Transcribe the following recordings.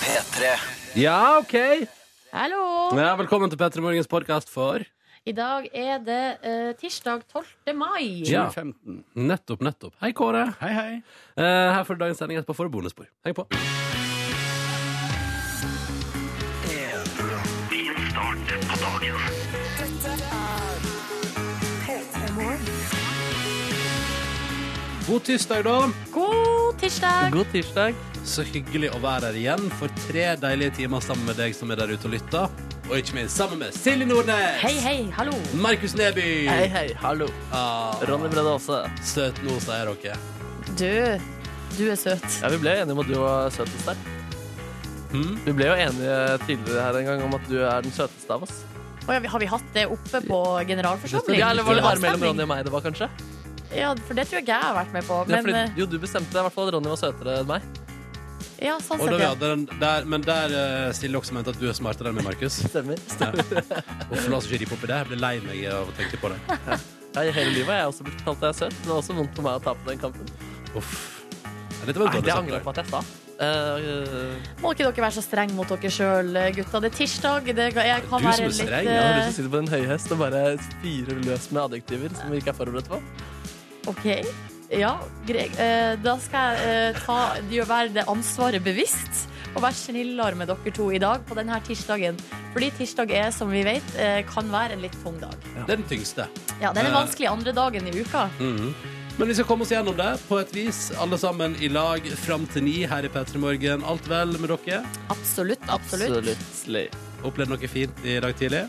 P3. Ja, OK. Hallo! Ja, velkommen til P3 Morgens podkast for I dag er det eh, tirsdag 12. mai. Ja. 15. nettopp, nettopp. Hei, Kåre. Hei, hei. Eh, her får du dagens sending etterpå for bonusspor. Heng på. God tirsdag, da. God tirsdag! God tirsdag. Så hyggelig å være her igjen for tre deilige timer sammen med deg som er der ute og lytter. Og ikke minst sammen med Silje Nordnes. Hei, hei, hallo. Markus Neby. Hei, hei, hallo. Ah, Ronny Brede Aase. søt nå, sier dere. Du, du er søt. Ja, vi ble enige om at du var søtest der. Hmm? Vi ble jo enige tidligere her en gang om at du er den søteste av oss. Å ja, vi- har vi hatt det oppe på generalforsamling? Ja, eller var det bare mellom Avstemning? Ronny og meg det var, kanskje? Ja, for det tror jeg ikke jeg har vært med på. ja, Men fordi, eh, jo, du bestemte deg i hvert fall at Ronny var søtere enn meg. ja, sånn Og da sett, vi ja. hadde den der, men der eh, Silje også mente at du er smartere enn meg, Markus. Stemmer. Hvorfor la oss ikke rippe opp i det? Jeg ble lei meg av å tenke på det. Ja, I hele livet har jeg også blitt kalt at jeg er søt. Det var også vondt for meg å tape den kampen. Uff. Ja, Dette var en Nei, det dårlig angrer jeg sak. på at jeg sa. Eh, eh, Må ikke dere være så strenge mot dere sjøl, gutta. Det er tirsdag. Det kan, jeg kan Du som er være litt streng, jeg har eh, lyst til å sitte på en høy hest og bare fyre løs med adjektiver som vi ikke er forberedt på. OK. Ja, Greg. eh, da skal jeg eh, ta, gjøre- være det ansvaret bevisst og være snillere med dere to i dag på denne tirsdagen. Fordi tirsdag er, som vi vet, eh, kan være en litt tung dag. Det er den tyngste. Ja, Den er Eh. vanskelig andre dagen i uka. Mhm. Men vi skal komme oss gjennom det på et vis, alle sammen i lag fram til ni her i P3 Morgen. Alt vel med dere? Absolutt. absolutt. Absolutt. Opplevde noe fint i dag tidlig?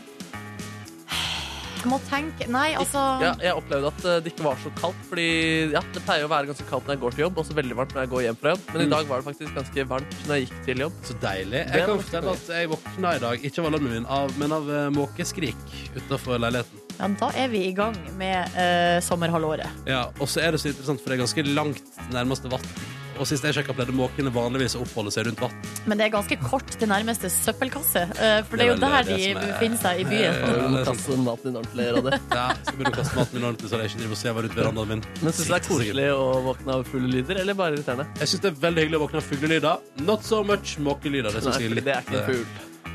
Må tenke Nei, Ja, altså jeg opplevde at eh, det ikke var så kaldt. Fordi ja, Det pleier å være ganske kaldt når jeg går til jobb, og så veldig varmt når jeg går hjem fra jobb. Men Mm. i dag var det faktisk ganske varmt når jeg gikk til jobb. Så deilig. Det Jeg er kan nok fortelle at jeg våkna i dag, ikke av alarmen min, av, men av eh, måkeskrik utafor leiligheten. ja, Da er vi i gang med eh, sommerhalvåret. Ja, Og så er det så interessant, for det er ganske langt til nærmeste vann. Og sist jeg sjekka, pleide måkene vanligvis å oppholde seg rundt vann. Men det er ganske kort til nærmeste søppelkasse. eh, For det er jo Det er der vel de det som er- befinner seg i byen. Du det må er sant. kaste maten din ordentlig, Ronny. Ja, skal begynne å kaste maten min ordentlig, så jeg ikke driver og svever rundt verandaen min. Men syns du det er koselig å våkne av fulle lyder, eller bare irriterende? Jeg syns det er veldig hyggelig å våkne av fuglelyder. Not so much måkelyder. Det, Nei, synes jeg er fordi det er litt, ikke eh, en fugl.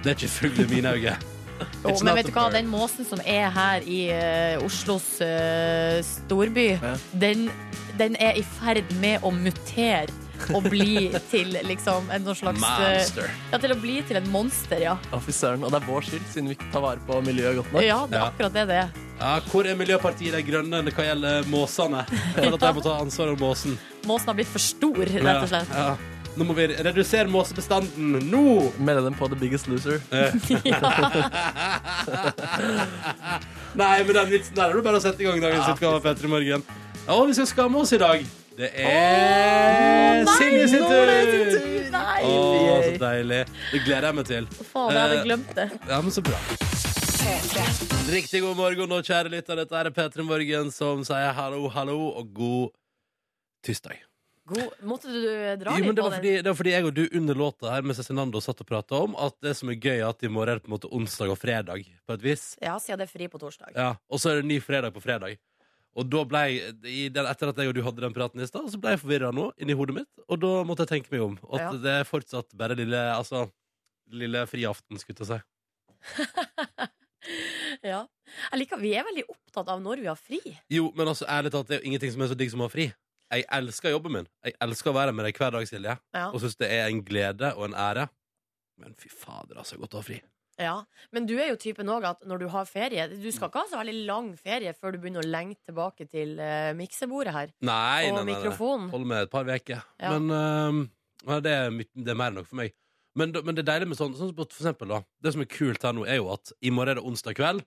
Det er ikke fugl i mine øyne. Jo, It's men not vet a du hva, bird. den måsen som er her i eh, Oslos eh, storby, Ja. den, den er i ferd med å mutere. Og bli til liksom en noe slags eh, Monster. Ja, til å bli til en monster, ja. Å, fy søren. Og det er vår skyld, siden vi ikke tar vare på miljøet godt nok. Ja, det er Ja. akkurat det det er. Ja, hvor er Miljøpartiet De Grønne når hva gjelder måsene? For at jeg må ta ansvar for måsen. Måsen har blitt for stor, rett og slett. Ja, ja. Nå må vi redusere måsebestanden. Nå! Melde dem på The Biggest Loser. Nei, men den vitsen der er det bare å sette i gang dagens utgave av Petter i morgen. Ja, og vi skal skamme oss i dag. Det er Eh, Silje sin tur! Nei, Å, så deilig. Det gleder jeg meg til. faen, jeg hadde glemt det. Ja, men så bra. Riktig god morgen og kjære lytter. Dette er Petter i morgen som sier hallo, hallo og god tirsdag. God, måtte du eh, dra Jo, men litt det på var, fordi, den? det var fordi jeg og du under låta her mens Cezinando satt og prata om at det som er gøy, er at i morgen er det på en måte onsdag og fredag, på et vis. Ja, siden det er fri på torsdag. Ja, Og så er det ny fredag på fredag. Og da ble jeg, i den, Etter at jeg og du hadde den praten i stad, så ble jeg forvirra nå, inni hodet mitt. Og da måtte jeg tenke meg om. At Ja. det er fortsatt bare lille altså, lille friaften, skulle jeg til å si. Ja. Jeg liker, vi er veldig opptatt av når vi har fri. Jo, men altså, ærlig talt, det er jo ingenting som er så digg som å ha fri. Jeg elsker jobben min. Jeg elsker å være med deg hver dag, Silje. Ja. Og syns det er en glede og en ære. Men fy fader, altså, godt å ha fri. Ja. Men du er jo typen òg at når du har ferie Du Mm. skal ikke ha så veldig lang ferie før du begynner å lengte tilbake til eh, miksebordet her. Nei, Og nei, nei, nei. mikrofonen. Holder med et par uker. Mm. Ja. Men øhm, ja, det, er, my- det er mer enn nok for meg. Men, da- men det er deilig med sånn, sånn som på- for eksempel, da, Det som er kult her nå, er jo at i morgen er det onsdag kveld.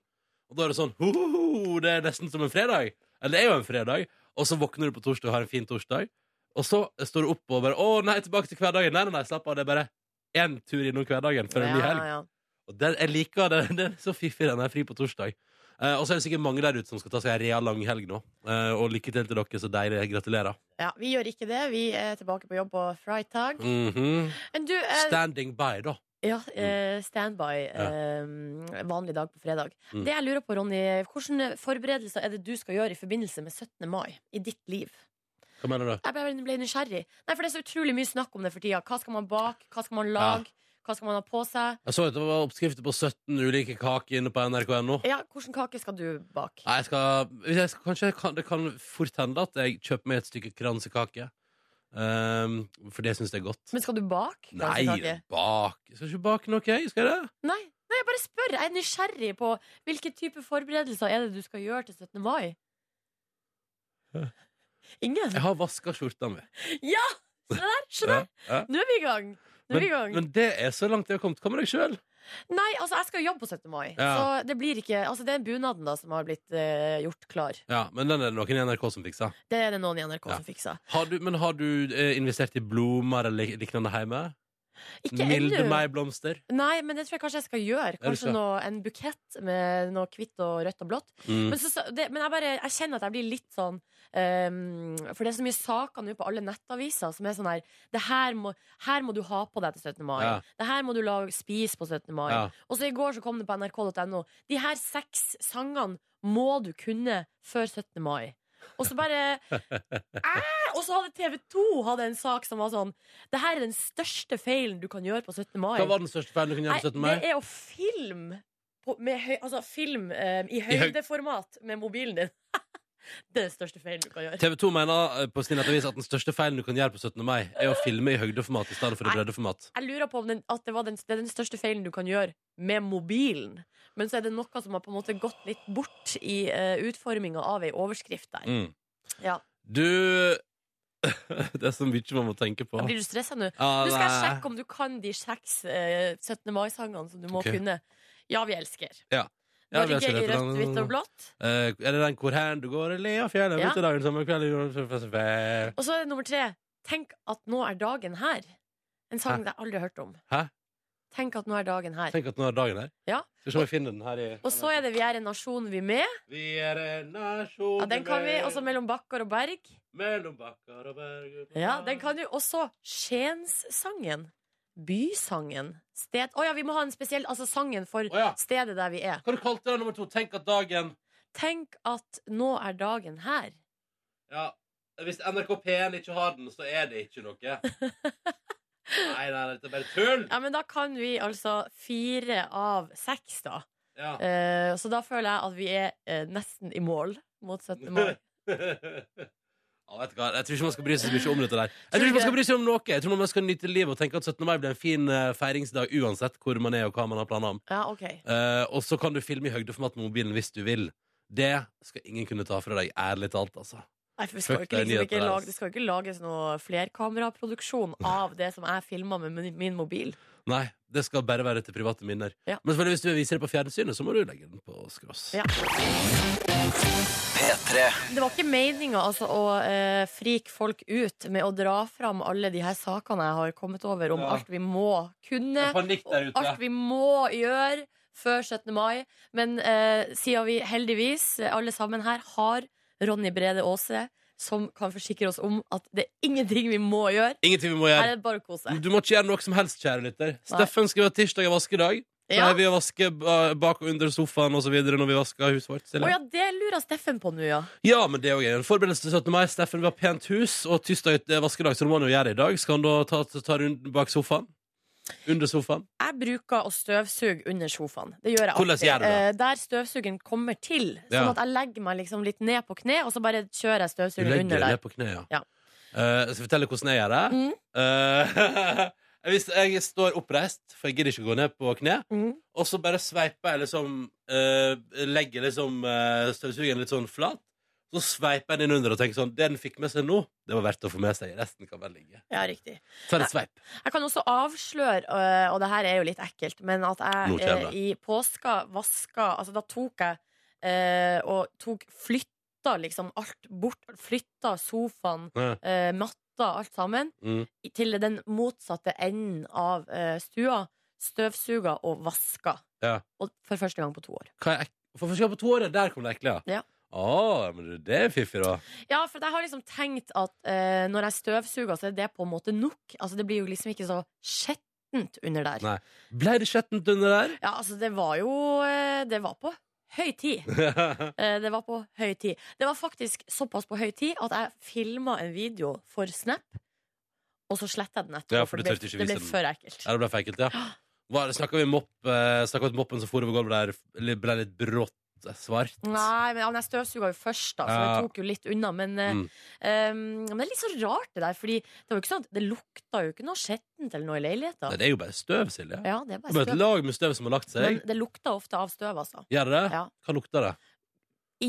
Og da er det sånn ho, ho, ho, Det er nesten som en fredag. Eller det er jo en fredag. Og så våkner du på torsdag og har en fin torsdag. Og så står du opp og bare Å, nei, tilbake til hverdagen. Nei, nei, nei, slapp av. Det er bare én tur innom hverdagen før en ny helg. ja. Og den, jeg liker det. Den er så fiffig, den er fri på torsdag. Eh, og så er det sikkert mange der ute som skal ta seg en real lang helg nå. Eh, og lykke til til dere, så deilig. Gratulerer. Ja, vi gjør ikke det. Vi er tilbake på jobb på fredag. Mhm. Men du, eh, Standing by, da. ja, Mm. eh, standby. Eh, vanlig dag på fredag. Mm. Det jeg lurer på, Ronny, hvilke forberedelser er det du skal gjøre i forbindelse med 17. mai i ditt liv? Hva mener du? Jeg ble, ble nysgjerrig. Nei, for det er så utrolig mye snakk om det for tida. Hva skal man bake? Hva skal man lage? Hva skal man ha på seg? Jeg så at det var oppskrifter på 17 ulike kaker inne på nrk.no. Ja, Hvilken kake skal du bake? Nei, jeg skal, hvis jeg skal kanskje, jeg kan, Det kan fort hende at jeg kjøper meg et stykke kransekake. Ehm, for det syns jeg er godt. Men skal du bake? Nei, kransekake? bak Skal ikke bake noe, jeg? Skal jeg det? Nei, nei, jeg bare spør. Jeg er nysgjerrig på hvilke type forberedelser er det du skal gjøre til 17. mai? Ingen? Jeg har vaska skjorta mi. Ja! Se der! Se der. Ja, ja. Nå er vi i gang. Nå er Men, vi i gang. men det er så langt jeg har kommet. Hva med deg sjøl? Nei, altså, jeg skal jobbe på 17. mai. Ja. Så det blir ikke Altså, det er bunaden da som har blitt eh, gjort klar. Ja, men den er det noen i NRK som fiksa. Det er det noen i NRK Ja. som fikser. Har du, men har du eh, investert i blomster eller lignende hjemme? Ikke Milde ennå. meg-blomster? Nei, men det tror jeg kanskje jeg skal gjøre. du Kanskje skal. noe, en bukett med noe hvitt og rødt og blått. Mm. Men, så, så- det, men jeg, bare, jeg kjenner at jeg blir litt sånn ehm, For det er så mye saker nå på alle nettaviser som er sånn her det her må, her må du ha på deg til 17. mai. Ja. Det her må du lage, spise på 17. mai. Ja. Og så i går så kom det på nrk.no. De her seks sangene må du kunne før 17. mai. Og så bare Æ! Og så hadde TV 2 hadde en sak som var sånn Det her er den største feilen du kan gjøre på 17. mai. Hva var den største feilen du kunne gjøre på 17. mai? Nei, det er å filme på, med høy, altså film eh, i høy- høydeformat med mobilen din. det er den største feilen du kan gjøre. TV 2 mener eh, på sin nettavis at den største feilen du kan gjøre på 17. mai, er å filme i høydeformat i stedet for i Nei. breddeformat. Jeg lurer på om den, at det, var den, det er den største feilen du kan gjøre med mobilen. Men så er det noe som har på en måte gått litt bort i uh, utforminga av ei overskrift der. Mm. Ja. Du Det er så mye man må tenke på. Blir du stressa nå? Ja, Nå skal jeg nei. sjekke om du kan de seks eh, 17. mai-sangene som du må Ok. kunne. Ja, vi elsker. Ja. Ja, vi Norge elsker i dette rødt, landet. hvitt og blått. Eh, er det den hvor hen du går i lea fjellet Ja. midt i dagen samme kveld i jorden- Og så er det nummer tre. Tenk at nå er dagen her. En sang jeg aldri har hørt om. Hæ? Tenk at nå er dagen her. Tenk at nå er dagen her. Ja. Skal vi se om jeg finner den her i Og så er det Vi er en nasjon, vi med. Vi er en nasjon Ja, den kan vi. med- Og så Mellom bakker og berg. mellom bakker og berg Ja, den kan jo. Og så Skienssangen. Bysangen. Sted Å ja, vi må ha en spesiell Altså sangen for Å ja. stedet der vi er. Hva du kalte den nummer to? Tenk at dagen Tenk at nå er dagen her. Ja, hvis NRK P1 ikke har den, så er det ikke noe. Nei, nei, dette er bare tull! Ja, men da kan vi altså fire av seks, da. Ja. Eh, så da føler jeg at vi er eh, nesten i mål mot 17. mai. Ja, vet du hva? Jeg tror ikke man skal bry seg så mye om dette der. Jeg Tror tror du ikke man skal det? bry seg om noe. Jeg tror man skal nyte livet og tenke at 17. mai blir en fin eh, feiringsdag uansett hvor man er og hva man har planer om. Ja, OK. Eh, og så kan du filme i høydeformat med mobilen hvis du vil. Det skal ingen kunne ta fra deg, ærlig talt, altså. Nei, for vi skal jo Fuck ikke, deg, liksom, nyheter ikke der, lage, ass. det skal jo ikke lages noe flerkameraproduksjon av det som jeg filma med min- min mobil. Nei, det skal bare være til private minner. Ja. Men selvfølgelig hvis du vil vise det på fjernsynet, så må du legge den på skross. Ja. Det var ikke meninga altså, å eh, frike folk ut med å dra fram alle de her sakene jeg har kommet over, om Ja. alt vi må kunne, Det er panikk der ute. og alt vi må gjøre før 17. mai. Men eh, siden vi heldigvis, eh, alle sammen her, har Ronny Brede Aase, som kan forsikre oss om at det er ingenting vi må gjøre. Ingenting vi må gjøre. Her er det bare å kose seg. Du må ikke gjøre noe som helst, kjære lytter. Steffen skriver at tirsdag er vaskedag. Da Ja. er vi å vaske ba- bak og under sofaen og så videre når vi vasker huset vårt. Å Silje. ja, det lurer Steffen på nå, ja. Ja, men det er jo en forberedelse til 17. mai. Steffen vil ha pent hus, og tirsdag er vaskedag, så det må han jo gjøre i dag. Skal han da ta, ta, ta runden bak sofaen? Under sofaen? Jeg bruker å støvsuge under sofaen. Det gjør jeg Hvordan alltid. gjør du det? Eh, Der støvsugeren kommer til. Sånn Ja. at jeg legger meg liksom litt ned på kne, og så bare kjører jeg Du støvsugeren legger under deg der. ned på kne, ja. Ja. Eh, jeg skal fortelle hvordan jeg gjør det. Mm. Eh, hvis jeg står oppreist, for jeg gidder ikke gå ned på kne, Mm. og så bare sveiper jeg liksom eh, Legger liksom eh, støvsugeren litt sånn flat. Så sveiper jeg den inn under og tenker sånn Det den fikk med seg nå, det var verdt å få med seg. Resten kan bare ligge. Ja, riktig. Så er det sveip. Jeg kan også avsløre, eh, og det her er jo litt ekkelt, men at Nå jeg kommer eh, det. i påska vaska Altså, da tok jeg eh, og tok flytta liksom alt bort. Flytta sofaen, Ja. eh, matta, alt sammen. Mm. i- Til den motsatte enden av eh, stua. Støvsuga og vaska. Ja. Og for første gang på to år. Hva er ek For første gang på to år, der kom det ekle, Ja. Å, men du, det er fiffig, da. Ja, for jeg har liksom tenkt at eh, når jeg støvsuger, så er det på en måte nok. Altså, det blir jo liksom ikke så skjettent under der. Nei. Ble det skjettent under der? Ja, altså, det var jo eh, Det var på høy tid. Eh, det var på høy tid. Det var faktisk såpass på høy tid at jeg filma en video for Snap. Og så sletter jeg den etterpå, Ja, for du for det tørte ble, ikke det vise ble den. for ekkelt. Ja, det ble for ekkelt, ja. Var- Snakka vi mopp, eh, snakket vi om moppen som for over gulvet der, eller ble litt brått eh, svart? Nei, men han jeg støvsuga jo først, da, så Ja. det tok jo litt unna. Men, eh, Mm. eh, men det er litt så rart, det der. Fordi det var jo ikke sånn at det lukta jo ikke noe skjettent eller noe i Nei, leiligheta. det er jo bare støv, Silje. Ja, det er Det er bare bare et støv. lag med støv som har lagt Men seg. det lukta ofte av støv, altså. Gjør det det? Ja. Hva lukter det?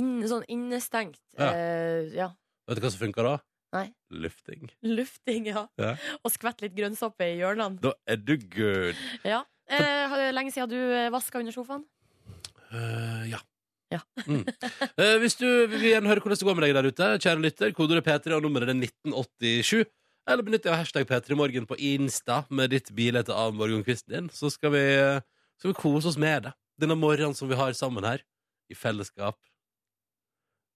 Inn, sånn innestengt. Ja. eh, ja. Vet du hva som funker da? Nei. Lufting. Lufting, ja. Ja. Og skvett litt grønnsåpe i hjørnene. Da er du good. Ja. Eh, har det lenge siden du vaska under sofaen? Eh, ja. Ja. Mm. Eh, hvis du vil igjen høre hvordan det går med deg der ute, kjære lytter, kodeordet P3 og nummeret er 1987. Eller benytt deg av hashtag P3morgen på Insta med ditt bilde av morgenkvisten din. Så skal vi, skal vi kose oss med det. Denne morgenen som vi har sammen her, i fellesskap.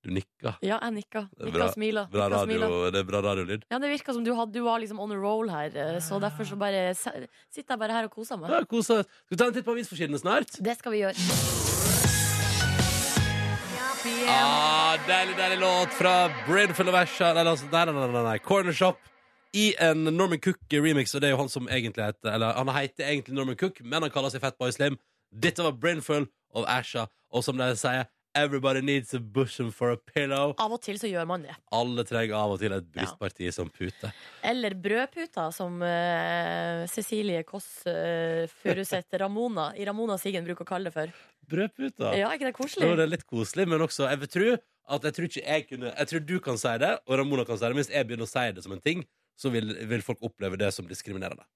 Du nikka. Ja, jeg nikka. er Nikka bra. og smila. Bra Nikka og smila. radio, det er bra radiolyd. Ja, det virka som du, hadde, du var liksom on a roll her, eh, så Ja. derfor så bare s- sitter jeg bare her og koser meg. Ja, kose oss. Skal vi ta en titt på avisforsidene snart? Det skal vi gjøre. Ah, deilig, deilig låt fra Bridful of Asha. Nei, altså, nei, nei, nei, nei, nei. Corner Shop i en Norman Cook-remix. Og det er jo han som egentlig heter Eller han heter egentlig Norman Cook, men han kaller seg Fatboy Slim. Dette var Brinful of Asha, og som de sier Everybody needs a bosom for a pillow. Av og til så gjør man det. Alle trenger av og til et brystparti som pute. Eller brødputa, som eh, Cecilie Kåss eh, Furuseth Ramona i Ramona Siggen bruker å kalle det for. Brødputa. Ja, er ikke Det det var koselig? det litt koselig, men også Jeg vil tro at jeg tror ikke jeg kunne Jeg tror du kan si det, og Ramona kan si det. Men hvis jeg begynner å si det som en ting, så vil, vil folk oppleve det som diskriminerende.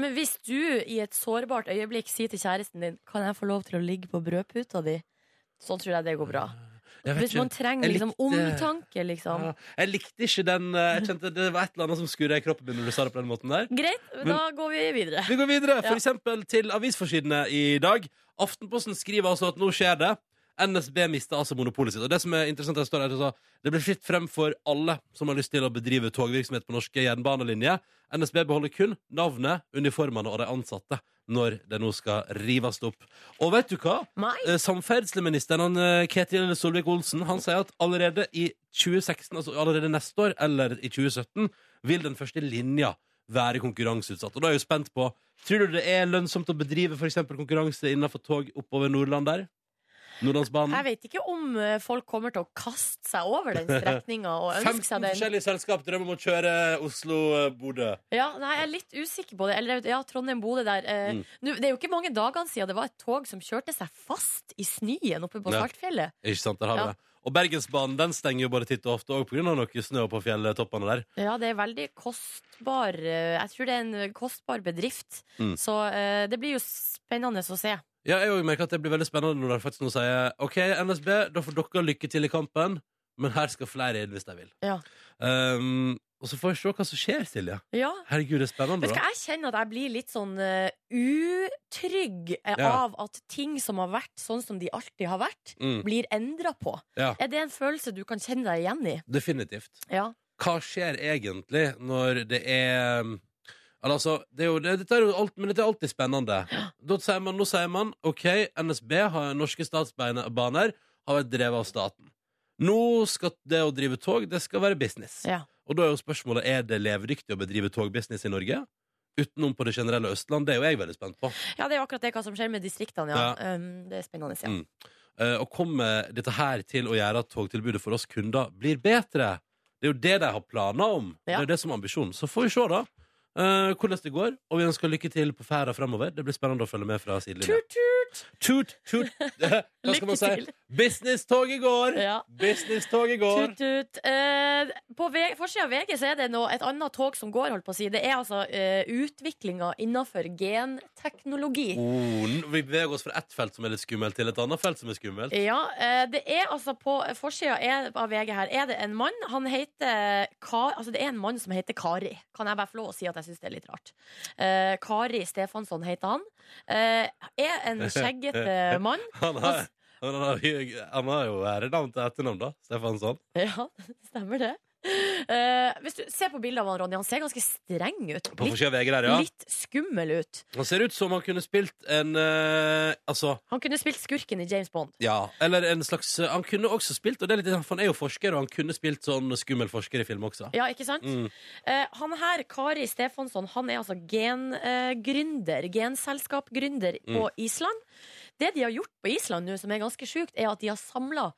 Men hvis du i et sårbart øyeblikk sier til kjæresten din Kan jeg få lov til å ligge på brødputa di? Så tror jeg det går bra. Jeg vet Hvis man ikke. trenger Jeg liksom likte- omtanke, liksom. Ja, jeg likte ikke den eh, jeg kjente Det var et eller annet som skurra i kroppen min når du sa det på den måten der. Greit, Men- da går vi videre. Vi går videre for Ja. eksempel til avisforsidene i dag. Aftenposten skriver altså at nå skjer det. NSB mister altså monopolet sitt. Og Det som er interessant det står her, det står det blir fritt frem for alle som har lyst til å bedrive togvirksomhet på norske jernbanelinjer. NSB beholder kun navnet, uniformene og de ansatte når det nå skal rives opp. Og vet du hva? Nei? Eh, Samferdselsministeren han, eh, Ketil Solvik-Olsen Han sier at allerede i 2016, altså allerede neste år, eller i 2017, vil den første linja være konkurranseutsatt. Og da er jeg jo spent på Tror du det er lønnsomt å bedrive for eksempel konkurranse innenfor tog oppover Nordland der? Jeg Nordlandsbanen? vet ikke om eh, folk kommer til å kaste seg over den strekninga og 15 ønske seg den. forskjellige selskap drømmer om å kjøre Oslo-Bodø. Ja, nei, jeg er litt usikker på det. Eller ja, Trondheim-Bodø der. Eh, Mm. nå- det er jo ikke mange dagene siden det var et tog som kjørte seg fast i snøen oppe på Ja. Svartfjellet. Ikke sant, der har vi Ja. det. Og Bergensbanen den stenger jo både titt og ofte, òg pga. noe snø på fjelltoppene der. Ja, det er veldig kostbar eh, Jeg tror det er en kostbar bedrift. Mm. Så eh, det blir jo spennende å se. Ja, jeg også merker at det blir veldig spennende når det faktisk nå sier OK, NSB, da får dere lykke til i kampen, men her skal flere inn hvis de vil. Ja. Um, og så får vi se hva som skjer, Silje. Ja. Herregud, det er spennende. Vet du da. hva, Jeg kjenner at jeg blir litt sånn eh, utrygg eh, Ja. av at ting som har vært sånn som de alltid har vært, Mm, blir endra på. Ja. Er det en følelse du kan kjenne deg igjen i? definitivt. Ja. Hva skjer egentlig når det er Eller altså, det er jo, det, dette er jo alt, men dette er alltid spennende. Da sier man, nå sier man OK, NSB, har, norske statsbaner, har vært drevet av staten. Nå skal det å drive tog, det skal være business. Ja. Og da er jo spørsmålet er det levedyktig å bedrive togbusiness i Norge? Utenom på det generelle Østland. Det er jo jeg veldig spent på. Ja, det er jo akkurat det hva som skjer med distriktene, ja. Um, det er spennende, ja. Mm. Eh, og kommer dette her til å gjøre at togtilbudet for oss kunder blir bedre? Det er jo det de har planer om. Ja. Det er jo det som er ambisjonen. Så får vi se, da. eh, hvordan det går, og vi ønsker lykke til på ferda fremover. Det blir spennende å følge med fra sidelinja. Tut, tut! Tut, tut! Hva skal man si? Lykke til. Businstog i går! Ja. Businesstog i går! Tut, tut. Eh, på V- forsiden av VG så er det nå et annet tog som går, holdt på å si. Det er altså eh, utviklinga innenfor genteknologi. Oh, n- vi beveger oss fra ett felt som er litt skummelt, til et annet felt som er skummelt. Ja, eh, det er altså på forsida er- av VG her er det en mann. Han heter Ka, Altså det er en mann som heter Kari. Kan jeg bare få lov å si at jeg syns det er litt rart? Eh, Kari Stefansson heter han. Eh, er en skjeggete mann. Han har, han har, han har jo ærenavn til etternavn, da. Stefansson. Ja, stemmer det. Eh, hvis du ser på bildet av han, Ronny, han ser ganske streng ut. På Litt, forsida av VG der, ja. litt skummel ut. Han ser ut som han kunne spilt en eh, Altså, Han kunne spilt skurken i James Bond. ja. Eller en slags eh, Han kunne også spilt, og det er litt, for han er jo forsker, og han kunne spilt sånn skummel forsker i film også. Ja, ikke sant? Mm. Eh, han her, Kari Stefansson, han er altså gengründer, genselskapgründer Mm. på Island. Det de har gjort på Island nå, som er ganske sjukt, er at de har samla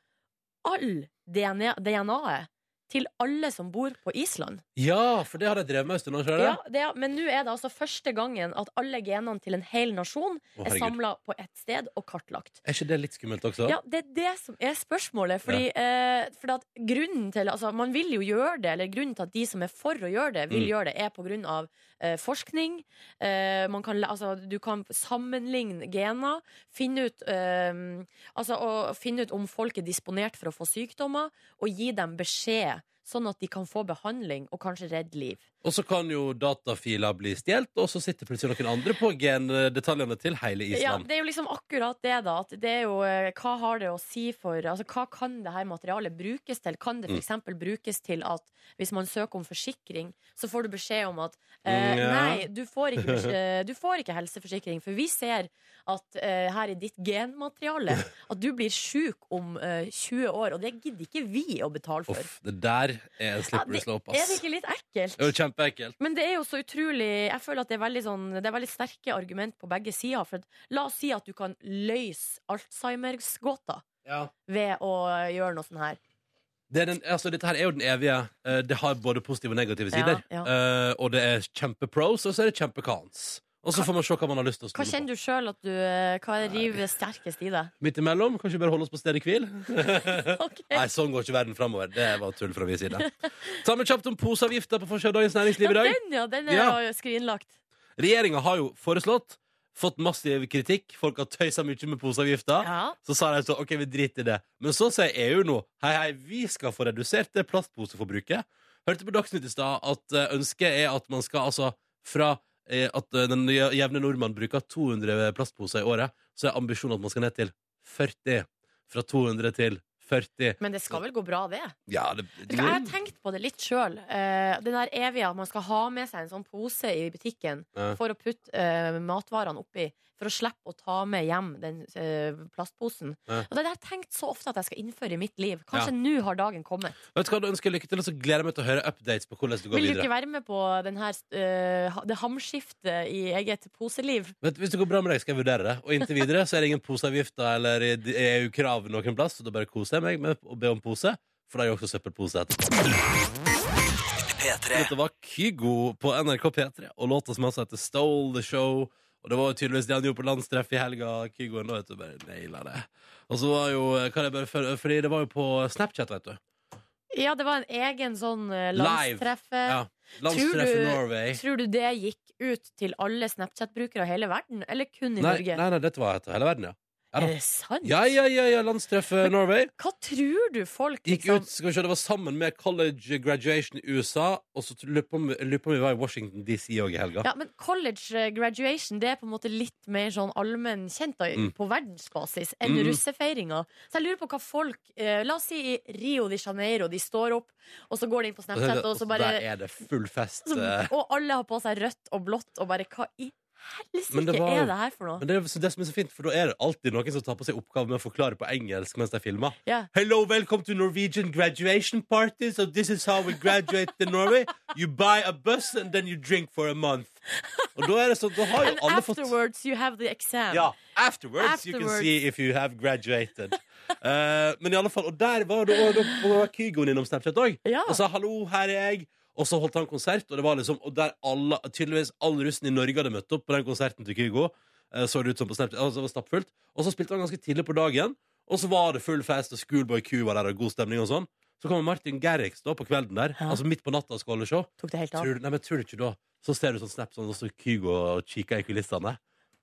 all DNA-et til alle som bor på Island. Ja, for det har de drevet med en stund. har de ikke det? Ja, det, er- men nå er det altså første gangen at alle genene til en hel nasjon Å, er herregud. samla på ett sted og kartlagt. Er ikke det litt skummelt også? Ja, det er det som er spørsmålet. Fordi, eh, fordi at grunnen til altså, Man vil jo gjøre det, eller grunnen til at de som er for å gjøre det, vil Mm. gjøre det, er på grunn av eh, forskning. Eh, man kan, la- altså, du kan sammenligne gener, finne ut eh, Altså og finne ut om folk er disponert for å få sykdommer, og gi dem beskjed. Sånn at de kan få behandling og kanskje redde liv. Og så kan jo datafiler bli stjålet, og så sitter plutselig noen andre på gendetaljene til hele Ja, Island. det er jo liksom akkurat det, da. At det er jo, eh, hva har det å si for Altså, hva kan det her materialet brukes til? Kan Mm. det f.eks. brukes til at hvis man søker om forsikring, så får du beskjed om at eh, Mm, ja. Nei, du får, ikke, bes- eh, du får ikke helseforsikring, for vi ser at eh, her i ditt genmateriale at du blir sjuk om eh, 20 år, og det gidder ikke vi å betale for. Uff, det der er en Ja, slippery det- slope, Er det ass. ikke litt Det er ekkelt? jo kjempeekkelt. Men det er jo så utrolig Jeg føler at det er veldig, sånn, det er veldig sterke argument på begge sider. For at, la oss si at du kan løse Alzheimers-gåta Ja. ved å gjøre noe sånn her. Det er den, altså, dette her er jo den evige. eh, Det har både positive og negative Ja, sider. ja. Eh, og det er kjempepros, og så er det kjempecons. Og så får man se hva man har lyst til å stole Hva på. kjenner du sjøl at du eh, Hva river sterkest i deg? Midt imellom. Kanskje bare holde oss på stedet hvil. Ok. Nei, sånn går ikke verden framover. Det var tull fra min side. Ta med kjapt om poseavgifta på forsida av Dagens Næringsliv i Ja, dag. den, ja! Den er Ja. jo skrinlagt. Regjeringa har jo foreslått, fått massiv kritikk, folk har tøysa mye med poseavgifta. Ja. Så sa de så, ok, vi driter i det. Men så sier EU nå hei, hei, vi skal få redusert det plastposeforbruket. Hørte på Dagsnytt i stad at eh, ønsket er at man skal altså fra eh, at eh, den jevne nordmann bruker 200 plastposer i året, så er ambisjonen at man skal ned til 40. Fra 200 til 40. Men det skal vel gå bra, det? Ja, det, Vet du hva, Jeg har tenkt på det litt sjøl. Den der evige at man skal ha med seg en sånn pose i butikken Ja. for å putte eh, matvarene oppi. For å slippe å ta med hjem den eh, plastposen. Ja. Og Det har jeg tenkt så ofte at jeg skal innføre i mitt liv. Kanskje nå har dagen kommet. Vet du hva, da ønsker jeg lykke til, og så gleder jeg meg til å høre updates på hvordan det går Vil du videre. ikke være med på den her, eh, ha- det hamskiftet i eget poseliv? Vet, du, hvis det går bra med deg, skal jeg vurdere det. Og inntil videre så er det ingen poseavgifter eller i- i EU-krav noen plass, så da bare koser jeg meg med å be om pose, for det er jo også søppelpose etterpå. Dette var Kygo på NRK P3, og låta som altså heter Stole the Show. Og det var jo tydeligvis det han gjorde på landstreff i helga. Kygoen da, vet du, bare naila det. Og så var jo kan jeg bare følge, Fordi det var jo på Snapchat, vet Eh, du. Ja, det var en egen sånn eh, Live. landstreffe. Ja. Landstreff Tror i du- Norway. Tror du det gikk ut til alle Snapchat-brukere i hele verden, eller kun i Nei, Norge? nei, nei, dette var etter hele verden, ja. ja da. Er det sant? Ja, ja, ja, ja landstreff eh, Norway. Hva tror du folk Gikk liksom- ut, skal vi se, Det var sammen med college graduation i USA, og så lurer på om lurer på om vi var i Washington DC òg i helga. Ja, men college eh, graduation Det er på en måte litt mer sånn allmenn kjent da, Mm. på verdensbasis enn Mm. russefeiringa. Så jeg lurer på hva folk eh, La oss si i Rio de Janeiro, de står opp, og så går de inn på Og så er Snapchat, det- og så bare Der er det full fest. så, eh. Og alle har på seg rødt og blått, og bare Hva i Men helsike det var jo- er det her for noe? Men det er så- det som er så fint, for da er det alltid noen som tar på seg oppgaven med å forklare på engelsk mens de filmer. Ja. Hello, welcome to Norwegian graduation party. So this is how we graduate in Norway. You buy a bus, and then you drink for a month. Og da er det sånn, da har jo And alle fått afterwards you have the exam. Ja, afterwards, you can Afterwards. see if you have graduated. Eh, men i alle fall, og der var, da, da var Kygoen innom Snapchat òg Ja. og sa 'hallo, her er jeg'. Og så holdt han konsert, og det var liksom Og der alle, tydeligvis alle russen i Norge hadde møtt opp på den konserten til Kygo. eh, så det ut som på Snapchat, altså det var stappfullt. Og så spilte han ganske tidlig på dagen, og så var det full fest, og Schoolboy Q var der, og god stemning og sånn. Så kommer Martin Gerrix da på kvelden der, Ja. altså midt på natta og skal holde show. Tok det helt av. Tror, du- nei, men tror du ikke da Så ser du sånn snap sånn, Og så Kygo og kikker i kulissene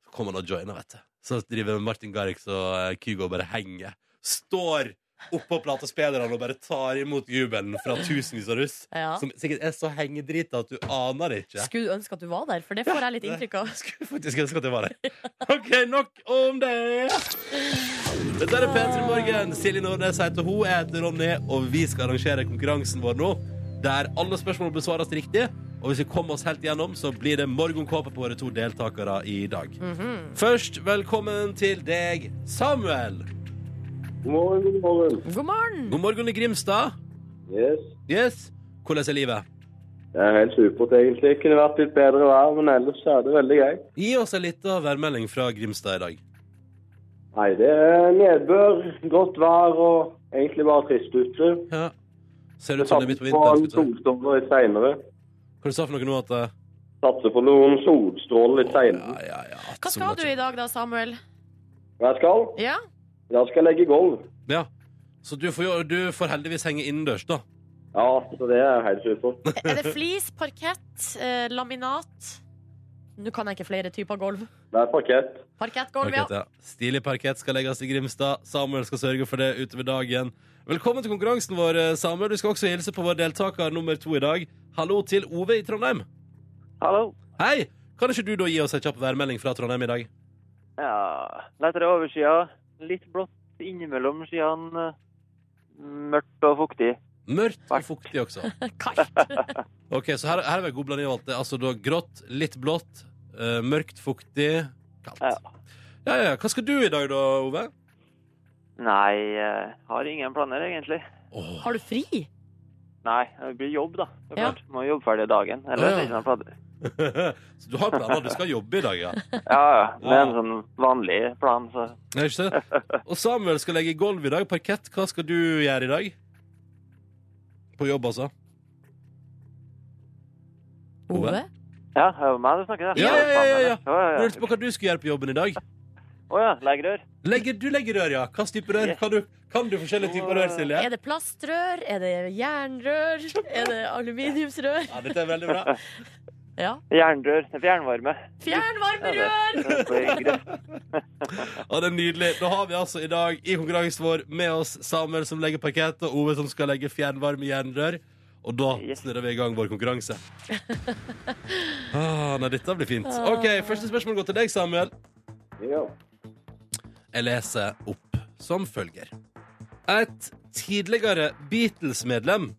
Så kommer han og joiner, vet du Så driver Martin Garrix og eh, Kygo og bare henger Står oppå platespillerne Og bare tar imot jubelen fra tusenvis av russ Ja. Som sikkert er så hengedrita at du aner det ikke Skulle ønske at du var der, for det får jeg litt inntrykk av. Skulle faktisk ønske at jeg var der Ok, nok om det Dette er P3 Morgen Silje Nordnes heter hun, jeg heter Ronny Og vi skal arrangere konkurransen vår nå der alle spørsmål besvares riktig. Og hvis vi kommer oss helt gjennom, så blir det morgenkåpe på våre to deltakere i dag. Først, velkommen til deg, Samuel. God morgen, god morgen. God morgen! God morgen i Grimstad. Yes. Yes. Hvordan er livet? Det er helt supert, egentlig. Kunne vært litt bedre vær, men ellers er det veldig greit. Gi oss en liten værmelding fra Grimstad i dag. Nei, det er nedbør, godt vær og egentlig bare trist ute. Ja. Ser Det ut som det er sånn- satser midt på på vinteren. en skulle jeg si. solstråle litt seinere. Hva du sa for noe nå? At, eh, Satser på noen solstråler litt ja, seinere. ja, ja, at Hva skal sola du i dag da, Samuel? Hva jeg skal? Ja? Jeg skal legge gulv. Ja. Så du får, jo- du får heldigvis henge innendørs, da. Ja, så det er helt supert. Er det flis, parkett, eh, laminat? Nå kan jeg ikke flere typer gulv. Det er parkett. Parkettgulv, ja. Parkett, ja. Stilig parkett skal legges i Grimstad. Samuel skal sørge for det utover dagen. Velkommen til konkurransen vår, eh, Samuel. Du skal også hilse på vår deltaker nummer to i dag. Hallo til Ove i Trondheim. Hallo. Hei! Kan ikke du da gi oss en kjapp værmelding fra Trondheim i dag? Ja, lettere overskya. Litt blått innimellom skyene. Mørkt og fuktig. Mørkt og fuktig også. Kaldt. Ok, så her, her er vi god blanding av alt det. Altså da grått, litt blått, eh, mørkt, fuktig, kaldt. Ja. Ja, ja. Hva skal du i dag da, Ove? Nei, eh, har ingen planer egentlig. Åh, Har du fri? Nei, det blir jobb, da. Det er Ja. klart. Må jobbe ferdig dagen. Ellers Ja, ja. ikke noen planer. Så du har planer, du skal jobbe i dag, ja. Ja, ja. Det er en sånn vanlig plan, så Ja, Ikke sant? Og Samuel skal legge gulv i dag. Parkett, hva skal du gjøre i dag? På jobb, altså. Ove? Ja, det er jo meg du snakker til. Ja, ja, ja, ja, ja. Å ja, Du ja. lurte på hva du skulle gjøre på jobben i dag. Å ja, leggerør. Legger, du legger rør, ja. Hva slags type rør? Yes. Kan du, kan du forskjellige typer rør, Silje? Er det plastrør? Er det jernrør? Er det aluminiumsrør? Ja, dette er veldig bra. Ja. Jernrør. Fjernvarme. Fjernvarmerør! Ja, det- det er greit. Ja, det er nydelig. Da har vi altså i dag i konkurransen vår med oss Samuel som legger parkett, og Ove som skal legge fjernvarme jernrør. Og da Yes. snurrer vi i gang vår konkurranse. Ah, nei, dette blir fint. OK, første spørsmål går til deg, Samuel. Ja. Jeg leser opp som følger. Et tidligere Beatles-medlem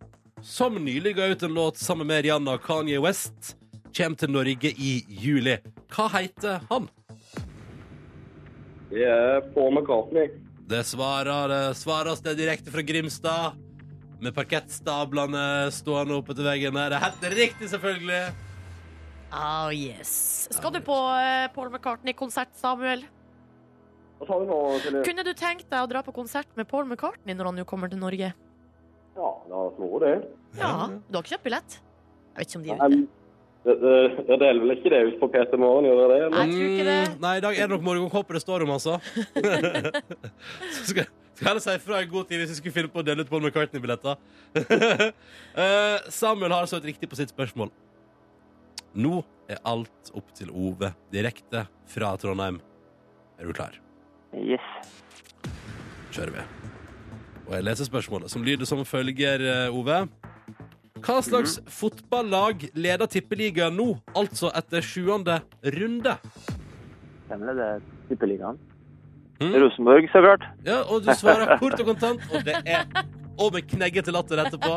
som nylig ga ut en låt sammen med Rihanna og Kanye West, kommer til Norge i juli. Hva heter han? Det er Paul McCartney. Det svarer, det svares det direkte fra Grimstad. Med parkettstablene stående oppe til veggen der. Det er helt riktig, selvfølgelig. Oh, yes. Skal du på eh, Paul McCartney-konsert, Samuel? Hva sa du nå, Silje? Kunne du tenkt deg å dra på konsert med Paul McCartney når han nå kommer til Norge? Ja, det har vært moro, det. Ja, Du har ikke kjøpt billett? Jeg vet ikke om de gjør det. Em, det- det- Dere deler vel ikke det ut på PT Morgen, gjør dere det? eller? Jeg tror ikke det. Mm, Nei, i dag er det nok morgenkåpe det står om, altså. Så skal, skal jeg heller si fra i god tid hvis vi skulle finne på å dele ut Paul McCartney-billetter. Eh, Samuel har altså et riktig på sitt spørsmål. Nå er alt opp til Ove, direkte fra Trondheim. Er du klar? Yes. Kjører vi. Og jeg leser spørsmålet, som lyder som følger, eh, Ove. Hva slags fotballag leder Tippeligaen nå, altså etter sjuende runde? Hvem er det tippeligaen? Mm. Rosenborg, så klart. Ja, og du svarer kort og kontant, og det er Og med kneggete latter etterpå.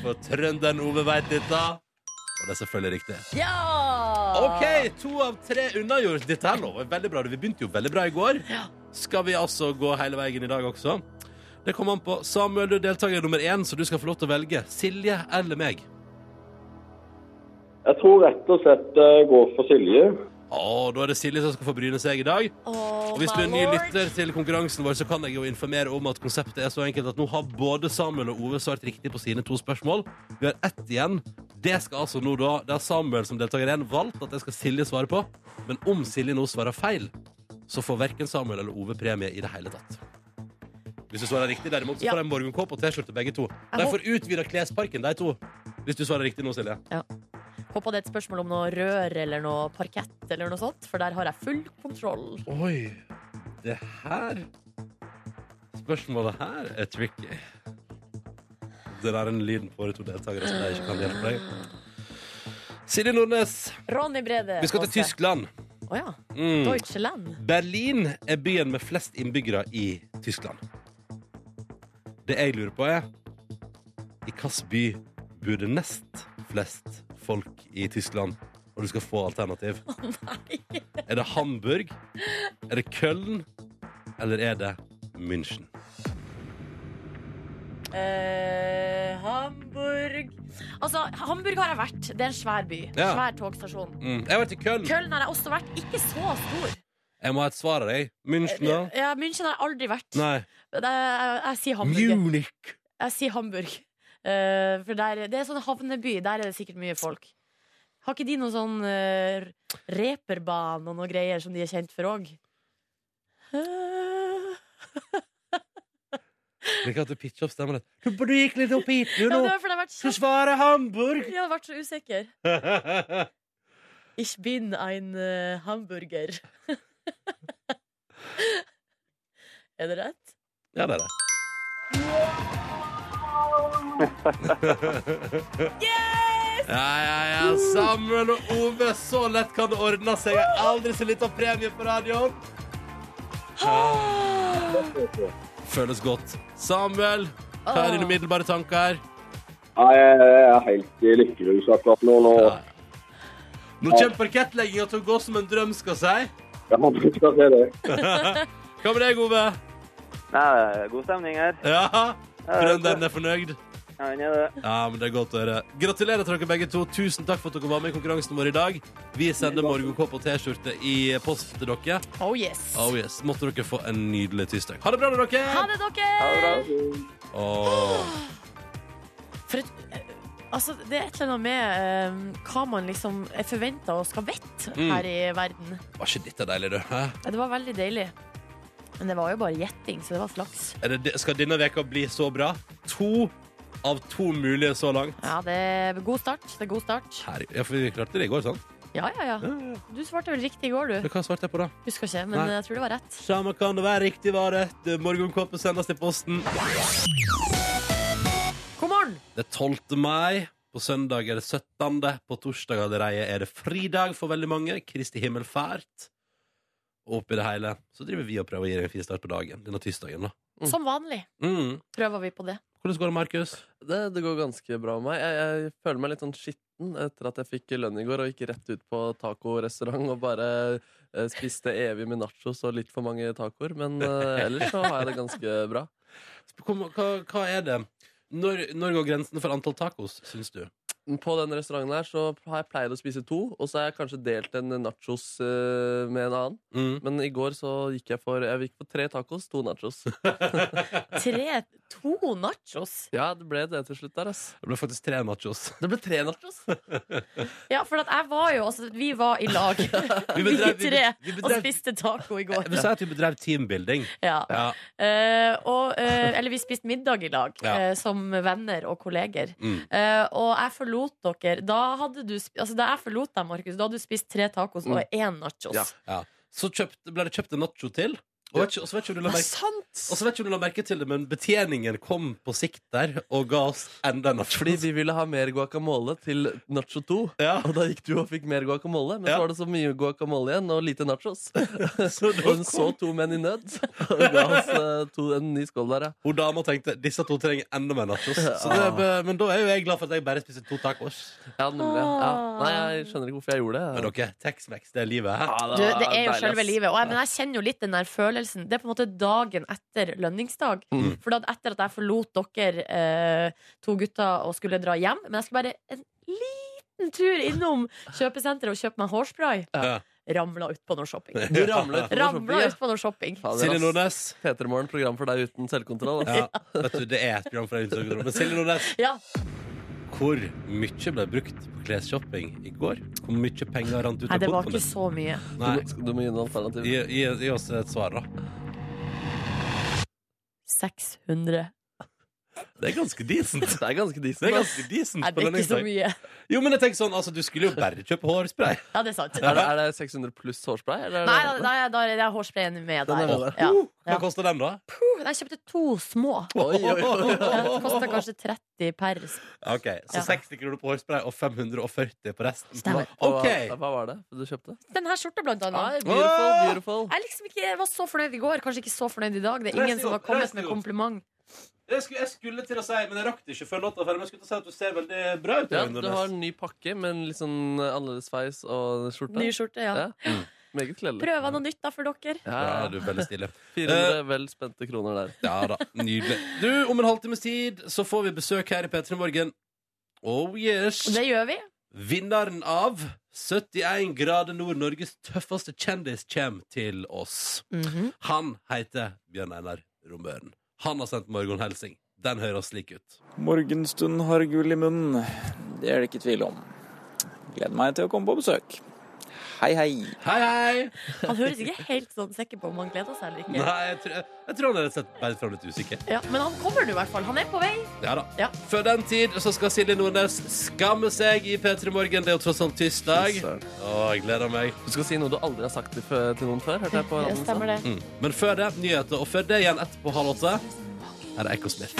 For trønderen Ove veit dette. Og det er selvfølgelig riktig. Ja! OK, to av tre unnagjort. Dette her lover veldig bra. Vi begynte jo veldig bra i går. Skal vi altså gå hele veien i dag også? Det kommer an på. Samuel, du er deltaker nummer én, så du skal få lov til å velge. Silje eller meg? Jeg tror rett og slett det går for Silje. Å, da er det Silje som skal få bryne seg i dag. Oh, Og hvis du my er ny lord. lytter til konkurransen vår, så kan jeg jo informere om at konseptet er så enkelt at nå har både Samuel og Ove svart riktig på sine to spørsmål. Vi har ett igjen. Det skal altså nå da, det er Samuel som deltaker igjen valgt at det skal Silje svare på. Men om Silje nå svarer feil, så får verken Samuel eller Ove premie i det hele tatt. Hvis du svarer riktig, derimot, så Ja. får de morgenkåpe og T-skjorte begge to. De får utvida klesparken, de to. Hvis du svarer riktig nå, Silje. Håper det er et spørsmål om noe rør eller noe parkett eller noe sånt, for der har jeg full kontroll. Oi, det her Spørsmålet her er tricky. Det der er en lyden på våre to deltakere som jeg ikke kan hjelpe deg. Silje Nordnes, Ronny Brede. vi skal til Aase. Tyskland. Å ja. Mm. Deutschland. Berlin er byen med flest innbyggere i Tyskland. Det jeg lurer på, er i hvilken by bor det nest flest folk i Tyskland. Og du skal få alternativ. Er det Hamburg? Er det Köln? Eller er det München? Eh, Hamburg Altså, Hamburg har jeg vært. Det er en svær by. Ja. Svær togstasjon. Mm. Jeg har vært i Köln. Køln har jeg også vært. Ikke så stor. Jeg må ha et svar av deg. München, da? Ja, München har jeg aldri vært. Nei. Men Jeg, jeg, jeg sier Hamburg. Munich. Jeg sier Hamburg. Eh, for der, det er sånn havneby. Der er det sikkert mye folk. Har ikke de noen sånn eh, reperbane og noe greier som de er kjent for òg? Liker at du pitcher opp stemmen din. Du bare gikk litt opp hit, du Ja, det nå. var fordi jeg har vært Du så, svarer Hamburg! jeg har vært så usikker. Ich bin ein eh, hamburger. er det rett? ja, det er det. Ja, ja, ja. Sammen og Ove, så lett kan det ordne seg. Jeg har aldri så liten premie på radioen. Føles godt. Samuel, hva er dine middelbare tanker? Nei, jeg er helt i lykkerus akkurat nå. nå. Ja. Nå kommer parkettlegginga til å gå som en drøm, skal jeg si. Jeg må bruke til det. Hva med deg, Ove? Nei, det er god stemning her. Ja, Trønderen er fornøyd. Ja, den er det. Ja, men det er godt å høre. Gratulerer til dere begge to. Tusen takk for at dere var med i konkurransen vår i dag. Vi sender morgenkåpe og T-skjorte i post til dere. Oh yes. Oh yes, Måtte dere få en nydelig tirsdag. Ha det bra, da, dere! Ha det, Ha det dere! bra. Åh. For et, eh, altså, det er et eller annet med eh, hva man liksom er forventa og skal vite Mm. her i verden. Var ikke dette deilig, du? Hæ? Ja, Det var veldig deilig. Men det var jo bare gjetting, så det var flaks. Er det, skal denne veka bli så bra? To av to mulige så langt. Ja, det er god start. Det er god start. Her, ja, for vi klarte det i går, sant? Ja, ja, ja. Ja, Du svarte vel riktig i går, Men du. Hva svarte jeg på, da? Husker ikke, men Nei. jeg tror det var rett. Samme kan det være riktig var rett. Morgenkåpe sendes til posten. God morgen! Det er 12. mai. På søndag er det 17. På torsdag allerede er det fridag for veldig mange. Kristi himmelfært. Og oppi det hele så driver vi og prøver å gi deg en fin start på dagen. Denne tirsdagen, da. Mm. Som vanlig Mm. prøver vi på det. Hvordan går det, Markus? Det, det går ganske bra med meg. Jeg, jeg føler meg litt sånn skitten etter at jeg fikk lønn i går og gikk rett ut på tacorestaurant og bare eh, spiste evig med nachos og litt for mange tacoer. Men eh, ellers så har jeg det ganske bra. Hva, hva, hva er det? Når, når går grensen for antall tacos, syns du? På den restauranten her så har jeg pleid å spise to, og så har jeg kanskje delt en nachos eh, med en annen. Mm. Men i går så gikk jeg for, jeg gikk for tre tacos, to nachos. Tre, to nachos. Ja, det ble det til slutt der, ass. Det ble faktisk tre nachos. Det ble tre nachos! Ja, for at jeg var jo Altså, vi var i lag, vi bedrev- vi- tre, vi og bedrev- spiste taco i Jeg går. vil si at vi bedrev teambuilding. Ja. Ja. Eh, og, eh, eller vi spiste middag i lag, Ja. eh, som venner og kolleger. Mm. Eh, og jeg forlot dere Da hadde du sp- altså, Da jeg forlot deg, Markus, da hadde du spist tre tacos og én nachos. Ja. Så kjøpt, ble det kjøpt en nacho til. Og, vet ikke, og så vet ikke om du la Det er merke sant! Og så vet ikke om du la merke til det, men betjeningen kom på sikt der og ga oss enda en nachos. Fordi vi ville ha mer guacamole til nacho 2. Ja. Og da gikk du og fikk mer guacamole, men Ja. så var det så mye guacamole igjen og lite nachos. Så Og hun så to menn i nød og ga oss eh, to, en ny skål der, ja. Og dama tenkte disse to trenger enda mer nachos. Så det, er- men da er jo jeg glad for at jeg bare spiser to tacos. ja, nemlig, ja. ja. Nei, jeg skjønner ikke hvorfor jeg gjorde Men det. dere, Tex-Mex, det er livet. Hæ? Ja, Du, det er jo deilig, selve ass. livet. Og jeg, men jeg kjenner jo litt den der følelsen. Det er på en måte dagen etter lønningsdag. Mm. For da, etter at jeg forlot dere eh, to gutter og skulle dra hjem Men jeg skulle bare en liten tur innom kjøpesenteret og kjøpe meg hårspray. Ja. Ramla ut på noe shopping. Du ramlet på Ramla shopping, ut på noe shopping. ja. Silje Nordnes. Peter Morgen, program for deg uten selvkontroll. ass. Ja, vet du, det er et program for deg. uten kontroll. Men Silje Nordnes, Ja, hvor mye ble brukt på klesshopping i går? Hvor mye penger rant ut Nei, av det var kontoen ikke din? så mye. Du, Nei, må- du må gi noen alternativ. gi, gi, gi oss et svar, da. 600. Det er ganske decent. Det er ganske Det decent. er ass. ganske decent Nei, på det er ikke så lønningsdag. mye. Jo, men jeg tenker sånn, altså, du skulle jo bare kjøpe hårspray. Ja, det er sant. Er det, er det 600 pluss hårspray? Eller? er det- Nei, da, da, da er det hårsprayen med Den er der. med Ja. Uh, hva Ja. koster den, da? Jeg kjøpte to små. Oi, oi, oi. Kosta kanskje 30 per. Ok, Så Ja. 60 kroner på hårspray og 540 på resten. Stemmer. Ok Hva, hva var det du kjøpte? Denne skjorta, blant Nei, annet. beautiful, beautiful. Jeg liksom ikke jeg var så fornøyd i går, kanskje ikke så fornøyd i dag. Det er Reis ingen deg som har opp, reis kommet deg med opp. kompliment. Jeg skulle, jeg skulle til å si, men jeg rakk det ikke før låta var ferdig. Men jeg skulle til å si at du ser veldig bra ut. Ja, Ørjan du Gunnes. har en ny pakke med en litt sånn eh, annerledes sveis og skjorte. Ny skjorte, ja. Ja. Meget kledelig. Prøver noe nytt da for dere. Mm. Ja, Ja, du er veldig stille. 400 vel spente kroner der. Ja da, nydelig. Du, om en halvtimes tid så får vi besøk her i P3 Morgen. Oh yes! Det gjør vi. Vinneren av 71 grader nord, Norges tøffeste kjendis, kommer til oss. Mhm. Han heter Bjørn Einar Rombøren. Han har sendt morgenhelsing. Den høres slik ut. Morgenstund har gull i munnen. Det er det ikke tvil om. Gleder meg til å komme på besøk. Hei, hei. Hei, hei! Han høres ikke helt sånn sikker på om han gleder seg eller ikke. Nei, jeg tror, jeg tror han er rett og slett bare fram litt usikker. Ja, men han kommer nå i hvert fall. Han er på vei. Ja da. Ja. Før den tid så skal Silje Nordnes skamme seg i P3 Morgen. Det er jo tross alt tirsdag. Søren. Å, jeg gleder meg. Du skal si noe du aldri har sagt til, til noen før. Hørte jeg på radioen i stad. Stemmer det. Mm. Men før det, nyheter. Og før det igjen etterpå halv åtte her er Ekko Smith.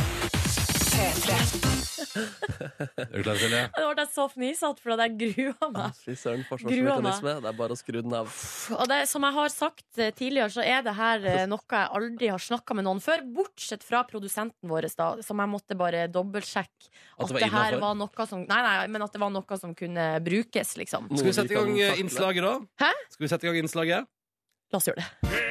Er du klar, Silje? Det ble jeg så fnisete, for at jeg grua meg. Ah, Fy søren, Grua meg. forsvarsmekanisme. Det er bare å skru den av. Og det, som jeg har sagt eh, tidligere, så er det her eh, noe jeg aldri har snakka med noen før. Bortsett fra produsenten vår, da, som jeg måtte bare dobbeltsjekke. At det At, var det her innenfor? var noe som Nei, nei, men at det var noe som kunne brukes, liksom. Noe Skal vi vi sette i kan gang eh, takle. innslaget, da? Hæ? Skal vi sette i gang innslaget? La oss gjøre det.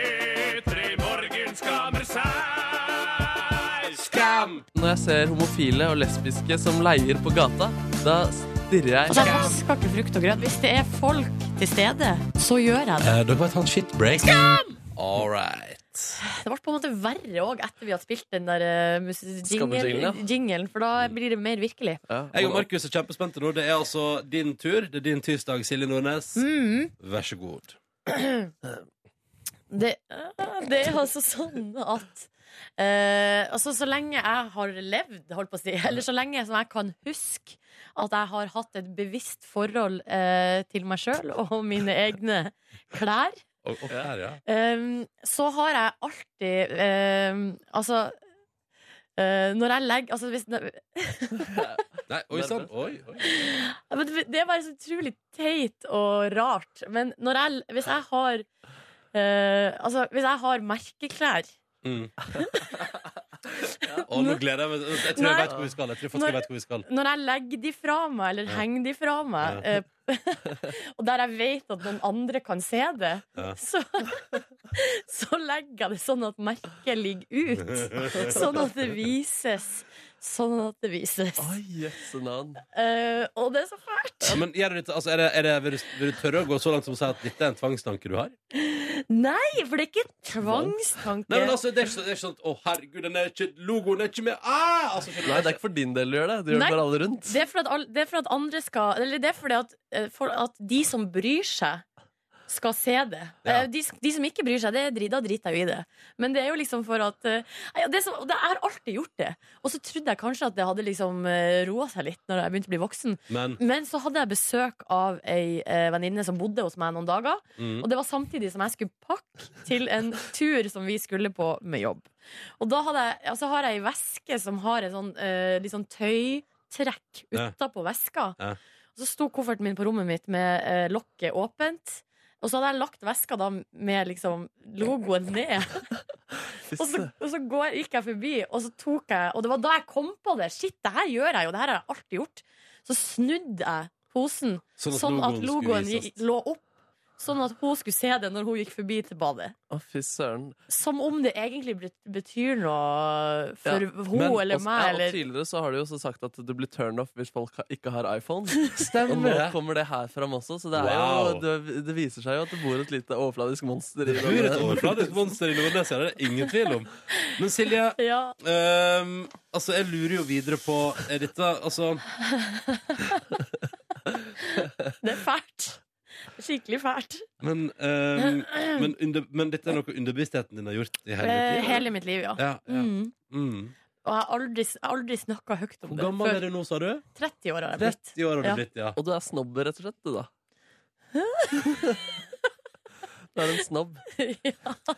Skam! Når jeg ser homofile og lesbiske som leier på gata, da stirrer jeg Altså, jeg vasker ikke frukt og grønt. Hvis det er folk til stede, så gjør jeg det. Eh, dere må ta en shit break. Skam! All right. Det ble på en måte verre òg etter vi hadde spilt den der eh, mus- Skammejingle, ja. jingle, jinglen, for da blir det mer virkelig. Ja, Jeg og og- Markus er kjempespente nå. Det er altså din tur. Det er din tirsdag, Silje Nordnes. Mm. Vær så god. Det, det er altså sånn at eh, altså Så lenge jeg har levd, holdt på å si, eller så lenge som jeg kan huske at jeg har hatt et bevisst forhold eh, til meg sjøl og mine egne klær, Og, og der, ja. eh, så har jeg alltid eh, Altså eh, Når jeg legger Altså hvis Nei, oi sann. Oi, oi. Ja, men Det det er bare så utrolig teit og rart. Men når jeg, hvis jeg har eh, Altså, hvis jeg har merkeklær Mm. Å, nå gleder jeg meg. Jeg tror jeg Nei. vet hvor vi skal. Jeg tror faktisk jeg vet hvor vi skal. Når jeg legger de fra meg, eller henger de fra meg, eh, og der jeg vet at noen andre kan se det, Ja. så, så legger jeg det sånn at merket ligger ut. Sånn at det vises. Sånn at det vises. Oi, jøsse navn. Eh, og det er så fælt! Men gjør du dette, altså, er det, er det, vil, du, vil du tørre å gå så langt som å si at dette er en tvangstanke du har? Nei, for det er ikke en tvangstanke. Nei, men altså, det er ikke, så- det er ikke sånn Å, herregud, den er ikke, logoen er ikke med ah! altså, Nei, det er ikke for din del du gjør det. Du gjør Nei. det for alle rundt. Det er for at, all- det er for at andre skal Eller det er fordi at, eh, for at de som bryr seg skal se det. Ja. Eh, De, de som ikke bryr seg, det, er dri- da driter jeg jo i det. Men det er jo liksom for at eh, ja, det er så, og det, Jeg har alltid gjort det. Og så trodde jeg kanskje at det hadde liksom eh, roa seg litt når jeg begynte å bli voksen. Men Men så hadde jeg besøk av ei eh, venninne som bodde hos meg noen dager. mm. Og det var samtidig som jeg skulle pakke til en tur som vi skulle på med jobb. Og da hadde jeg, altså har jeg ei veske som har en sånn, eh, litt sånn tøytrekk Ja. utapå veska. Ja. Og så sto kofferten min på rommet mitt med eh, lokket åpent. Og så hadde jeg lagt veska da med liksom logoen ned. Fy Og så, søren. og så går, gikk jeg forbi, og så tok jeg Og det var da jeg kom på det. Shit, det her gjør jeg jo. Det her har jeg alltid gjort. Så snudde jeg posen Sånn at sånn logoen at skulle logoen vises. gikk- lå opp. Sånn at hun skulle se det når hun gikk forbi til badet. Å, fy søren. Som om det egentlig bet- betyr noe for Ja, hun Men- eller altså, og- meg. ja, Og Eller. tidligere så har du jo også sagt at du blir turned off hvis folk ha- ikke har iPhone. Stemmer. Og nå kommer det her fram også, så det, er Wow. jo, det, det viser seg jo at det bor et lite overfladisk monster i Det bor et denne- overfladisk monster i Nordnes, her, det er det ingen tvil om. Men Silje, Ja. Ehm, altså, jeg lurer jo videre på Er dette Altså, Det er fælt. Skikkelig fælt. men ehm, men, under, men dette er noe underbevisstheten din har gjort i hele Eh, ditt liv? Hele mitt liv, ja. Ja, ja. Mm. Mm. Og jeg har aldri, jeg har aldri snakka høyt om Hvor det. gammel er Før du nå, sa du? 30 år har jeg blitt. 30 år har du Ja. blitt, ja. Og du er snobber, rett og slett, du, da. Du er en snobb.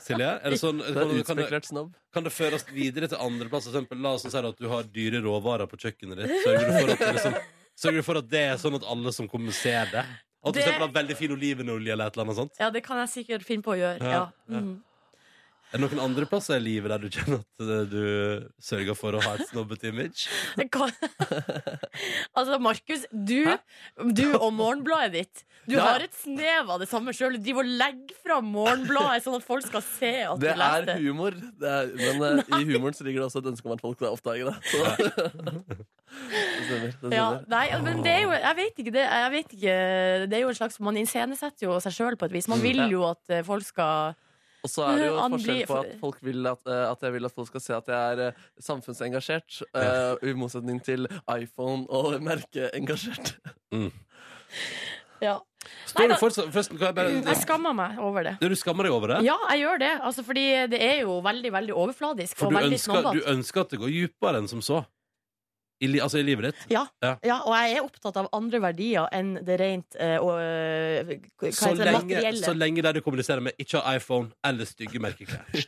Silje? Er det sånn, Du er kan, kan, det, utspekulert snobb. kan det føres videre til andre plass? For eksempel, la oss si at du har dyre råvarer på kjøkkenet ditt. Sørger du for at, det liksom, sørger du for at det er sånn at alle som kommer, ser det? At du Det- for eksempel har veldig fin olivenolje eller et eller annet sånt? Ja, det kan jeg sikkert finne på å gjøre. Ja. Ja, ja. Mm. Er det noen andre plasser i livet der du kjenner at eh, du sørger for å ha et snobbete image? Det kan- altså, Markus, du, du og morgenbladet ditt. Du Ja. har et snev av det samme sjøl. Du driver og legger fram morgenbladet sånn at folk skal se at Det du leser er det. humor, det er, men eh, i humoren så ligger det også et ønske om at folk skal oppdage det. Så. det stemmer. det stemmer. Ja, nei, men det er jo Jeg vet ikke. Det, jeg vet ikke, det er jo en slags Man iscenesetter jo seg sjøl på et vis. Man vil Ja. jo at eh, folk skal Og så er det jo Andre- forskjell på at, folk vil at, eh, at jeg vil at folk skal se at jeg er eh, samfunnsengasjert, eh, i motsetning til iPhone og merkeengasjert. Ja. Nei, Står du da- fortsatt, forresten, kan jeg Jeg bare, skammer meg over det. du skammer deg over det? Ja, jeg gjør det. Altså, fordi det er jo veldig veldig overfladisk. For og du veldig ønsker, snobbete. du ønsker at det går dypere enn som så? I, li- altså i livet ditt? Ja, Ja. ja. og jeg er opptatt av andre verdier enn det rent eh, og, eh, hva Så heter det, lenge, materielle. så lenge der du kommuniserer med ikke har iPhone eller stygge merkeklær.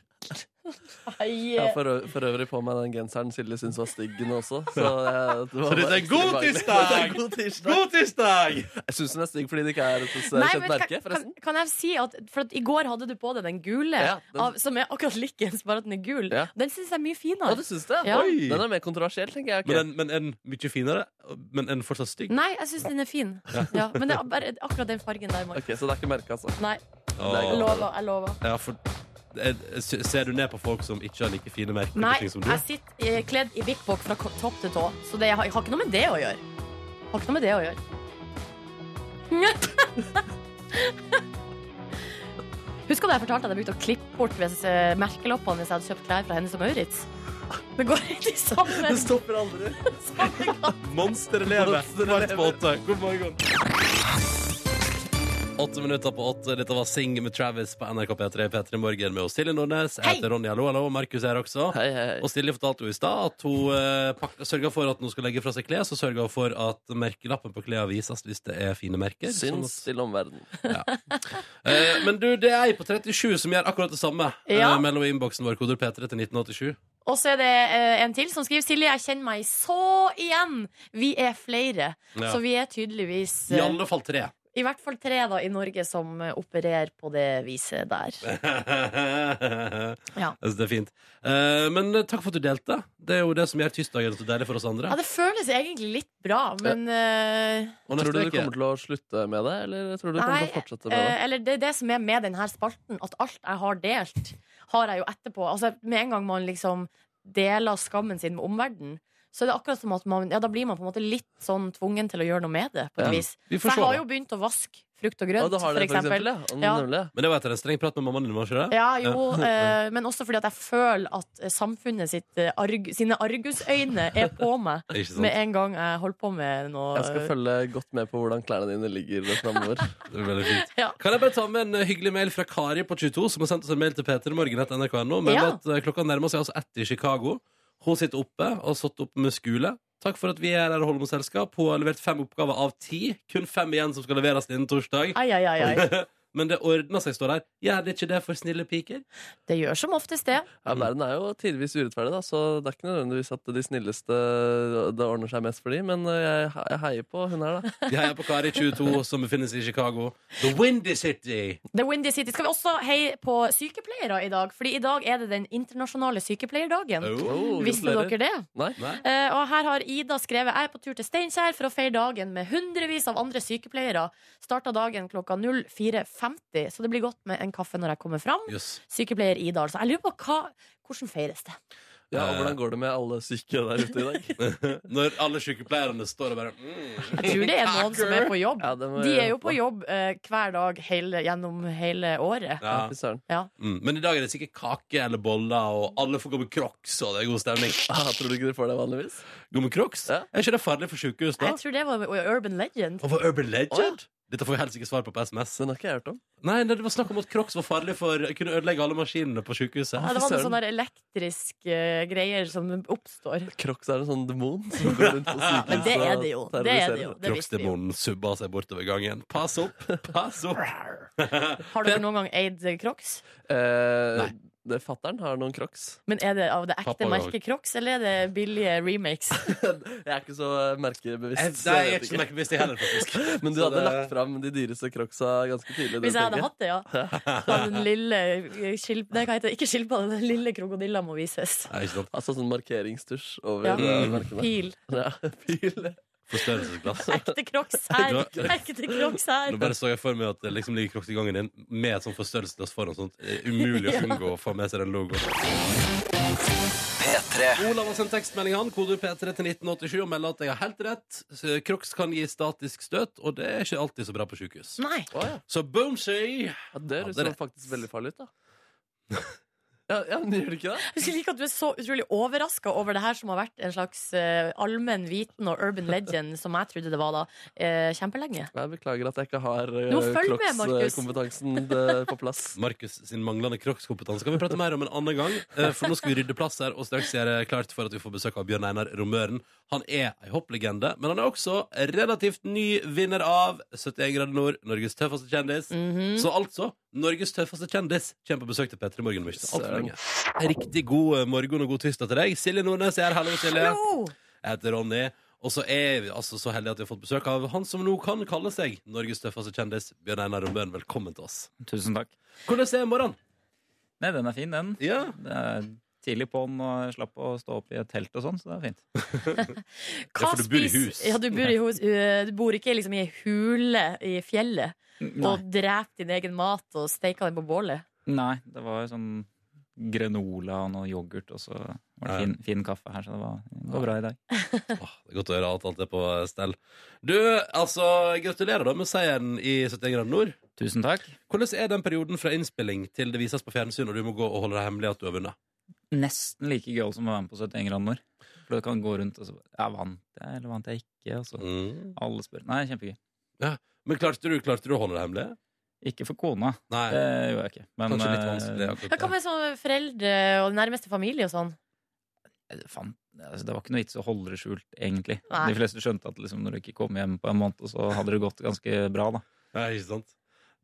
Nei, Jeg eh, har for, ø- for øvrig på meg den genseren Silje syntes var stygg nå også. Så, jeg, det var Så dette er bare en god ekstra tirsdag! ubehagelig. Det er en god tirsdag! God tirsdag! Jeg syns den er stygg fordi det ikke er et eh, Nei, kjent men merke, kan, kan, forresten. kan jeg si at For at i går hadde du på deg den gule, Ja, den- av, som er akkurat likens, bare at den er gul. Ja. Den syns jeg er mye Å, finere. du syns det? Ja. Oi! Den er mer kontroversiell, tenker jeg. Men ok. en, men en mye finere, men en fortsatt stygg. Nei, jeg syns den er fin. Ja. men det er bare akkurat den fargen der. Mark. Ok, Så det er ikke merket, altså. Nei, jeg Åh. lover. Jeg lover. Ja, for, jeg, jeg sy- ser du ned på folk som ikke har like fine merker Nei, på ting som du? jeg sitter eh, kledd i Big Box fra ko- topp til tå, så det, jeg, har, jeg har ikke noe med det å gjøre. Jeg har ikke noe med det å gjøre. Husker du jeg fortalte at jeg brukte å klippe bort hvis, eh, merkeloppene hvis jeg hadde kjøpt klær fra Hennes og Maurits? Det går ikke i samme, Det stopper aldri. samme gang. Monsterelever! Monsterelever. Kvart på åtte. God morgen. Åtte minutter på åtte. Dette var Sing med Travis på NRK P3 P3 Morgen med oss Silje Nordnes. Jeg heter Ronny, hallo, hallo. og Markus er her også. Hei, hei. Og Silje fortalte jo i stad at hun eh, pak- sørga for at hun skulle legge fra seg klær, så sørga hun for at merkelappen på klærne vises hvis det er fine merker. Sånn Syns til omverdenen. at- Eh, men du, det er ei på 37 som gjør akkurat det samme eh, Ja. mellom innboksen vår, koder P3 til 1987. Og så er det eh, en til som skriver Silje, jeg kjenner meg så igjen. Vi er flere. Ja. Så vi er tydeligvis I eh, alle fall tre. i hvert fall tre da i Norge som eh, opererer på det viset der. Ja. Jeg synes Altså, det er fint. Eh, men takk for at du delte. Det er jo det som gjør tirsdagen så deilig for oss andre. Ja, det føles egentlig litt bra, men eh, Og neste Tror du du uke- kommer til å slutte med det, eller tror du du Nei, kommer til å fortsette med det? eh, Eller det er det som er med denne spalten, at alt jeg har delt, har jeg jo etterpå. Altså, med en gang man liksom deler skammen sin med omverdenen, så er det akkurat som at man Ja, da blir man på en måte litt sånn tvungen til å gjøre noe med det, på et Ja. vis. Vi får For jeg se. har jo begynt å vaske frukt Å, og grønt, du har for det, for eksempel. eksempel? Ja, Ja. nemlig. Men det var etter en streng prat med mammaen din, var ikke det? Ja, jo, eh, men også fordi at jeg føler at eh, samfunnet sitt, eh, arg, sine argusøyne er på meg Ikke sant? med en gang jeg holder på med noe eh, Jeg skal følge godt med på hvordan klærne dine ligger framover. Det var veldig fint. Ja. Kan jeg bare ta med en eh, hyggelig mail fra Kari på 22, som har sendt oss en mail til p3morgen.nrk.no. Men Ja. at eh, klokka nærmer seg altså ett i Chicago. Hun sitter oppe og har satt opp med skole. Takk for at vi er her og holder med selskap. Hun har levert fem oppgaver av ti. Kun fem igjen som skal leveres innen torsdag. Ai, ai, ai, ai. Men det ordner seg, står der. Gjør det ikke det for snille piker? Det gjør som oftest det. Ja, Verden er jo tidvis urettferdig, da, så det er ikke nødvendigvis at de snilleste eh, det ordner seg mest for de, men eh, jeg, jeg heier på hun her, da. Vi heier på Kari 22, som befinner seg i Chicago. The Windy City! The Windy City. Skal vi også heie på sykepleiere i dag? Fordi i dag er det den internasjonale sykepleierdagen. Oh. Visste gratulerer. dere det? Nei? Nei. Eh, og her har Ida skrevet Jeg er på tur til Steinkjer for å feire dagen med hundrevis av andre sykepleiere. Starta dagen klokka 04.50, så det blir godt med en kaffe når jeg kommer fram. Jøss. Sykepleier Ida, altså. Jeg lurer på hva, hvordan feires det? Ja, og Hvordan går det med alle syke der ute i dag? Når alle sykepleierne står og bare mm. Jeg tror det er noen som er på jobb. Ja, det må De jeg er jo håpe. på jobb eh, hver dag hele, gjennom hele året. ja. Fy søren. mm. Men i dag er det sikkert kake eller boller, og alle får gå med crocs, og det er god stemning. Ah, tror du ikke dere får det vanligvis? Gå med crocs? Ja. Er ikke det farlig for sykehus, da? Jeg tror det var Urban Legend. Og for Urban Legend? Dette får vi helst ikke svar på på SMS. Den har ikke jeg hørt om. Nei, nei, det var snakk om at crocs var farlig for kunne ødelegge alle maskinene på sykehuset. Ja, det var noen søren. sånne der elektriske eh, greier som oppstår. Crocs er en sånn demon som går rundt på sykehuset Men det er det jo. og Det er det jo. terroriserer. Det visste vi jo. Crocs-demonen subba seg bortover gangen. Pass opp! Pass opp! Har dere noen gang eid Crocs? Eh, Nei. nei. det Fattern har noen crocs. Men er det av det ekte Pappa har- merket Crocs, eller er det billige remakes? Jeg er ikke så eh, merkebevisst. Jeg, så Eh, nei, jeg jeg er vet ikke så merkebevisst jeg heller, faktisk. Men du Så hadde det- lagt fram de dyreste crocsa ganske tidlig. Hvis jeg hadde hatt det, ja. Da den lille eh, skil... Nei, hva heter det? Ikke skilpadde, den lille krokodilla må vises. Nei, ikke sant. Altså sånn markeringstusj over Ja. eh, merkene. Pil. Ja, pil. Forstørrelsesglass. Ekte Crocs her! Nå- Ekte Crocs her! Nå bare så jeg for meg at det liksom ligger Crocs i gangen din med et sånt forstørrelsesglass foran. Sånt. Det er Umulig å unngå å få med seg den logoen. Olav har sendt tekstmelding han, kode P3 til 1987, og melder at jeg har helt rett. Så Crocs kan gi statisk støt, og det er ikke alltid så bra på sykehus. Nei. Å, ja. Så boomsy! Ja, det høres Hadde jo rett. faktisk veldig farlig ut, da. Ja, ja men gjør det ikke det? Jeg skulle like at du er så utrolig overraska over det her som har vært en slags eh, allmenn viten og urban legend, som jeg trodde det var da, eh, kjempelenge. Jeg beklager at jeg ikke har Nå følg med, Markus. Crocs-kompetansen på plass. Markus sin manglende Crocs-kompetanse kan vi prate mer om en annen gang. eh, For nå skal vi rydde plass her og straks gjøre klart for at vi får besøk av Bjørn Einar Romøren. Han er ei hopplegende, men han er også relativt ny vinner av 71 grader nord, Norges tøffeste kjendis. Så altså, Norges tøffeste kjendis kommer på besøk til P3 Morgen om ikke så altfor lenge. Riktig god eh, morgen og god tirsdag til deg. Silje Nordnes er her. Hallo, Silje. Hallo! Jeg heter Ronny. Og så er vi altså så heldige at vi har fått besøk av han som nå kan kalle seg Norges tøffeste kjendis, Bjørn Einar Romøren. Velkommen til oss. Tusen takk. Hvordan er morgenen? Nei, den er fin, den. Ja. Det er tidlig på'n og jeg slapp å stå opp i et telt og sånn, så det er fint. Ja, for du bor i spiser- hus. Ja, du bor, i hus. Eh, du bor ikke liksom i ei hule i fjellet Mm, og dreper din egen mat og steker den på bålet. Nei, det var jo sånn granola og noe yoghurt, og så var det Ja. fin, fin kaffe her, så det var, det går bra i dag. Åh, det er godt å høre at alt er på stell. Du, altså, gratulerer da med seieren i 71 grader nord. Tusen takk. Hvordan er den perioden fra innspilling til det vises på fjernsyn, og du må gå og holde det hemmelig at du har vunnet? Nesten like gøy som å være med på 71 grader nord. For du kan gå rundt og så bare, ja, vant jeg, eller vant jeg ikke? Og så alle spør. Nei, kjempegøy. Men klarte du, klarte du å holde det hemmelig? Ikke for kona, Nei. det gjorde jeg ikke. Men Kanskje litt eh, vanskelig akkurat Ja, Hva der. med sånn foreldre og nærmeste familie og sånn? faen, altså, det var ikke noe vits å holde det skjult, egentlig. Nei. De fleste skjønte at liksom, når du ikke kom hjem på en måned, så hadde det gått ganske bra, da. Nei, ikke sant?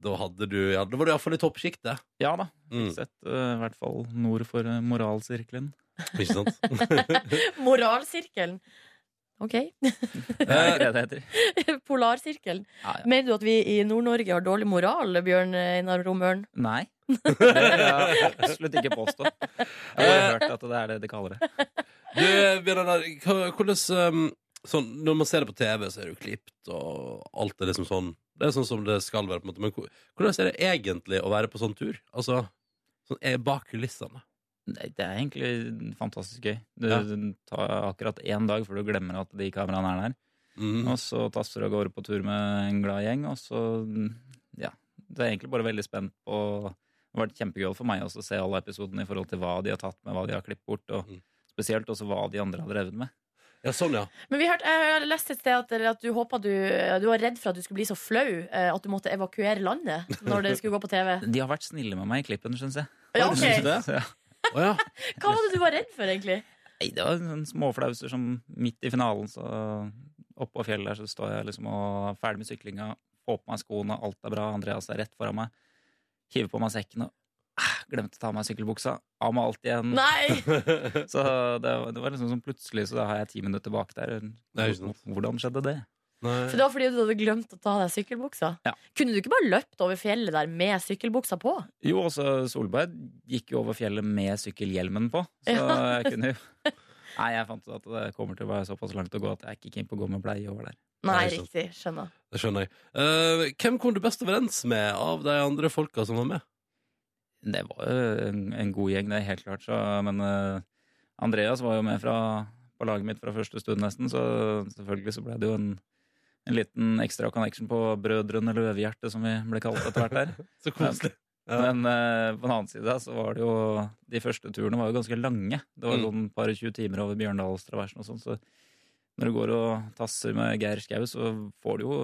Da, hadde du, ja, da var du iallfall i toppsjiktet. Ja da. Mm. Sett eh, i hvert fall nord for eh, moralsirkelen. Ikke sant? Moralsirkelen. OK. Det er ikke det det heter. Polarsirkelen. Ja, ja. Mener du at vi i Nord-Norge har dårlig moral, Bjørn Einar Romøren? Nei. Det vil jeg absolutt ikke påstå. Jeg har bare hørt at det er det de kaller det. Du, Bjørn Einar, hva- hvordan um, sånn, Når man ser det på TV, så er det jo klipt, og alt er liksom sånn. Det er sånn som det skal være. på en måte Men hvor- hvordan er det egentlig å være på sånn tur? Altså, sånn, er bak kulissene. Nei, det er egentlig fantastisk gøy. Du, Ja. du tar akkurat én dag før du glemmer at de kameraene er der. Mhm. Og så tasser du av gårde på tur med en glad gjeng, og så Ja. Så jeg er egentlig bare veldig spent på Det har vært kjempegøy for meg også å se alle episodene i forhold til hva de har tatt med, hva de har klippet bort, og Mm. spesielt også hva de andre har drevet med. Ja, sånn, ja. Men vi hørte, jeg har lest et sted at, eller at du håpa du Du var redd for at du skulle bli så flau eh, at du måtte evakuere landet når det skulle gå på TV. De har vært snille med meg i klippen, syns jeg. Ja, ok. Så, ja. Å, ja. Hva var det du var redd for, egentlig? Nei, det var sånn småflauser som midt i finalen, så oppå fjellet der så står jeg liksom og er ferdig med syklinga, får på meg skoene, alt er bra, Andreas er rett foran meg, hiver på meg sekken og ah, glemte å ta av meg sykkelbuksa, av med alt Mm. igjen. Nei! Så det, var- det var liksom sånn plutselig, så da har jeg ti minutter bak der. Nei, ikke sant. Hvordan skjedde det? Nei. For det var fordi du hadde glemt å ta av deg sykkelbuksa? Ja. Kunne du ikke bare løpt over fjellet der med sykkelbuksa på? Jo, også Solberg gikk jo over fjellet med sykkelhjelmen på, så Ja. jeg kunne jo Nei, jeg fant ut at det kommer til å være såpass langt å gå at jeg er ikke keen på å gå med bleie over der. Nei, Nei, sant. riktig. Skjønner. Det skjønner jeg. Eh, hvem kom du best overens med av de andre folka som var med? Det var jo en, en god gjeng, det er helt klart. Så, men eh, Andreas var jo med fra, på laget mitt fra første stund, nesten. Så selvfølgelig så ble det jo en, en liten ekstra connection på Brødrene Løvehjerte, som vi ble kalt etter hvert her. Så koselig. Ja. Men eh, på den annen side så var det jo De første turene var jo ganske lange. Det var Mm. sånn par og 20 timer over Bjørndalstraversen og sånn. Så når du går og tasser med Geir Skau, så får du jo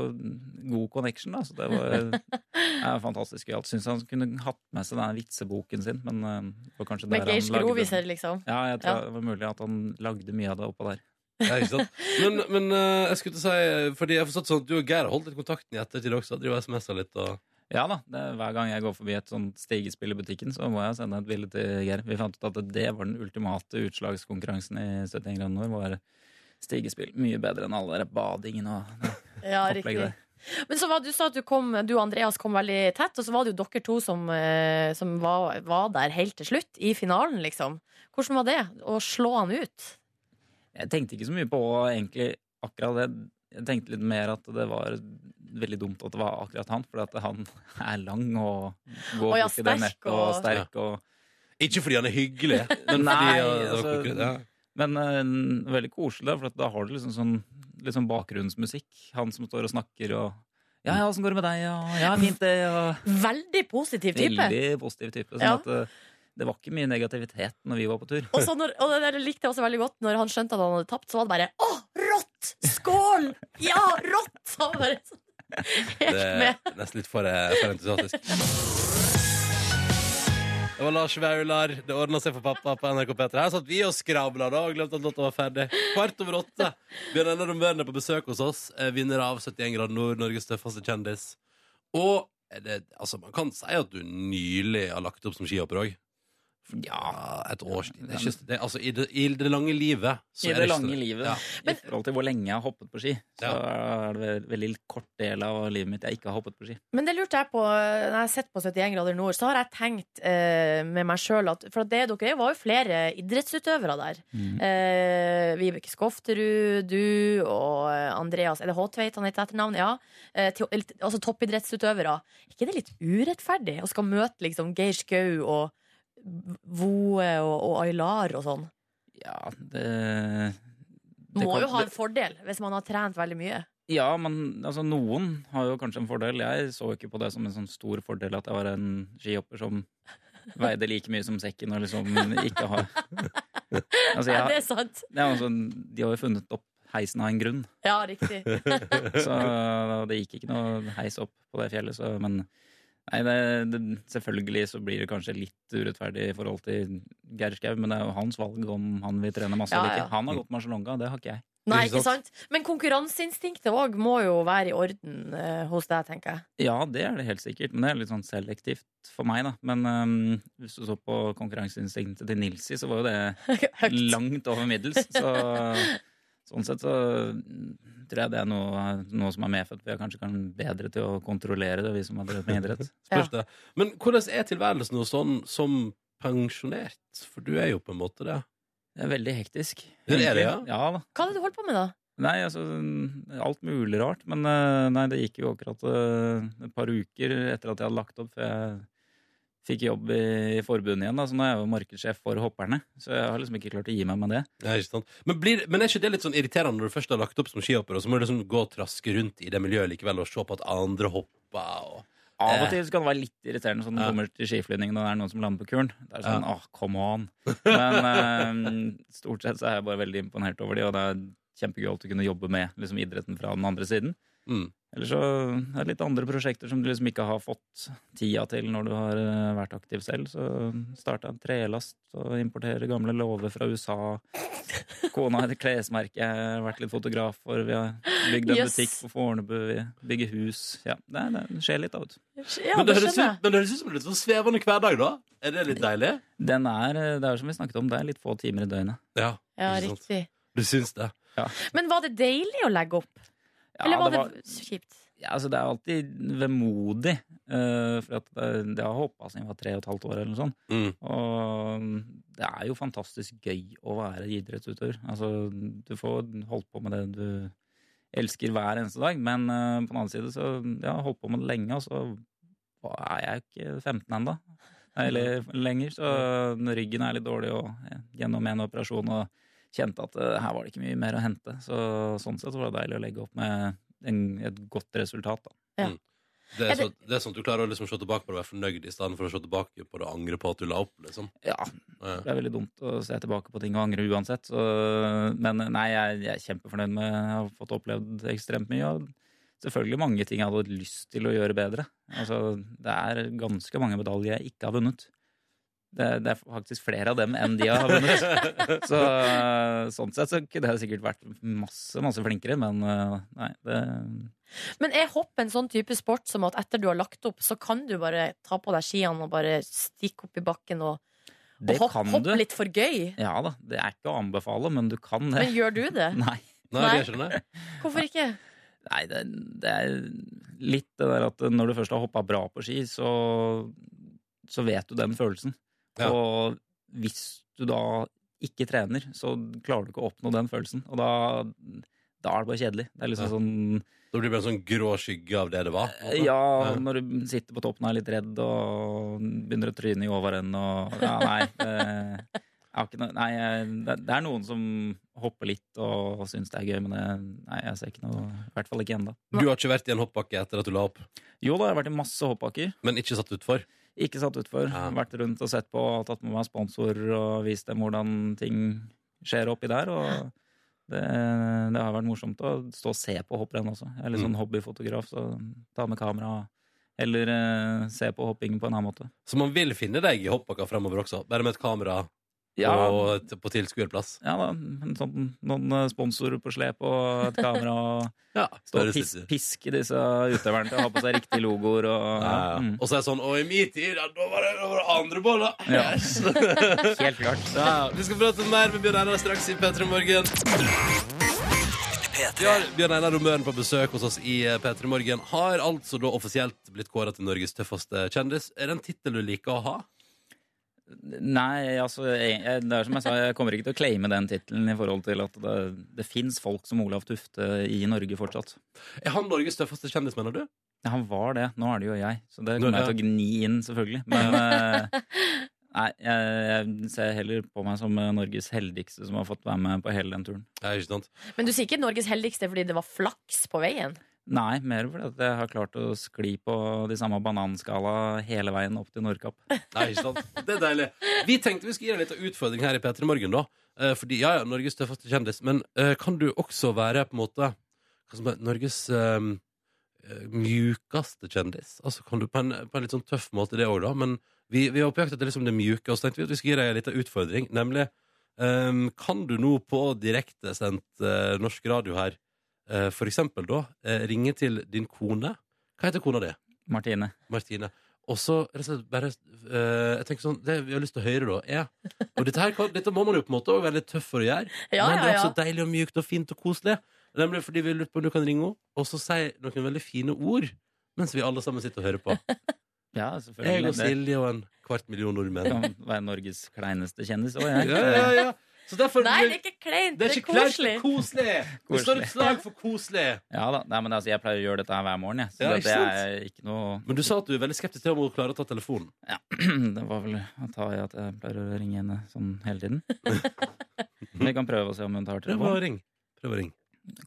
god connection, da. Så det var er fantastisk gøyalt. Syns han kunne hatt med seg denne vitseboken sin, men eh, det var kanskje der Med Geir han lagde Skroviser, den. liksom. Ja, jeg tror Ja. det var mulig at han lagde mye av det oppå der. Ja, ikke sant? Men, eh, men eh, jeg skulle til å si Fordi jeg har forstått sånn at du og Geir har holdt litt kontakten i ettertid også. Driver og SMS-er litt og Ja da, det, Hver gang jeg går forbi et sånt stigespill i butikken, så må jeg sende et bilde til Geir. Vi fant ut at det var den ultimate utslagskonkurransen i 71 grader nord. var Stigespill. Mye bedre enn all den der badingen og det Ja, opplegget riktig. der. Men så var, du sa at du, kom, du og Andreas kom veldig tett, og så var det jo dere to som, eh, som var, var der helt til slutt, i finalen, liksom. Hvordan var det å slå han ut? Jeg tenkte ikke så mye på egentlig akkurat det. Jeg tenkte litt mer at det var veldig dumt at det var akkurat han, for at han er lang og går Å ja, fort i det sterk nettet og og- sterk og Ikke fordi han er hyggelig, men fordi Nei, han det var altså, konkret. Ja. Men eh, veldig koselig, da, for at da har du liksom sånn litt sånn bakgrunnsmusikk. Han som står og snakker og Ja, ja, åssen går det med deg? Og ja, fint, det. Og Veldig positiv type. veldig positiv type. Sånn Ja. at eh, det var ikke mye negativitet når vi var på tur. Og, så når, og det der likte jeg også veldig godt Når han skjønte at han hadde tapt Så var det bare, åh, rått, skål Ja, rått Han var bare sånn Helt Det med er nesten litt for, eh, for entusiastisk. Det var Lars Vaular. Det ordna seg for pappa på NRK P3. Her satt vi og skravla da og glemte at låta var ferdig. Kvart over åtte. Bjørn Einar Romørne på besøk hos oss. eh, Vinner av 71 grader nord, Norges tøffeste kjendis. Og er det, altså, man kan si at du nylig har lagt opp som skihopper òg. Ja, et års tid. Det er ikke, det, er- altså, i, det, I det lange livet så I er det ikke så- lange livet, Ja. i forhold til hvor lenge jeg har hoppet på ski, så er det en veldig kort del av livet mitt jeg ikke har hoppet på ski. Men det lurte jeg på Når jeg har sett på 71 grader nord Så har jeg tenkt eh, med meg selv at, For det dere var jo flere idrettsutøvere der Mm. eh, Vibeke Skofterud Du og eh, Andreas Er det Håtveit han heter etternavn? Ja eh, til, eller- Altså toppidrettsutøvere Er ikke det litt urettferdig Å skal møte liksom Geir Skau og Voe og, og Aylar og sånn Ja, det, det Må kan- jo ha det- en fordel hvis man har trent veldig mye. Ja, men altså, noen har jo kanskje en fordel. Jeg så ikke på det som en sånn stor fordel at jeg var en skihopper som veide like mye som sekken og liksom ikke har altså, Ja, det jeg, er sant. det er altså, De har jo funnet opp heisen av en grunn, Ja, riktig. så det gikk ikke noe heis opp på det fjellet. Så, men nei, det, det, selvfølgelig så blir det kanskje litt urettferdig i forhold til Geir Skau, men det er jo hans valg om han vil trene masse Ja, eller ja. ikke. Han har gått marsjalonga, det har ikke jeg. Nei, Ikke ikke sant? Men konkurranseinstinktet òg må jo være i orden eh, hos deg, tenker jeg. Ja, det er det helt sikkert, men det er litt sånn selektivt for meg, da. Men øhm, hvis du så på konkurranseinstinktet til Nilsi, så var jo det Høyt. langt over middels. Så sånn sett så mm, tror jeg det er noe, noe som er medfødt. Vi er kanskje kan bedre til å kontrollere det, vi som har drevet med idrett. Spørs det. Men hvordan er tilværelsen nå sånn som pensjonert? For du er jo på en måte det. Det er veldig hektisk. Det er det, ja. Ja da. Hva er det du holder på med, da? Nei, altså alt mulig rart. Men eh, nei, det gikk jo akkurat eh, et par uker etter at jeg hadde lagt opp. For jeg fikk jobb i, i forbundet igjen, da, så nå er jeg jo markedssjef for hopperne. Så jeg har liksom ikke klart å gi meg med det. Ja, ikke sant? Men, blir, men er ikke det litt sånn irriterende når du først har lagt opp som skihopper, og så må du liksom gå og traske rundt i det miljøet likevel og se på at andre hopper og Av Eh. og til så kan det være litt irriterende sånn når Ja. du kommer til skiflygningen og det er noen som lander på kuren. Det er sånn, ah, come on. Men eh, stort sett så er jeg bare veldig imponert over de, og det er kjempegøy alltid å kunne jobbe med liksom, idretten fra den andre siden. Mm. Eller så er det litt andre prosjekter som du liksom ikke har fått tida til når du har eh, vært aktiv selv. Så starta en trelast og importerer gamle låver fra USA. Kona har et klesmerke, jeg har vært litt fotograf for, vi har bygd en Yes. butikk på Fornebu, vi bygger hus. Ja, det, er- det skjer litt, da, vet du. Ja, men, det det høres ut, skjønner jeg. men det høres ut som en litt sånn svevende hverdag, da. Er det litt deilig? Den er, eh, det er jo som vi snakket om, det er litt få timer i døgnet. Ja, Ja, ikke sant? riktig. Du syns det? Men var det deilig å legge opp? Ja, Eller var det det, var- kjipt? Ja, altså, det er alltid vemodig, eh, for at det, det har hoppa siden jeg var tre og et halvt år. eller noe sånt. Mm. Og mm, det er jo fantastisk gøy å være idrettsutøver. Altså, du får holdt på med det du elsker hver eneste dag, men eh, på den annen side så ja, holdt på med det lenge, og så var- er jeg ikke 15 ennå. Eller lenger, så ryggen er litt dårlig, og eh, gjennom en operasjon og kjente at eh, her var det ikke mye mer å hente. Så sånn sett var det deilig å legge opp med en, et godt resultat, da. Det Er er, sånn, det er sånn at du klarer å liksom se tilbake på det og være fornøyd i stedet for å se tilbake på det og angre på at du la opp, liksom. Ja, Ja. Det er veldig dumt å se tilbake på ting og angre uansett. Så, men nei, jeg, jeg er kjempefornøyd med Jeg har fått opplevd ekstremt mye. Og selvfølgelig mange ting jeg hadde lyst til å gjøre bedre. Altså, det er ganske mange medaljer jeg ikke har vunnet. Det, det er faktisk flere av dem enn de har vunnet. Så eh, sånn sett så kunne jeg sikkert vært masse, masse flinkere, men eh, nei, det Men er hopp en sånn type sport som at etter du har lagt opp, så kan du bare ta på deg skiene og bare stikke opp i bakken og, og Det hoppe kan hopp du. litt for gøy? Ja da, det er ikke å anbefale, men du kan det. Men gjør du det? Nei. Nei, Nei. det gjør ikke det. Hvorfor ikke? Nei, det, det er litt det der at når du først har hoppa bra på ski, så, så vet du den følelsen. Ja. Og hvis du da ikke trener, så klarer du ikke å oppnå den følelsen. Og da, da er det bare kjedelig. Det er liksom Ja. sånn Da blir det bare en sånn grå skygge av det det var. på en måte. Ja, Ja. når du sitter på toppen og er litt redd og begynner å tryne i overenden og Ja, nei. Det, jeg har ikke noe, nei jeg- det, det er noen som hopper litt og syns det er gøy, men det, nei, jeg ser ikke noe I hvert fall ikke ennå. Du har ikke vært i en hoppbakke etter at du la opp, Jo da, jeg har vært i masse hoppbakker. men ikke satt utfor. Ikke satt utfor. Ja. Vært rundt og sett på, tatt med meg sponsorer og vist dem hvordan ting skjer oppi der. Og det, det har vært morsomt å stå og se på hopprenn også. Jeg er litt Mm. sånn hobbyfotograf, så ta med kamera. Eller eh, se på hoppingen på en annen måte. Så man vil finne deg i hoppbakka fremover også, bare med et kamera Ja, og t- på tilskuerplass. ja da, en sånn, noen sponsorer på slep og et kamera. Og Ja, stå og høres pis, ut. piske disse utøverne til å ha på seg riktige logoer. Og, Ja, ja. Mm. Og så er det sånn Og i min tid, ja, da var det, da var det andre boller! Ja. Yes. Helt klart. Ja, vi skal prate mer med Bjørn Einar straks i P3 Morgen. Vi har Bjørn Einar Romøren på besøk hos oss i eh, P3 Morgen. Har altså da offisielt blitt kåra til Norges tøffeste kjendis. Er det en tittel du liker å ha? Nei, altså, jeg, jeg- det er som jeg sa, jeg kommer ikke til å claime den tittelen i forhold til at det, det fins folk som Olav Tufte i Norge fortsatt. Er han Norges tøffeste kjendis, mener du? Ja, han var det. Nå er det jo jeg, så det Nå- kommer jeg til å gni inn, selvfølgelig. Men eh, nei, jeg, jeg ser heller på meg som eh, Norges heldigste som har fått være med på hele den turen. Ja, ikke sant? Men du sier ikke Norges heldigste fordi det var flaks på veien? Nei, mer fordi at jeg har klart å skli på de samme bananskala hele veien opp til Nordkapp. Nei, ikke sant? Det er deilig. Vi tenkte vi skulle gi deg litt av utfordring her i P3 Morgen, da. Eh, Fordi, ja, ja, Norges tøffeste kjendis. Men eh, kan du også være på en måte hva som er Norges eh, eh, mjukeste kjendis? Altså, kan du på en, på en litt sånn tøff måte det òg, da. Men vi, vi var på jakt etter liksom det mjuke, og så tenkte vi at vi skulle gi deg en liten utfordring. Nemlig, eh, kan du nå på direktesendt uh, norsk radio her, eh, for eksempel da, eh, ringe til din kone? Hva heter kona di? Martine. Martine. Og så rett og slett bare eh, Jeg tenker sånn, Det vi har lyst til å høre, da, er Og dette, her, kan- dette må man jo på en måte også være litt tøff for å gjøre, Ja, men det ja, er ja. også deilig og mjukt og fint og koselig. Nemlig fordi vi lurer på om du kan ringe henne, og så si noen veldig fine ord mens vi alle sammen sitter og hører på. Ja, Jeg og selvfølgelig. Det Silje og en kvart million nordmenn. kan være Norges kleineste kjendis òg, Ja, jeg. ja, ja. Så derfor Nei, det er ikke kleint! det er ikke klart, det koselig. er koselig. Det står et slag for koselig. Ja da, Nei, men altså, Jeg pleier å gjøre dette her hver morgen. Jeg. Så Ja, det- ikke det sant? er ikke noe Men du sa at du er veldig skeptisk til om hun klarer å ta telefonen. Det var vel å ta i at jeg pleier å ringe henne sånn hele tiden. Men Vi kan prøve å se om hun tar Prøv å telefonen. ringe. Prøv å ringe.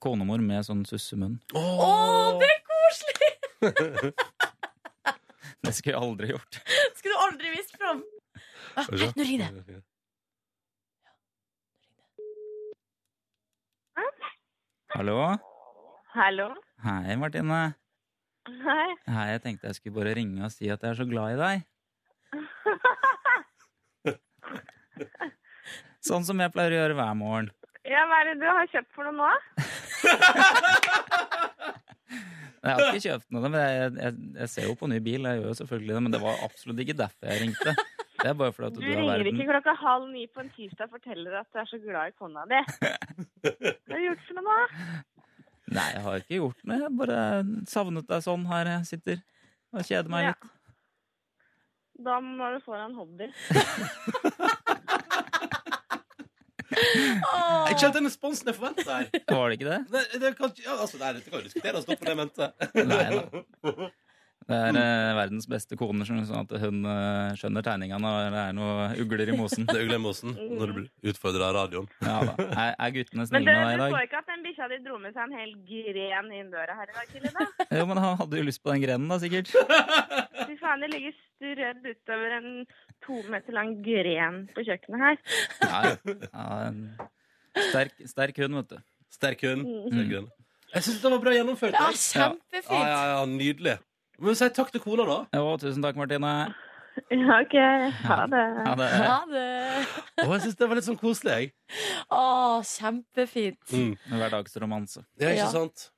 Konemor med sånn sussemunn. Å, det er koselig! Det skulle jeg aldri gjort. Skulle du aldri vist fram. Ah, Skal vi se. nå ringer det. Hallo? Hallo. Hei, Martine. Hei. Hei, jeg tenkte jeg skulle bare ringe og si at jeg er så glad i deg. Sånn som jeg pleier å gjøre hver morgen. Ja, hva er det du har kjøpt for noe nå? Jeg har ikke kjøpt noe, men jeg, jeg, jeg ser jo på ny bil, jeg gjør jo selvfølgelig det, men det var absolutt ikke derfor jeg ringte. Det er bare fordi at Du du, er ringer verden. ikke klokka halv ni på en tirsdag og forteller at du er så glad i kona di. Hva har du gjort for noe nå? Nei, jeg har ikke gjort noe. Jeg bare savnet deg sånn her jeg sitter og kjeder meg Ja. litt. Da må du få deg en hobby. Mm. Ah, Jeg kjente den responsen jeg forventa her. Var det ikke det? Nei, det kan, ja, altså, nei, dette kan jo diskuteres opp på det jeg mente. Nei da. Det er eh, verdens beste kone, skjønner du, sånn at hun eh, skjønner tegningene og det er noen ugler i mosen. Det er Uglemosen når du blir utfordra av radioen. Ja da. Er, er guttene Men du, snille med du deg i så dag? ikke at den bikkja di dro med seg en hel gren inn døra her i dag tidlig, da? Jo, men han hadde jo lyst på den grenen, da, sikkert. Fy faen, det ligger strødd utover en to meter lang gren på kjøkkenet her. Ja, ja, en sterk, sterk hund, vet du. Sterk hund. Sterk hund. Jeg syns det var bra gjennomført. Ja, jeg. Ja, kjempefint. ja, ja, nydelig. Men si takk til kona, da. Jo, tusen takk, Martine. Ja, OK. Ha det. Ja, det er Ha det. Å, jeg syns det var litt sånn koselig, jeg. Å, kjempefint. Mm. en hverdagsromanse. Ja, ikke Ja. sant?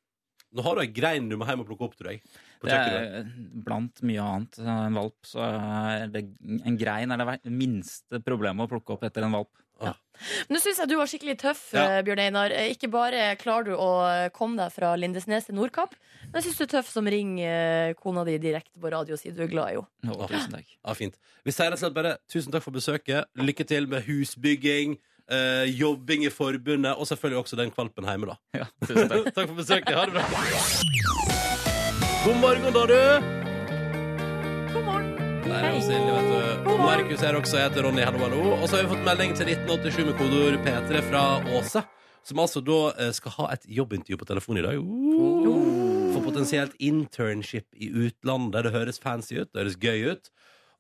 Nå har du ei grein du må hjem og plukke opp, tror jeg. På Det kjøkkenet. er blant mye annet. En valp, så er det En grein er det ver- minste problemet å plukke opp etter en valp. Nå syns jeg du var skikkelig tøff, Ja. eh, Bjørn Einar. Eh, Ikke bare klarer du å eh, komme deg fra Lindesnes til Nordkapp, men jeg syns du er tøff som ringer eh, kona di direkte på radio og sier du er glad i henne. Å, tusen takk. Ja, fint. Vi sier rett og slett bare tusen takk for besøket. Lykke til med husbygging, eh, jobbing i forbundet, og selvfølgelig også den kvalpen hjemme, da. Ja, tusen takk. Takk for besøket. Ha det bra. God morgen, da, du. God morgen. Der er jo Silje, vet du. Og Markus her også. Jeg heter Ronny. Hallo, hallo. Og så har vi fått melding til 1987 med kodeord P3 fra Åse, som altså da eh, skal ha et jobbintervju på telefon i dag. Uh. For potensielt internship i utlandet. Det høres fancy ut, det høres gøy ut.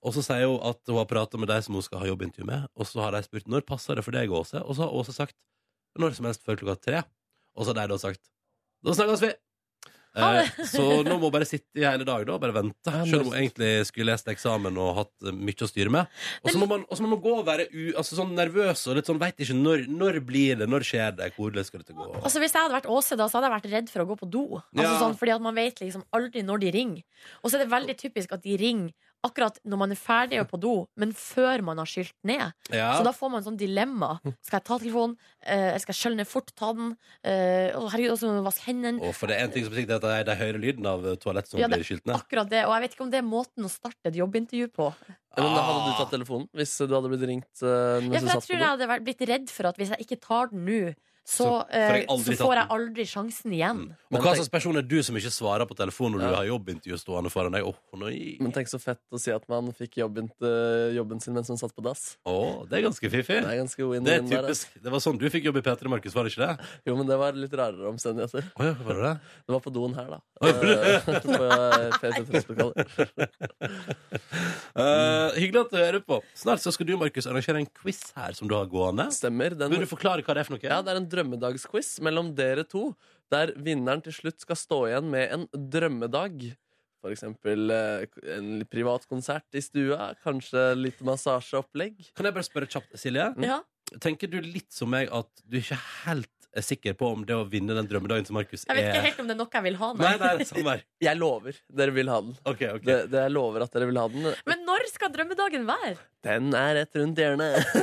Og så sier hun at hun har prata med de som hun skal ha jobbintervju med, og så har de spurt når passer det for deg, Åse? Og så har Åse sagt når som helst før klokka tre. Og så har de da sagt da snakkes vi! Ha det. Eh, så nå må hun bare sitte i hele dag da, og bare vente. Selv om hun egentlig skulle lest eksamen og hatt eh, mye å styre med. Og så må man, og så må man gå og være u, altså, sånn nervøs og litt sånn veit ikke når, når blir det, når skjer det, hvordan skal dette gå? Altså, hvis jeg hadde vært Åse, da, så hadde jeg vært redd for å gå på do. Altså, Ja. sånn, fordi at man vet liksom aldri når de ringer. Og så er det veldig typisk at de ringer akkurat når man er ferdig og på do, men før man har skylt ned. Ja. Så da får man sånn dilemma. Skal jeg ta telefonen? Eh, eller skal jeg skjølle ned fort, ta den? Eh, å, herregud, også må jeg vaske hendene. Og for det er en ting som er sikkert, det er at de hører lyden av eh, toalett som Ja, det- blir skylt ned. Akkurat det, og jeg vet ikke om det er måten å starte et jobbintervju på. Ja, Eh, Men da hadde du tatt telefonen hvis du hadde blitt ringt eh, Ja, mens du for jeg satt tror på jeg do? hadde vært- blitt redd for at hvis jeg ikke tar den nå, så, Så får jeg aldri eh, så tatt får jeg den. aldri sjansen igjen. Og hva slags person er du som ikke svarer på telefonen når du Ja. har jobbintervju stående foran deg? Åh, nei. Men tenk så fett å si at man fikk jobben, eh, jobben sin mens man satt på dass. Åh, det er ganske fiffig. Det er ganske win-win. Det er der, altså. typisk. Det var sånn du fikk jobb i P3, Markus, var det ikke det? Jo, men det var litt rarere omstendigheter. Åja, var det det? Det var på doen her, da. Oi, for det- Eh, på eh, P3 Festlokalet. Eh, hyggelig at du hører på. Snart så skal du Markus, arrangere en quiz her som du har gående. Stemmer. Den, Vil du forklare hva det er for noe? ja, det er en drømmedagsquiz mellom dere to, der vinneren til slutt skal stå igjen med en drømmedag. For eksempel eh, en privat konsert i stua, kanskje litt massasjeopplegg. Kan jeg bare spørre kjapt, Silje? Ja. Tenker du litt som meg at du ikke helt er sikker på om det å vinne den drømmedagen til Markus Jeg vet ikke er helt om det er noe jeg vil ha. Nei, Nei. nei, samme her. Jeg lover, dere vil ha den. OK, OK. Det, det jeg lover at dere vil ha den. Men når skal drømmedagen være? Den er rett rundt hjørnet.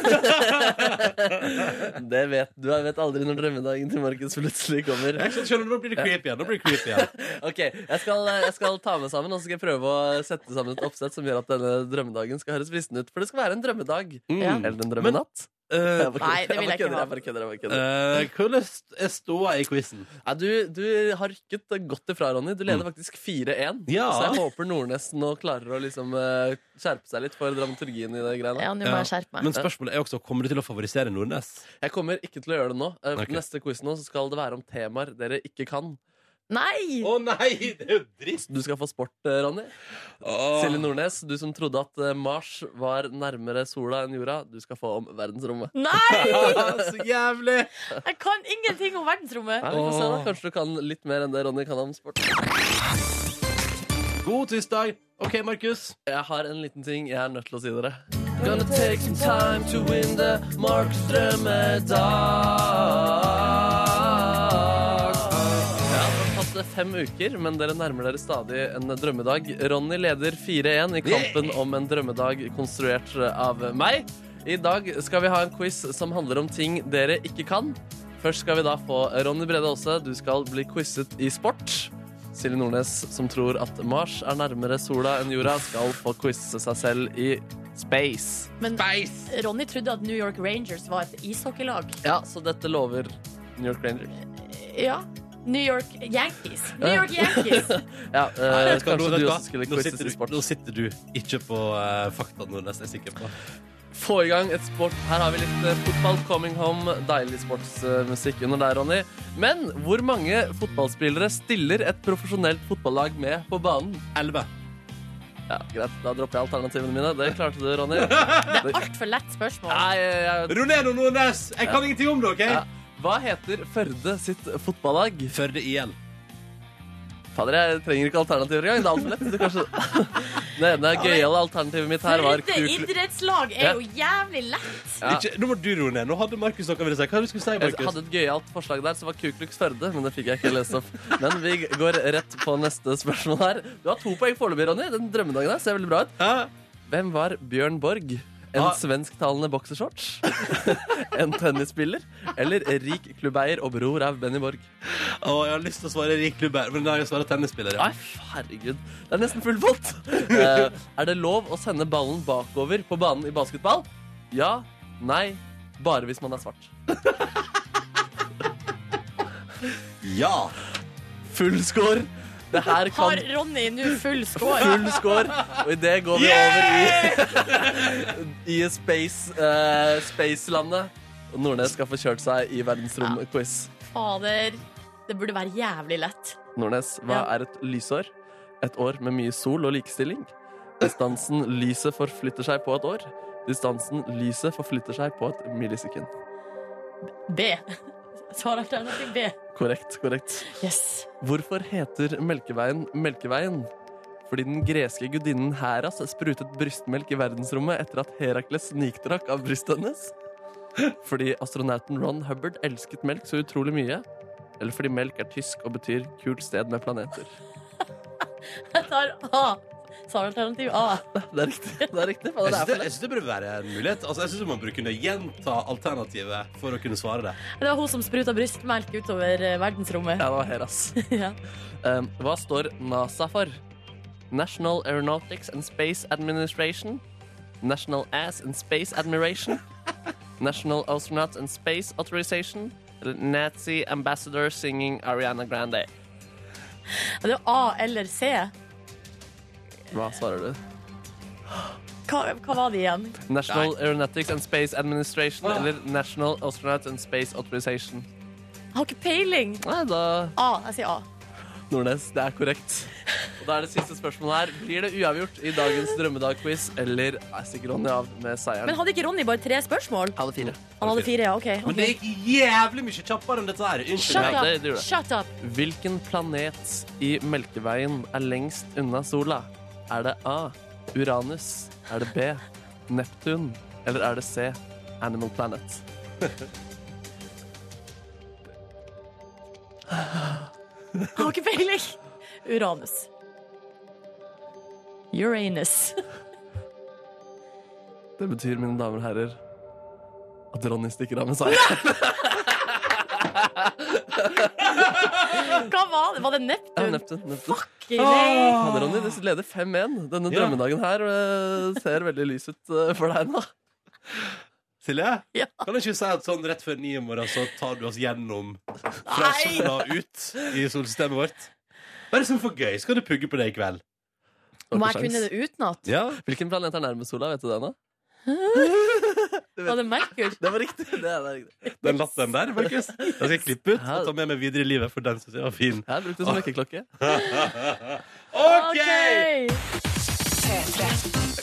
det vet du. Jeg vet aldri når drømmedagen til Markus plutselig kommer. Jeg skjønner, Nå blir det creepy igjen. Nå blir det creepy igjen. Ok, jeg skal, jeg skal ta meg sammen og så skal jeg prøve å sette sammen et oppsett som gjør at denne drømmedagen skal høres fristende ut. For det skal være en drømmedag. Ja. Mm. Eller en drømmenatt. Eh, Jeg bare Nei, det kødder, vil jeg ikke kødder, ha. bare kødder, jeg bare kødder. eh, Hvordan er ståa i quizen? Nei, du, du har rykket godt ifra, Ronny. Du leder faktisk 4-1. Mm. Ja. Så jeg håper Nordnes nå klarer å liksom eh, skjerpe seg litt for dramaturgien i det greiene. Ja, nå må jeg skjerpe meg. Men spørsmålet er også kommer du til å favorisere Nordnes. Jeg kommer ikke til å gjøre det nå. Eh, Ok. Neste quiz nå så skal det være om temaer dere ikke kan. Å Nei! nei, det er jo dritt! Du skal få sport, eh, Ronny. Silje Nordnes, du som trodde at eh, Mars var nærmere sola enn jorda, du skal få om verdensrommet. Nei! Så jævlig! Jeg kan ingenting om verdensrommet. Ja, vi får se da. Kanskje du kan litt mer enn det Ronny kan om sport. God tirsdag. OK, Markus. Jeg har en liten ting jeg er nødt til å si dere. Gonna take some time to win the Marks drømmedag. Ja, det har tatt fem uker, men dere nærmer dere stadig en drømmedag. Ronny leder 4-1 i kampen om en drømmedag konstruert av meg. I dag skal vi ha en quiz som handler om ting dere ikke kan. Først skal vi da få Ronny Brede Aase. Du skal bli quizet i sport. Silje Nordnes, som tror at Mars er nærmere sola enn jorda, skal få quize seg selv i space. Men Ronny trodde at New York Rangers var et ishockeylag. Ja, så dette lover New York Rangers. Ja. New York Yankees. New York Yankees. Ja, eh, Nei, vet hva, nå- vet kanskje du hva? også skulle Nå quizes sitter i du- sport. Nå sitter du ikke på eh, fakta, Nordnes. Jeg er sikker på Få i gang et sport. Her har vi litt eh, fotball coming home. Deilig sportsmusikk under der, Ronny. Men hvor mange fotballspillere stiller et profesjonelt fotballag med på banen? 11. Ja, Greit, da dropper jeg alternativene mine. Det klarte du, Ronny. Det er altfor lett spørsmål. Nei, jeg, Roneno Nordnes! Jeg kan ingenting om det, OK? Ja. hva heter Førde sitt fotballag? Førde IL. Fader, jeg trenger ikke alternativer engang. Det er alt for lett. Du kanskje... Det ene gøyale alternativet mitt her var Runde Ku Klux idrettslag er jo jævlig lett. Ja. Ikke, nå må du roe ned. Nå hadde Markus noe å si. Hva er det du skulle si, Jeg Markus? hadde et gøyalt forslag der, som var Ku Klux Førde. Men det fikk jeg ikke lest opp. Men vi går rett på neste spørsmål her. Du har to poeng foreløpig, Ronny. Den drømmedagen der ser veldig bra ut. Hæ? Hvem var Bjørn Borg? En Ah. svensktalende boksershorts? en tennisspiller? Eller rik klubbeier og bror av Benny Borg? Å, jeg har lyst til å svare Rik Lubær, men da har jeg svaret tennisspiller. Ja. Nei, herregud. Det er nesten full pott. Eh, er det lov å sende ballen bakover på banen i basketball? Ja. Nei. Bare hvis man er svart. ja. Full score. Det her kan Har Ronny nå full score? Full score. Og i det går vi over i, i space, eh, spacelandet. Og Nordnes skal få kjørt seg i verdensrom-quiz. Fader. Det burde være jævlig lett. Nordnes, hva Ja. er et lysår? Et år med mye sol og likestilling? Distansen lyset forflytter seg på et år. Distansen lyset forflytter seg på et millisekund. B. Svaralternativ B. Korrekt, korrekt. Yes. Hvorfor heter Melkeveien Melkeveien? Fordi den greske gudinnen Heras sprutet brystmelk i verdensrommet etter at Herakles snikdrakk av brystet hennes? Fordi astronauten Ron Hubbard elsket melk så utrolig mye? Eller fordi melk er tysk og betyr 'kult sted med planeter'? Jeg tar A. Svaralternativ A. Det er riktig. det er riktig. Faen, Jeg det syns det, er for lett. jeg synes det burde være en mulighet. Altså, jeg syns man burde kunne gjenta alternativet for å kunne svare det. Det var hun som spruta brystmelk utover eh, verdensrommet. Ja, det var Heras. Ja. Um, hva står NASA for? National Aeronautics and Space Administration. National Ass and Space Admiration. National Astronauts and Space Authorization. Eller Nazi Ambassador Singing Ariana Grande. Det er A eller C. Hva svarer du? Hva, hva var det igjen? National Aeronautics and Space Administration eller National Astronauts and Space Authorization. Jeg har ikke peiling. Nei, da A. Jeg sier A. Nordnes, det er korrekt. Og da er det siste spørsmålet her. Blir det uavgjort i dagens Drømmedag-quiz, eller er sikkert Ronny av med Men seieren? hadde ikke Ronny bare tre spørsmål? Halv fire. Han hadde fire, ja. OK. Men det ok. gikk jævlig mye kjappere enn dette her. Unnskyld. Shut Ja, det up. gjorde det. Shut up. Hvilken planet i Melkeveien er lengst unna sola? Er det A. Uranus? Er det B. Neptun? Eller er det C. Animal Planet? Jeg har ikke peiling. Uranus. Uranus. Det betyr, mine damer og herrer, at Ronny stikker av med seier. Hva var det? Var det Ja, Neptun? Neptun. Neptun. Nei. Ja, Ronny, du leder 5-1. Denne Ja. drømmedagen her eh, ser veldig lys ut eh, for deg nå. Silje, Ja. kan du ikke si at sånn rett før ni i morgen så tar du oss gjennom fra Nei. sola ut i solsystemet vårt? Bare sånn for gøy. Skal du pugge på det i kveld? Må jeg kunne det utenat? Ja. Hvilken planet er nærmest sola? Vet du det nå? Var det Merkur? Det var riktig. Det er det er riktig. Den latteren der, Markus. Den skal jeg klippe ut og ta med meg videre i livet, for den syns jeg var fin. Jeg brukte det som vekkerklokke. OK!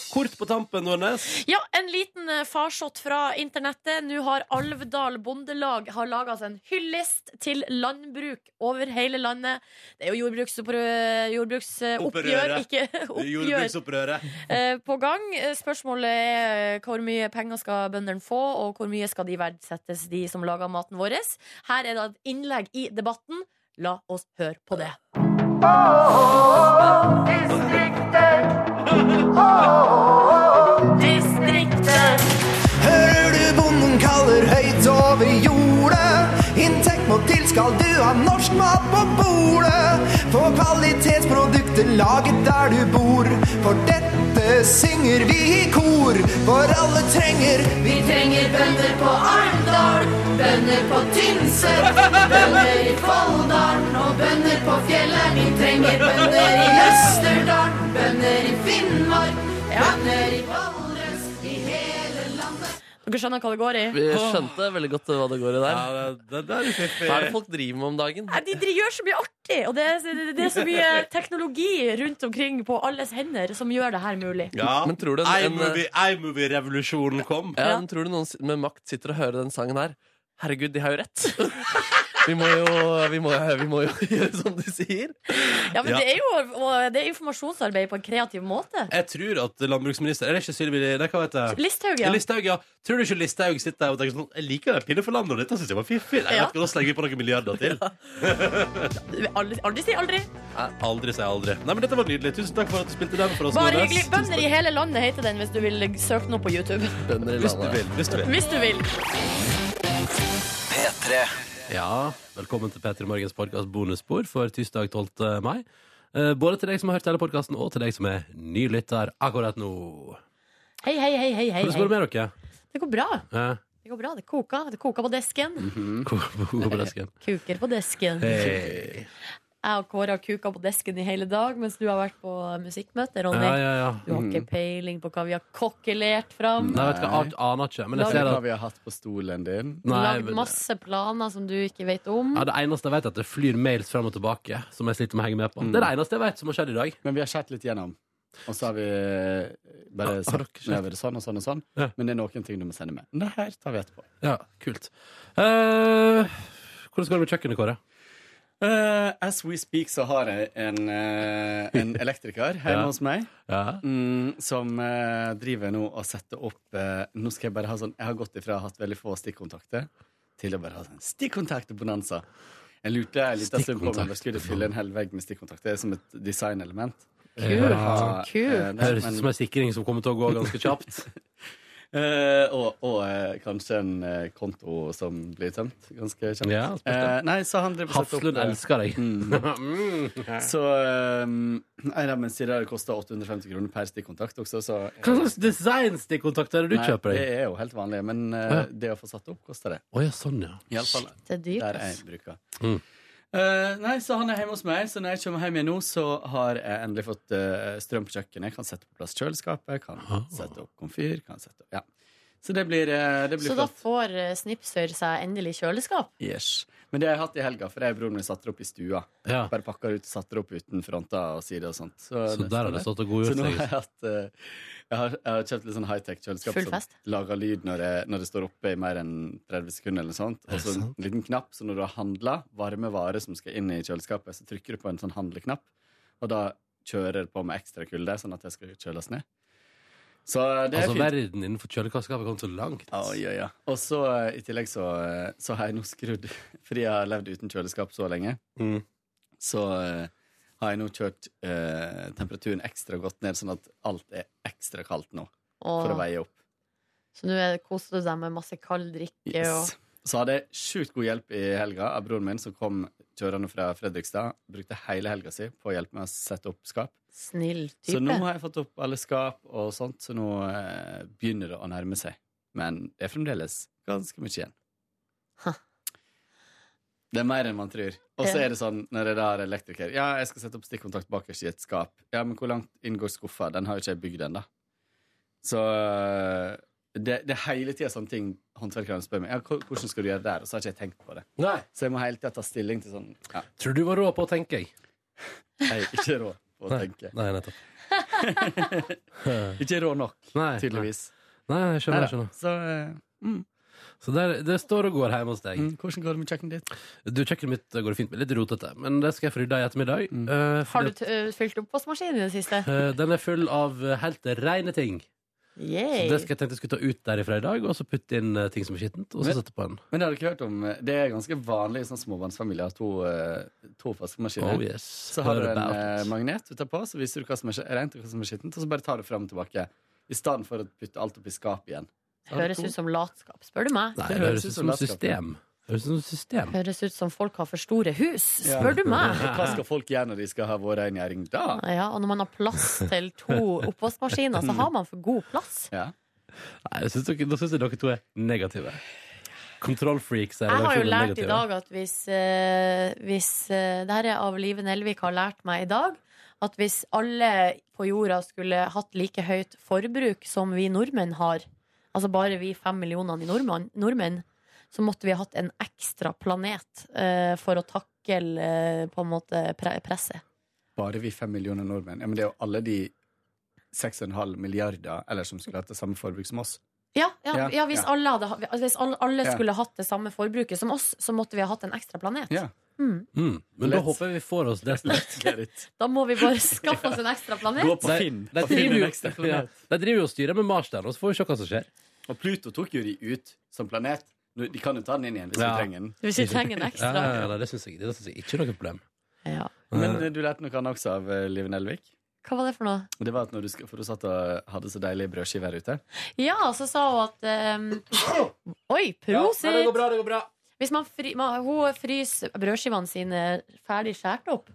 Kort på tampen, Nordnes. Ja, en liten eh, farsott fra internettet. Nå har Alvdal Bondelag har laga seg en hyllest til landbruk over hele landet. Det er jo jordbruksopprø- jordbruksoppgjør, Opprøret. ikke oppgjør, Jordbruksopprøret. eh, på gang. Eh, Spørsmålet er eh, hvor mye penger skal bøndene få, og hvor mye skal de verdsettes, de som lager maten vår. Her er da et innlegg i debatten. La oss høre på det. Distriktet! Hører du bonden kaller høyt over jordet? Inntekt må til, skal du ha norsk mat på bordet? Få kvalitetsprodukter laget der du bor. For dette synger vi i kor, for alle trenger Vi trenger bønder på Arendal, bønder på Tynset, bønder i Folldalen og bønder på fjellet. Vi trenger bønder i Østerdalen, bønder i Finnmark, bønder i Valdres, i hele landet. Dere skjønner hva det går i? Vi skjønte veldig godt hva det går i der. Ja, det, det er jo fiffig. Hva er det folk driver med om dagen? Nei, de, de gjør så mye artig, og det er, det, det er så mye teknologi rundt omkring på alles hender som gjør det her mulig. Ja. Men tror du en- en- iMovie- iMovie-revolusjonen kom. Ja, men tror du noen s- med makt sitter og hører den sangen her? Herregud, de har jo rett. Vi må jo, vi må, vi må jo gjøre som de sier. Ja, men Ja. Det, er jo, og det er informasjonsarbeid på en kreativ måte. Jeg tror at landbruksminister Er det ikke Sylvi Nei, hva heter det? Listhaug, ja. Listhaug, ja. Tror du ikke Listhaug sitter der og tenker sånn Jeg liker den pinne for landet, og dette syns jeg var fiffig. Jeg Ja. vet ikke, Da slenger vi på noen milliarder til. Aldri, aldri si aldri. Aldri si aldri. Nei, men Dette var nydelig. Tusen takk for at du spilte den for oss. Bare Nordnes. hyggelig. Bønder i hele landet heter den hvis du vil søke den opp på YouTube. Bønder i Hvis du landet. vil. Hvis du vil. Hvis du vil. Ja, velkommen til Petter i Morgens podkast bonusspor for tirsdag 12. mai. Eh, Både til deg som har hørt hele podkasten, og til deg som er ny lytter akkurat nå. Hei, hei, hei, hei. hei, Hvordan går det hei. med dere? Det går bra. Eh, Det går bra. Det koker. Det koker på desken. hvor- hvor går desken? Kuker på desken. Mm. Hei. Jeg og Kåre har kuka på desken i hele dag mens du har vært på musikkmøte, Ronny. Ja, ja, ja. Du har ikke peiling på hva vi har kokkelert fram. Nei, vet du hva, jeg aner ikke. Men jeg Lag- ser at Hva vi har hatt på stolen din. Nei, Lagd men- masse planer som du ikke vet om. ja, det eneste jeg vet, er at det flyr mails fram og tilbake. Som jeg sliter med å henge med på. Det er det eneste jeg vet som har skjedd i dag. Men vi har sett litt gjennom. Og så har vi eh, Ja, bare har dere sagt sett? nedover sånn og sånn og sånn. Ja. Men det er noen ting du må sende med. Det her tar vi etterpå. Ja, kult. Eh, hvordan går det med kjøkkenet, Kåre? Eh, as we speak så har jeg en, eh, en elektriker hjemme Ja. hos meg Ja. mm, som eh, driver nå og setter opp eh, Nå skal jeg bare ha sånn Jeg har gått ifra å ha hatt veldig få stikkontakter til å bare ha sånn stikkontaktbonanza. Jeg lurte en liten stund på om jeg bare skulle fylle en hel vegg med stikkontakter som et designelement. Kult. Ha, eh, Kult. nei, Høres ut men- som en sikring som kommer til å gå ganske kjapt. Eh, og og eh, kanskje en eh, konto som blir tømt ganske kjapt. Ja, spørs det. Eh, nei, så han driver og Hafslund setter opp Mm. eh, elsker deg. Mm. Så um, Nei, men sier det koster 850 kroner per stikkontakt også, så Hva slags designstikkontakt er det du Nei, kjøper Det deg? er jo helt vanlig, men uh, Ja. det å få satt opp koster det. Å ja, sånn, ja. I alle fall Det er dyrt. der ass. jeg bruker. Mm. Eh, nei, så han er hjemme hos meg, så når jeg kommer hjem igjen nå, så har jeg endelig fått eh, strøm på kjøkkenet. Jeg kan sette på plass kjøleskapet, kan sette opp komfyr, kan sette opp Ja. Så det blir, eh, det blir Så da får eh, Snipsøyr seg endelig kjøleskap. Yes. Men det har jeg hatt i helga, for jeg og broren min satte det opp i stua. ja. Bare pakka ut, satte det opp uten fronter og sider og sånt. Så der har det stått og godgjort Så nå har seg. jeg hatt eh, jeg har, jeg har kjøpt litt sånn high-tech kjøleskap Full fest. som lager lyd når det, når det står oppe i mer enn 30 sekunder. eller sånt Og så en liten knapp, så når du har handla varme varer som skal inn i kjøleskapet, så trykker du på en sånn handleknapp, og da kjører det på med ekstra kulde, sånn at det skal kjøles ned. Så det er Altså, fint. verden innenfor kjøleskapet har kommet så langt. Ja, ja, ja. Og så eh, i tillegg så, eh, så har jeg nå skrudd Fordi jeg har levd uten kjøleskap så lenge, Mm. så eh, har jeg nå kjørt eh, temperaturen ekstra godt ned, sånn at alt er ekstra kaldt nå. For å Og, veie opp. så nå er- koser du deg med masse kald drikke og Yes. Så hadde jeg sjukt god hjelp i helga av broren min, som kom kjørende fra Fredrikstad. Brukte hele helga si på å hjelpe meg å sette opp skap. snill Så nå type. har jeg fått opp alle skap og sånt, så nå eh, begynner det å nærme seg. Men det er fremdeles ganske mye igjen. Ha. Det er mer enn man tror. Og så Ja. er det sånn når jeg da har elektriker Ja, jeg skal sette opp stikkontakt bakerst i et skap. Ja, men hvor langt inngår skuffa? Den har jo ikke jeg bygd ennå. Så eh, det, det er hele tida sånne ting håndverkerne spør meg. Ja, hvor- hvordan skal du gjøre det der? Og så har ikke jeg tenkt på det. Nei. Så jeg må hele tida ta stilling til sånn Ja, Tror du var rå på å tenke, jeg. jeg er ikke rå på å tenke. Nei, nettopp. Ikke rå nok, Nei, tydeligvis. Nei, Nei, jeg skjønner, jeg Neida. skjønner. Så eh, Så der, det står og går hjemme hos deg. Mm, hvordan går det med kjøkkenet ditt? Du, Kjøkkenet mitt går det fint med. Litt rotete, men det skal jeg få rydda i ettermiddag. Mm. Eh, Har du fordi t ø, fylt oppvaskmaskinen i det siste? at, eh, den er full av eh, helt rene ting. Så Yay. det skal jeg tenkte jeg skulle ta ut derifra i dag, og så putte inn eh, ting som er skittent, og så Men- sette på en. Men det har du ikke hørt om eh, Det er ganske vanlig i sånn småbarnsfamilier å ha to, eh, to vaskemaskiner. Oh yes. Så har du Hør en about eh, it. magnet utapå, så viser du hva som er skje- rent og hva som er skittent, og så bare tar du fram og tilbake. I stedet for å putte alt opp i skapet igjen. Så har du Høres to. ut som latskap, spør du meg. Nei, det høres ut som et latskap. system. Det Høres ut som et system. Høres ut som folk har for store hus, Ja. spør du meg. Hva skal folk gjøre når de skal ha vår egen gjæring da? Ja, og når man har plass til to oppvaskmaskiner, så har man for god plass. Ja. Nei, jeg synes dere, Da syns jeg dere to er negative. Kontrollfreaks. er Jeg har jo redaksjonen lært i negative. dag at hvis, eh, hvis eh, Det her er av Live Nelvik har lært meg i dag. At hvis alle på jorda skulle hatt like høyt forbruk som vi nordmenn har, altså bare vi fem millionene i nordmann, nordmenn, så måtte vi ha hatt en ekstra planet eh, for å takle eh, på en måte pre presset. Bare vi fem millioner nordmenn. Ja, men det er jo alle de 6,5 milliarder eller som skulle hatt det samme forbruk som oss. Ja, ja, ja, hvis, ja. Alle hadde, ha- hvis alle- alle Ja. skulle hatt det samme forbruket som oss, så måtte vi ha hatt en ekstra planet. Ja. Mm. Mm. Men da håper jeg vi får oss det snart. Da må vi bare skaffe oss en ekstra planet. De- De Finn en driver, ekstra jo, ja, planet. de driver jo og styrer med Mars der, og så får vi se hva som skjer. Og Pluto tok jo de ut som planet. Nå- De kan jo ta den inn igjen hvis Ja. de trenger den. Hvis vi trenger en ekstra. Ja, ja, ja, det syns jeg, det synes jeg ikke er noe problem. Men eh, du lærte noe annet også av eh, Liven Elvik. Hva var det for noe? Og Det var at når du, sk- For du satt og hadde så deilige brødskiver ute. Ja, så sa hun at ehm, Oi, prosit! Ja, nei, det går bra, det går Hvis man fry, man, hun fryser brødskivene sine ferdig skåret opp,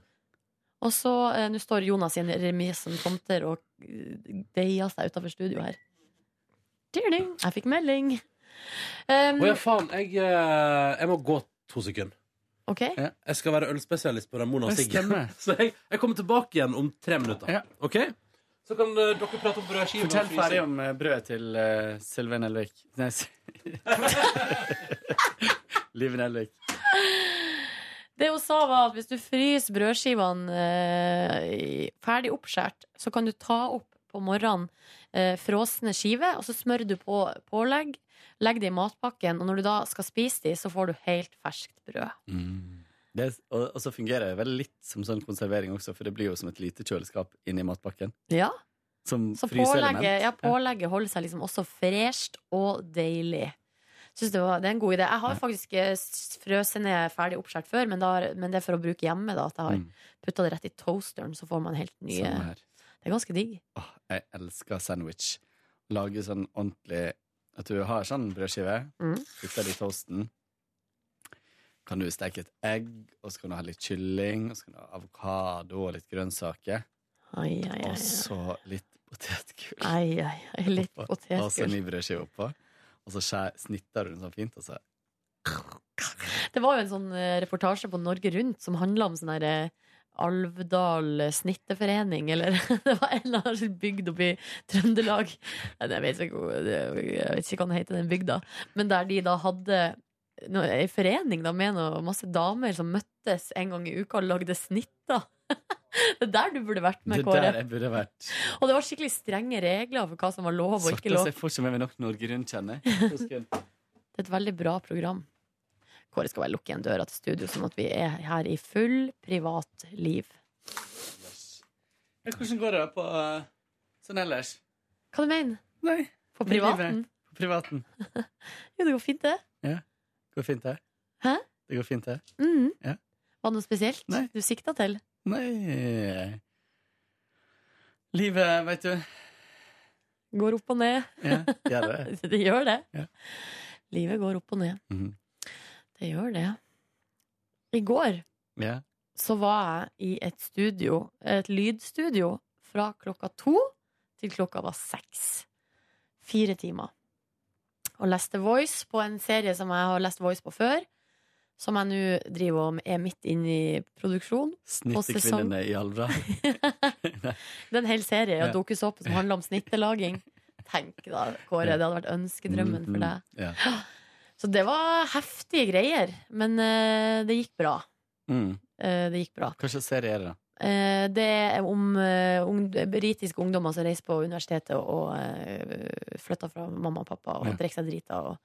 og så eh, Nå står Jonas i en remis som tomter og eh, deier seg utafor studio her. Ding-ding, Jeg fikk melding. Ehm, Å ja, faen. Jeg, eh, jeg må gå to sekunder. OK? Jeg skal være ølspesialist på Ramona og Det Siggen. stemmer. Så jeg, jeg kommer tilbake igjen om tre minutter. OK? Så kan eh, dere prate om brødskiver. Fortell ferdig om eh, brødet til uh, Sylven Elvik. Nei, s- Liven Elvik. Det hun sa var at hvis du fryser brødskivene eh, i- ferdig oppskjært, så kan du ta opp på morgenen eh, frosne skiver, og så smører du på pålegg, legg det i matpakken, og når du da skal spise de, så får du helt ferskt brød. Mm. Det, er- og, og så fungerer det vel litt som sånn konservering også, for det blir jo som et lite kjøleskap inni matpakken. Ja, Som så fryseelement. pålegget, ja, pålegget holder seg liksom også fresht og deilig. Synes det, var, det er en god idé. Jeg har faktisk eh, s- frøset ned ferdig oppskjært før, men, da, har- men det er for å bruke hjemme. da At jeg har putta det rett i toasteren, så får man helt nye Mm. Samme her. Det er ganske digg. Jeg elsker sandwich. Lage sånn ordentlig At du har sånn brødskive, Mm. putter det i toasten. Kan du steke et egg, og så kan du ha litt kylling, og så kan du ha avokado og litt grønnsaker. Ai, ai, ai, Og så litt potetgull. Ai, ai, ai, litt oppå. potetgull. Og så ny brødskive oppå. Og så skjær, snitter du den sånn fint, og så Det var jo en sånn eh, reportasje på Norge Rundt som handla om sånn der eh, Alvdal snitteforening, eller Det var en eller annen bygd oppe i Trøndelag. Nei, Jeg vet ikke, hvor- jeg vet ikke hva den heter, den bygda. Men der de da hadde no- ei forening da, med noe, masse damer som møttes en gang i uka og lagde snitter. Det er der du burde vært med, Det der Kåre. jeg burde vært. Og det var skikkelig strenge regler for hva som var lov og ikke Svartas, lov. jeg får ikke med meg nok Norge Rundt, kjenner jeg. Det er et veldig bra program. Kåre skal bare lukke igjen døra til studio, sånn at vi er her i full privatliv. Ja, Hvordan går det på eh, sånn ellers? Hva du mener Nei. På privaten? På privaten. Jo, det går fint, det. Ja. Går fint, det? Hæ? Det går fint, det? Mhm. Ja. Var det noe spesielt du sikta til? Nei Livet, veit du. Går opp og ned. Ja, gjør det. det gjør det. Livet går opp og ned. Mhm. Det gjør det. I går Ja. så var jeg i et studio, et lydstudio, fra klokka to til klokka var seks. Fire timer. Og leste Voice på en serie som jeg har lest Voice på før, som jeg nå driver og er midt inne i produksjon. på sesong. Snittekvinnene i Alvdal. Det er en hel serie Ja. av dukkesåpe som handler om snittelaging. Tenk da, Kåre. Det hadde vært ønskedrømmen for deg. Mm, Ja. Så det var heftige greier. Men eh, det gikk bra. Mm. Eh, det gikk bra. Hva slags serie er det, da? Eh, det er om eh, ung, britiske ungdommer som reiser på universitetet og eh, flytter fra mamma og pappa og Ja. drikker seg drita og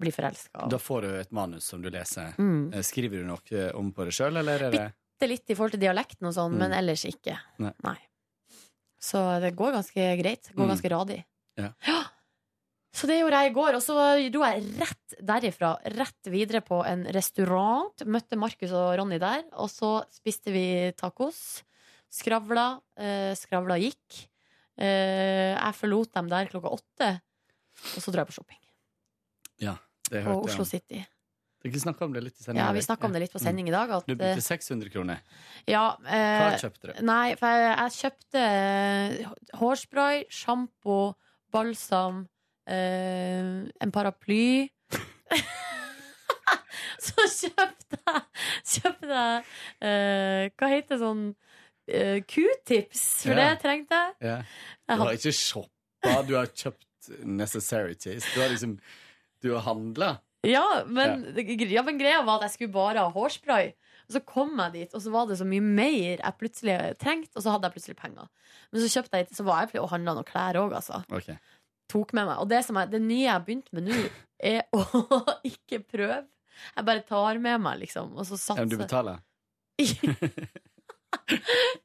blir forelska. Da får du et manus som du leser. Mm. Eh, Skriver du noe om på det sjøl, eller er det Det er litt i forhold til dialekten og sånn, Mm. men ellers ikke. Nei. Så det går ganske greit. Det Går Mm. ganske radig. Ja. Så det gjorde jeg i går, og så dro jeg rett derifra, rett videre på en restaurant. Møtte Markus og Ronny der, og så spiste vi tacos. Skravla. Eh, skravla gikk. Eh, jeg forlot dem der klokka åtte, og så dro jeg på shopping. Ja, det hørte Og jeg Oslo om. City. Dere snakka om det litt i sendingen Ja, vi Erik. snakka om det litt på sending i dag. At, Mm. Du eh, brukte 600 kroner. ja, eh, Hva kjøpte du? Nei, for jeg, jeg kjøpte eh, hårspray, sjampo, balsam, eh, en paraply. Så kjøpte jeg, kjøpte jeg eh, Hva heter sånn eh, Q-tips, for Ja. det trengte jeg. Ja. Jeg Du hadde- har ikke shoppa, du har kjøpt necessarities. Du har liksom Du har handla. Ja men, ja, men greia var at jeg skulle bare ha hårspray. Og så kom jeg dit, og så var det så mye mer jeg plutselig trengte, og så hadde jeg plutselig penger. Men så kjøpte jeg, så var jeg pl- og handla noen klær òg, altså. Ok. tok med meg. Og det, som jeg, det nye jeg har begynt med nå, er å ikke prøve. Jeg bare tar med meg, liksom. Og så Ja, satser men du betaler?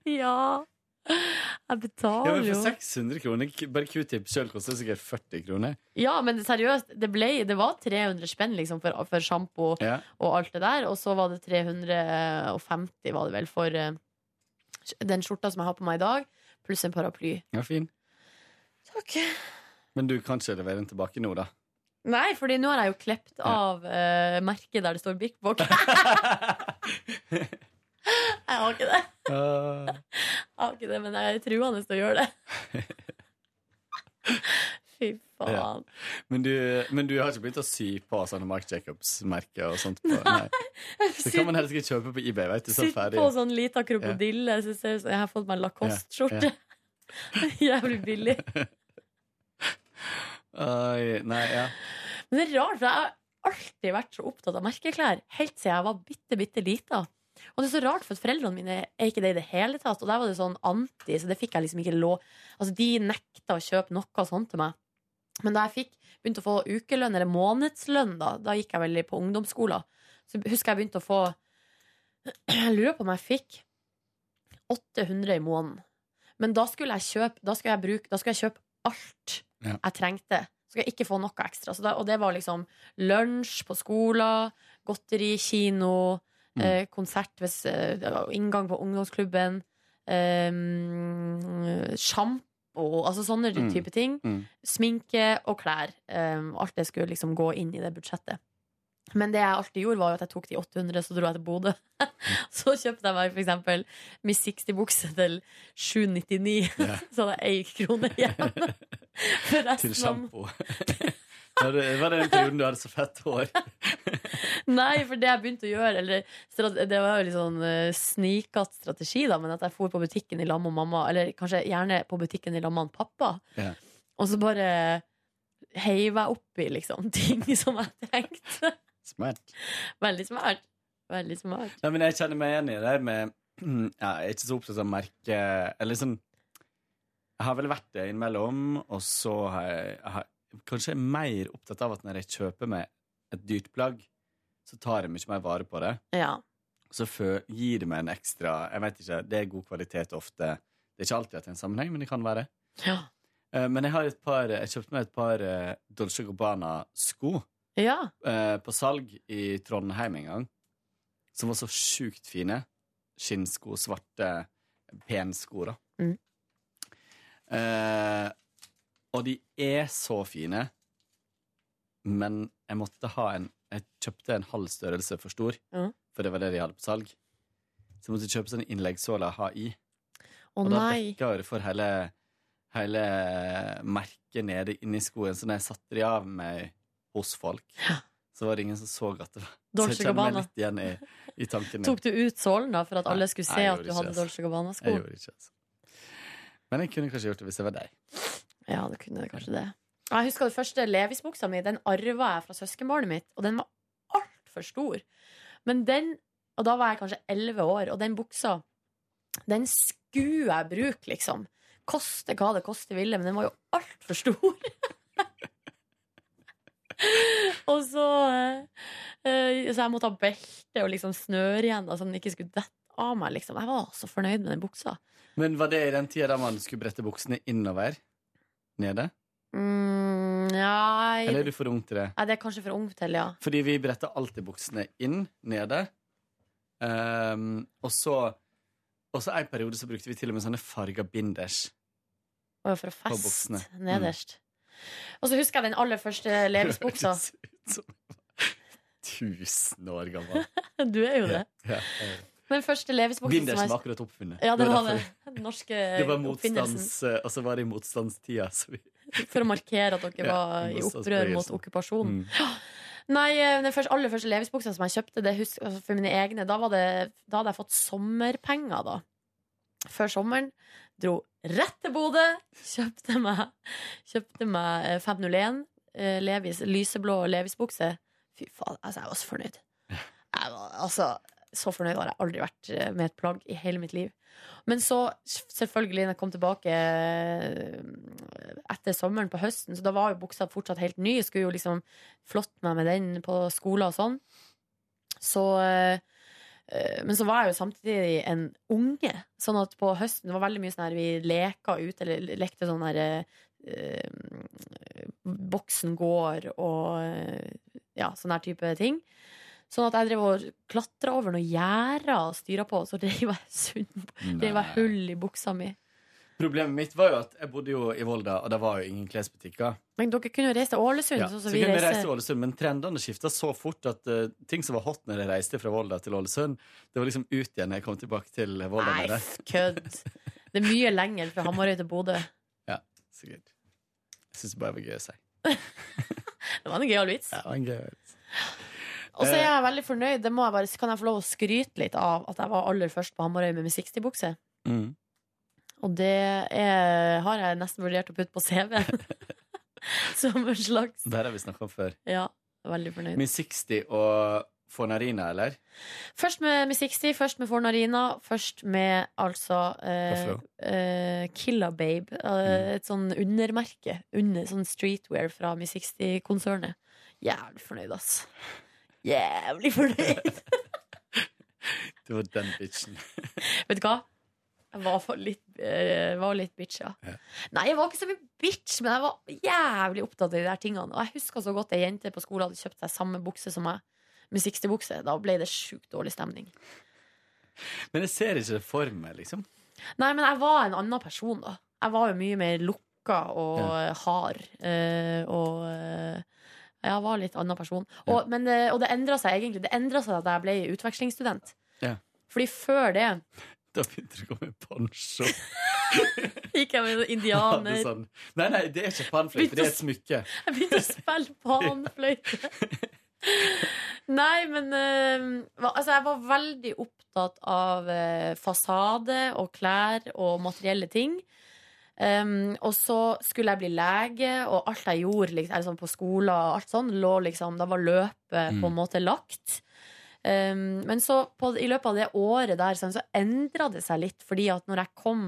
Ja. Jeg Ja, betaler men jo. for 600 kroner, k- bare Q-tip sjøl koster sikkert 40 kroner. Ja, men seriøst, det, ble, det var 300 spenn liksom, for, for sjampo Ja. og alt det der. Og så var det 350 var det vel, for eh, den skjorta som jeg har på meg i dag, pluss en paraply. Ja, fin. Takk. Men du kan ikke levere den tilbake nå, da? Nei, fordi nå har jeg jo klept av eh, merket der det står Bik Bok. jeg har ikke det. Eh, Jeg har ikke det, men jeg er truende til å gjøre det. Fy faen. Ja. Men, du, men du har ikke begynt å sy på sånne Mark Jacobs-merker og sånt? På, nei. Det kan man helst ikke kjøpe på eBay. Vet du, så Sitt ferdig. på sånn lita krokodille. Så ser det ut som jeg har fått meg Lacoste-skjorte. Jævlig billig. Oi, nei, ja. Men det er rart, for jeg har alltid vært så opptatt av merkeklær. Helt siden jeg var bitte, bitte lita. Og det er så rart, for at foreldrene mine er ikke det i det hele tatt. Og der var det sånn anti, så det fikk jeg liksom ikke lov Altså, de nekta å kjøpe noe sånt til meg. Men da jeg fikk, begynte å få ukelønn, eller månedslønn, da, da gikk jeg vel på ungdomsskolen, så husker jeg begynte å få Jeg lurer på om jeg fikk 800 i måneden. Men da skulle jeg kjøpe, da skulle jeg bruke, da skulle jeg kjøpe alt Ja. jeg trengte. Så skulle jeg ikke få noe ekstra. Så da, og det var liksom lunsj på skolen, godteri, kino, Mm. eh, konsert, hvis, eh, det var inngang på ungdomsklubben, eh, sjampo, altså sånne Mm. type ting. Mm. Sminke og klær. Eh, alt det skulle liksom gå inn i det budsjettet. Men det jeg alltid gjorde, var jo at jeg tok de 800, så dro jeg til Bodø. Så kjøpte jeg meg for eksempel Miss 60-bukse til 799. Så hadde jeg én krone igjen. For Til resten av sjampo. Ja, det var den perioden du hadde så fett hår. Nei, for det jeg begynte å gjøre eller, strate- Det var jo litt sånn uh, snikete strategi, da, men at jeg for på butikken i lag med mamma, eller kanskje gjerne på butikken i lag med han pappa, Ja. og så bare heiv jeg oppi liksom, ting som jeg trengte. Smart. Veldig smart. Veldig smart. Nei, men jeg kjenner meg igjen i det der med ja, Jeg er ikke så opptatt av merke Eller sånn Jeg har vel vært det innimellom, og så har jeg, jeg har, Kanskje jeg er mer opptatt av at når jeg kjøper meg et dyrt plagg, så tar jeg mye mer vare på det. Ja. Så fø- gir det meg en ekstra Jeg vet ikke, det er god kvalitet ofte. Det er ikke alltid at det er en sammenheng, men det kan være. Ja. Eh, Men jeg har et par Jeg kjøpte meg et par eh, Dolce Gabbana-sko Ja. eh, på salg i Trondheim en gang, som var så sjukt fine. Skinnsko, svarte, pensko, da. Mm. Eh, og de er så fine, men jeg måtte ha en Jeg kjøpte en halv størrelse for stor, Ja. for det var det de hadde på salg. Så jeg måtte kjøpe sånn innleggssåle å ha i. Å og da nei. dekka jo det for hele, hele merket nede inni skoen. Så når jeg satte de av meg hos folk, så var det ingen som så at det var Dolce Så jeg kjenner Gabbana. meg litt igjen i, i tanken. Tok du ut sålen da, for at alle Nei, skulle jeg se at gjorde du ikke hadde det, altså. Dolce Gabbana-sko? Jeg gjorde ikke altså. Men jeg kunne kanskje gjort det hvis jeg var deg. Ja, du kunne kanskje det. Jeg husker den første Levis-buksa mi. Den arva jeg fra søskenbarnet mitt, og den var altfor stor. Men den, og da var jeg kanskje elleve år, og den buksa, den skulle jeg bruke, liksom. Koste hva det koste ville, men den var jo altfor stor. og så eh, eh, Så jeg måtte ha belte og liksom snøre igjen, da, så den ikke skulle dette av meg, liksom. Jeg var så fornøyd med den buksa. Men var det i den tida da man skulle brette buksene innover? Nede? Mm, nei, Eller er du for ung til det? nei, det er kanskje for ung til, ja. Fordi vi bretter alltid buksene inn, nede. Ehm, og så Og så en periode så brukte vi til og med sånne farga binders. Og for å På feste buksene. Mm. nederst. Og så husker jeg den aller første Levis-buksa. Hørtes ut som jeg var Tusen år gammel. Du er jo det. Ja, ja. Den første Levis-buksa Bindersen som var jeg- akkurat oppfunnet. Ja, det var det. derfor- Den norske Det var oppfinnelsen. motstands, eh, og så var det i motstandstida. Så vi, For å markere at dere Ja, var i opprør mot motstandsbevegelsen. okkupasjon. Mm. Nei, eh, den første, aller første Levis-buksa som jeg kjøpte, det husker, altså for mine egne, da, var det, da hadde jeg fått sommerpenger, da. Før sommeren. Dro rett til Bodø, kjøpte meg, kjøpte meg eh, 501 eh, Levis, lyseblå Levis-bukse. Fy faen, altså, jeg var så fornøyd. Jeg var, altså, Så fornøyd har jeg aldri vært eh, med et plagg i hele mitt liv. Men så, s- selvfølgelig, når jeg kom tilbake eh, etter sommeren på høsten, så da var jo buksa fortsatt helt ny. Jeg skulle jo liksom flotte meg med den på skolen og sånn. Så eh, eh, men så var jeg jo samtidig en unge. Sånn at på høsten det var veldig mye sånn her vi leka ute, eller lekte sånn her eh, eh, Boksen går og eh, ja, sånn her type ting. Sånn at jeg drev og klatra over noen gjerder og styra på, så reiv jeg sund Reiv jeg hull i buksa mi. Problemet mitt var jo at jeg bodde jo i Volda, og det var jo ingen klesbutikker. Men dere kunne jo reise til Ålesund, Ja, sånn så som vi kunne jeg reise reiser. til Ålesund, men trendene skifta så fort at eh, ting som var hot når jeg reiste fra Volda til Ålesund, det var liksom ut igjen når jeg kom tilbake til Volda Nei, med det. f- kødd. Det er mye lenger fra Hamarøy til Bodø. Ja, sikkert. Jeg syns bare det var gøy å si. Det var en gøyal vits. Ja, det var en gøy vits. Og så er jeg veldig fornøyd. Det må jeg bare, kan jeg få lov å skryte litt av at jeg var aller først på Hamarøy med min 60-bukse. Mm. Og det er, har jeg nesten vurdert å putte på CV-en. Som en slags Det her har vi snakka om før. Ja, veldig fornøyd. Min 60 og Fornarina, eller? Først med Miss 60, først med Fornarina, først med altså eh, Tøffe. eh, Killa Babe. Eh, et sånn undermerke. Under, sånn streetwear fra Miss 60-konsernet. Jævlig fornøyd, ass. Jævlig fornøyd. Det var den bitchen. Vet du hva? Jeg var, for litt, eh, var litt bitch, ja. Nei, jeg var ikke så mye bitch, men jeg var jævlig opptatt av de der tingene. Og jeg husker så godt ei jente på skolen hadde kjøpt seg samme bukse som meg. Med 60-bukse. Da ble det sjukt dårlig stemning. Men jeg ser ikke det for meg, liksom. Nei, men jeg var en annen person, da. Jeg var jo mye mer lukka og eh, hard. eh, og eh, jeg var en litt annen person. Og, men, eh, og det endra seg egentlig. Det endra seg da jeg ble utvekslingsstudent. Ja. Fordi før det Da begynte det å komme poncho. gikk jeg med Hadde indianer. sånn. Nei, nei, det er ikke panfløyte, det er et smykke. Jeg begynte å spille panfløyte. Nei, men eh, hva- altså, jeg var veldig opptatt av eh, fasade og klær og materielle ting. Um, og så skulle jeg bli lege, og alt jeg gjorde liksom, eller sånn på skolen, og alt sånn, lå liksom, da var løpet på en måte lagt. Um, men så på, i løpet av det året der sånn, så endra det seg litt, fordi at når jeg kom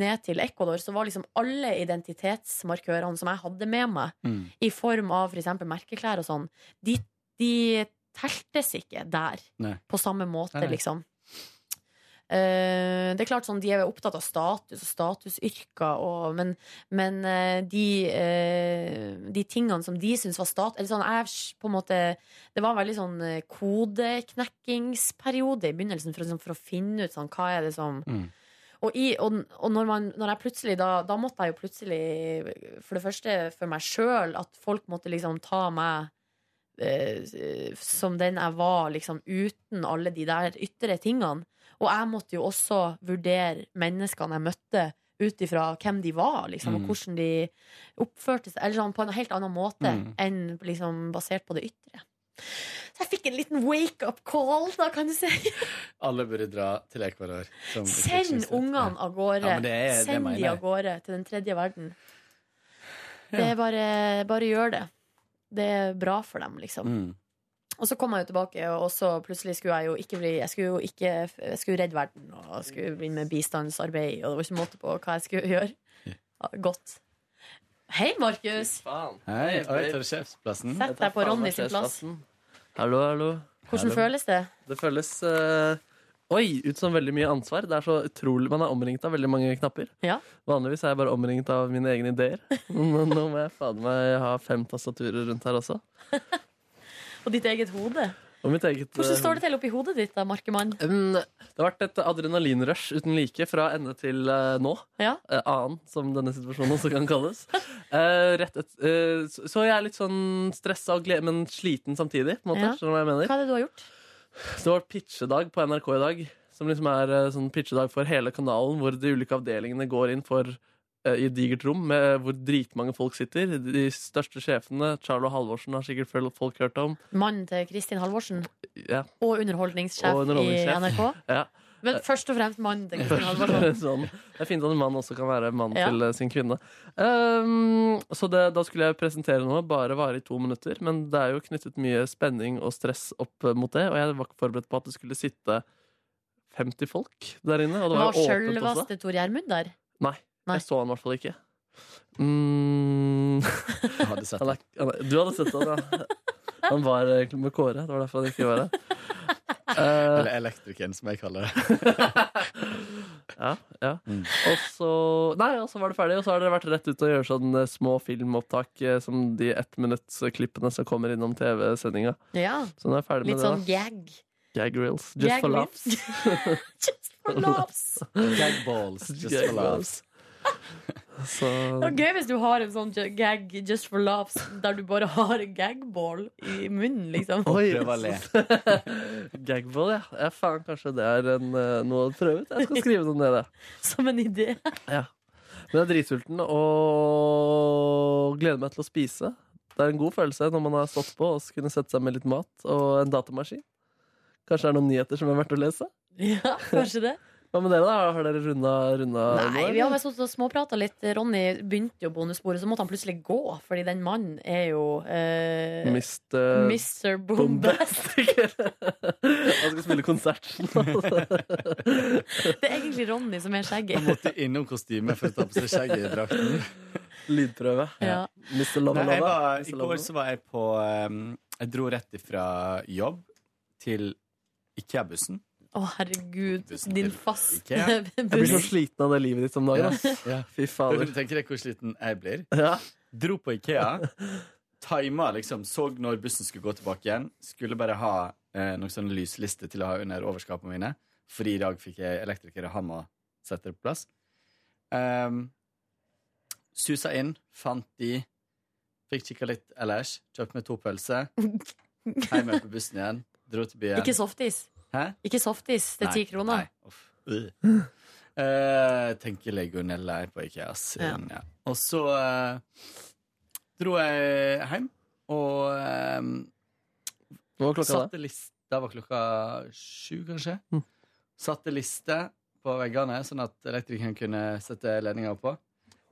ned til Ecuador, så var liksom alle identitetsmarkørene som jeg hadde med meg, Mm. i form av f.eks. merkeklær og sånn, de, de teltes ikke der Nei. på samme måte, Nei. liksom. Eh, det er klart sånn, De er jo opptatt av status og statusyrker, og, men, men eh, de, eh, de tingene som de syns var stat eller sånn, jeg, s- på en måte, Det var en veldig sånn eh, kodeknekkingsperiode i begynnelsen for, å liksom, for å finne ut sånn, hva er det som og, i, og, og når, man, når jeg plutselig da, da måtte jeg jo plutselig For det første for meg sjøl At folk måtte liksom ta meg eh, Som den jeg var Liksom uten alle de der ytre tingene Og jeg måtte jo også Vurdere menneskene jeg møtte Ut ifra hvem de var liksom, Mm. Og hvordan de oppførte seg Eller sånn på en helt annen måte Mm. Enn liksom basert på det ytre Så jeg fikk en liten wake up call Da kan du si Alle burde dra til Ecuador. som Send utvekslingsstudent. ungene av gårde. Ja, men det er- det Send mener de av jeg. gårde til den tredje verden. Det er bare, bare gjør det. Det er bra for dem, liksom. Mm. Og så kom jeg jo tilbake, og så plutselig skulle jeg jo ikke bli Jeg skulle jo ikke Jeg skulle redde verden, og jeg skulle begynne med bistandsarbeid, og det var ikke måte på hva jeg skulle gjøre. Ja, Godt. Hei, Markus! Hei, oi, tar du sjefsplassen? Sett deg på Ronny sin plass. Hallo, hallo. Hvordan føles det? Det føles eh, Oi, ut som veldig mye ansvar. Det er så utrolig, Man er omringet av veldig mange knapper. Ja. Vanligvis er jeg bare omringet av mine egne ideer. Men nå må jeg fader meg ha fem tastaturer rundt her også. Og ditt eget hode? Og mitt eget eh, Hvordan står det til oppi hodet ditt, da, Markemann? Det har vært et adrenalinrush uten like fra ende til eh, nå. Ja. Eh, annen, som denne situasjonen også kan kalles. Eh, rett et, eh, så, så jeg er litt sånn stressa og gled, men sliten samtidig. På en måte, Ja. skjønner du hva jeg mener? Hva er det du har gjort? Det var pitchedag på NRK i dag, som liksom er eh, sånn pitchedag for hele kanalen, hvor de ulike avdelingene går inn for eh, i et digert rom med hvor dritmange folk sitter. De største sjefene, Charlo Halvorsen, har sikkert føl- folk hørt om. Mannen til Kristin Halvorsen? Ja. Og underholdningssjef, Og underholdningssjef. i NRK? Ja. Men først og fremst mannen. tenker jeg. sånn. Det er fint at en mann også kan være mann Ja. til eh, sin kvinne. Ehm, så det, da skulle jeg presentere noe. Bare vare i to minutter. Men det er jo knyttet mye spenning og stress opp eh, mot det, og jeg var ikke forberedt på at det skulle sitte 50 folk der inne. Og Det det var var jo åpent også. sjølveste Tor Gjermund der. Nei, Nei. jeg så han i hvert fall ikke. Mm. hadde sett han er, han er, du hadde sett han, ja. Han var egentlig med Kåre. Det var derfor han ikke var her. Eh, Eller elektrikeren, som jeg kaller det. ja, ja. Mm. Og så Nei, og så var det ferdig, og så har dere vært rett ut og gjøre sånne små filmopptak eh, som de ettminuttsklippene som kommer innom TV-sendinga. Ja. Så nå er jeg ferdig Litt med sånn det. gag. da. Gag reels. Just Gag for laughs. reels. Just for laughs. Gagballs, just Gag for laughs. Så Det var gøy hvis du har en sånn ju- gag just for laughs der du bare har en gagball i munnen, liksom. Oi. Prøv å le. Gagball, ja. ja. Faen, kanskje det er en, eh, noe å prøve ut. Jeg skal skrive det ned, det. Som en idé. Ja. Men jeg er dritsulten og gleder meg til å spise. Det er en god følelse når man har stått på og kunne sette seg med litt mat og en datamaskin. Kanskje det er noen nyheter som er verdt å lese? Ja, kanskje det. Hva med dere, da? Har dere runda, runda Nei, nå, vi har eller? bare stått og småprata litt. Ronny begynte jo bonussporet, så måtte han plutselig gå, fordi den mannen er jo eh, Mist, eh, Mr. Bombast. Bombastic. Han skal spille konsert. Det er egentlig Ronny som er Han skjegget. måtte innom kostymet for å ta på seg skjegget i drakten. Lydprøve. Ja. Mr. Lava Nei, jeg Lava. var, I Mr. Lava går Lava. så var jeg på ehm, Jeg dro rett ifra jobb til Ikea-bussen. Å, herregud. Tusen Din til faste Ikea. Jeg blir så buss. sliten av det livet ditt om dagen. ass. Ja. Fy Kan du fader. tenke deg hvor sliten jeg blir? Ja. Dro på Ikea. Tima liksom, så når bussen skulle gå tilbake igjen. Skulle bare ha eh, noen sånne lyslister til å ha under overskapene mine. Fordi i dag fikk jeg elektriker og han må sette det på plass. Ehm, susa inn, fant de. Fikk kikka litt ellers. Kjøpte meg to pølser. Hjem igjen på bussen igjen. Dro til byen. Ikke softis. Hæ? Ikke softis til ti Nei, kroner. nei. Uff. Øh. Eh, tenker legionella er på IKEA sin, ja. Og så eh, dro jeg hjem og eh, Hva var klokka da? satte liste Da var klokka sju, kanskje. Mm. Satte liste på veggene, sånn at elektrikeren kunne sette ledninga på.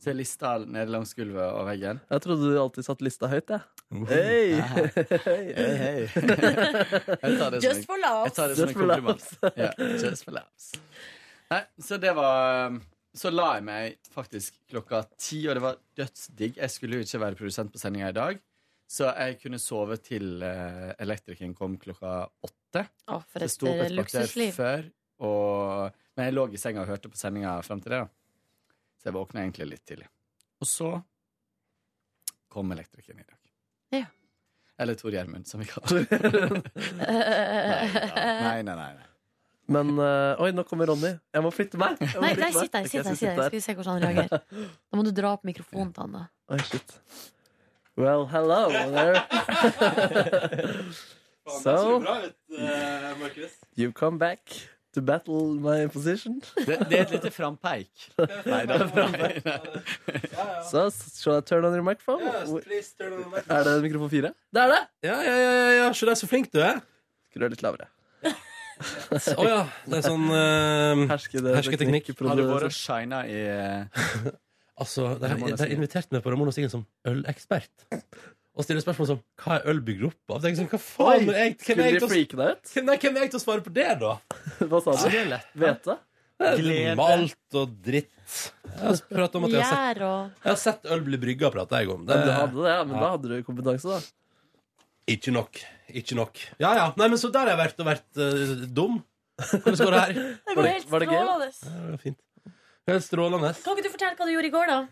Så jeg lista nede langs gulvet og veggen. Jeg trodde du alltid satt lista høyt, jeg. Hei! Hei, hei. Jeg tar det som Just en- for jeg laughs. tar det som en kompliment. Ja, just for laughs. Nei, så det var um, Så la jeg meg faktisk klokka ti, og det var dødsdigg. Jeg skulle jo ikke være produsent på sendinga i dag, så jeg kunne sove til eh, elektrikeren kom klokka åtte. Å, for Jeg sto opp et eh, et kvarter luksusliv. før, og, men jeg lå i senga og hørte på sendinga fram til det. da. Så jeg våkna egentlig litt tidlig. Og så kom elektrikeren i dag. Ja. Eller Tor Gjermund, som vi kaller ham. nei, nei, nei, nei. Men eh, oi, nå kommer Ronny. Jeg må flytte meg! Jeg må Nei, flytte nei, meg. sitt der. Ok, sitt jeg der, skal sitt der. Skal sitte vi se hvordan han reagerer. Da må du dra opp mikrofonen til han, da. Oi, shit. Well, hello there. so eh, You come back to battle my position. Det, det er et lite frampeik. Nei da. Nei, nei. So, shall I turn on your microphone? Er det mikrofon fire? Det er det! Ja, ja, ja, ja, ja. Se deg, så flink du er. Skru litt lavere. Å ja. Det er sånn eh, Herskede Hersketeknikk. Har du vært og produsent. shina i Altså, de har, de Ramona har Stigen. invitert meg på Ramona Stigen som ølekspert. Og stiller spørsmål som hva er øl bygd opp av? Tenker sånn, hva Oi, faen er jeg, hvem, Skulle er jeg de til å, freake deg ut? hvem, nei, hvem er jeg til å svare på det, da? Hva sa du? Hvete? Glede. Malt og dritt. Jeg har pratet om at jeg har sett, Gjær og jeg har sett øl bli brygga, prater jeg om. Det Men du er hadde det, Eh, ja. Men da hadde du kompetanse, da. ikke nok. Ikke nok. Ja, ja. Nei, men så der har jeg vært og vært eh, dum. Hvordan går det her? Var Det går det- helt var det gøy, da? strålende. Ja, det var fint. Helt strålende. Kan ikke du fortelle hva du gjorde i går, da?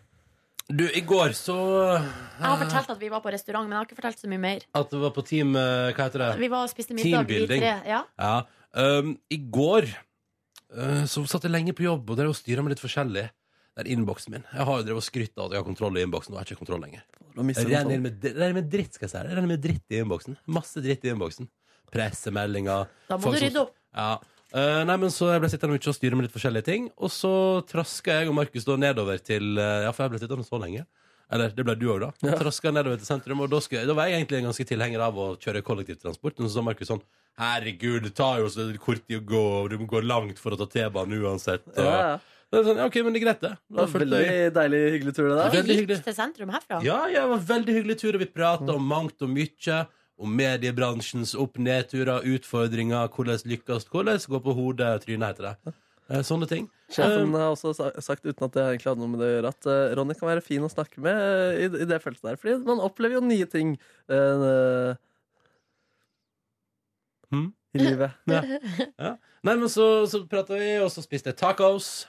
Du, i går så Jeg har fortalt at vi var på restaurant, men jeg har ikke fortalt så mye mer. At det var på team eh, Hva heter det? Vi var og spiste middag, vi Teambuilding. tre. Ja. Ja. Um, I går eh, så satt jeg lenge på jobb og drev og styra med litt forskjellig. Det er innboksen min. Jeg har jo drevet og skrytt av at jeg har kontroll i innboksen. Og jeg har ikke kontroll lenger. Nå mister Jeg du sånn. renner med, det renner med dritt, skal jeg si. Det renner med dritt i innboksen. Masse dritt i innboksen. Pressemeldinger. Da må folk du som- rydde opp. Ja. Eh, nei, men så Jeg ble sittende mye og styre med litt forskjellige ting. Og så traska jeg og Markus da nedover til eh, Ja, for jeg ble sittende så lenge. Eller det ble du òg, da. Ja. Traska nedover til sentrum. Og da, skulle, jeg- da var jeg egentlig en ganske tilhenger av å kjøre kollektivtransport. Men så sa Markus sånn Herregud, det tar jo så kort tid å gå, og du må gå langt for å ta T-banen uansett. Og, Ja, ja. Det er sånn, ja, ok, men det er greit, det. Da Det var fulgte jeg- veldig deilig, hyggelig tur, det Og der. vi gikk til sentrum herfra. ja, ja, det var en veldig hyggelig tur, og vi prata om mangt og mye. Om mediebransjens opp- og nedturer, utfordringer, hvordan lykkes, hvordan gå på hodet, trynet, heter det. Eh, Sånne ting. Sjefen har også sa- sagt, uten at det egentlig hadde noe med det å gjøre, at eh, Ronny kan være fin å snakke med eh, i, i det feltet der. Fordi man opplever jo nye ting eh, Hmm? i livet. Ja. Ja. Nei, men så, så prata vi, og så spiste jeg tacos.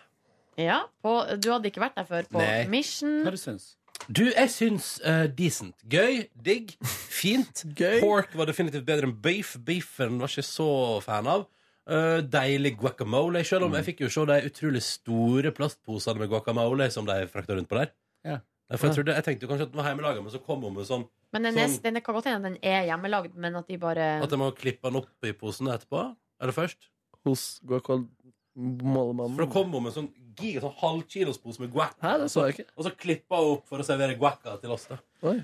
Ja, på, du hadde ikke vært der før på Nei. Mission. du syns? Du, jeg syns eh, decent. Gøy, digg, fint. Gøy. Pork var definitivt bedre enn beef. Beefen var ikke så fan av. Eh, deilig guacamole. Selv om jeg fikk jo se de utrolig store plastposene med guacamole som de frakta rundt på der. Ja. For jeg, trodde, jeg tenkte jo kanskje at den var hjemmelaga, men så kom hun med sånn Men den, er, Sånn. den kan godt hende den er hjemmelagd, men at de bare at jeg må klippe den opp i posen etterpå. Eller først. Hos Guacol For da Målemannen. kom hun med en sånn giga sånn halvkilospose med guac. Hæ, det så jeg ikke. Og så klippa hun opp for å servere guacca til oss. da Oi.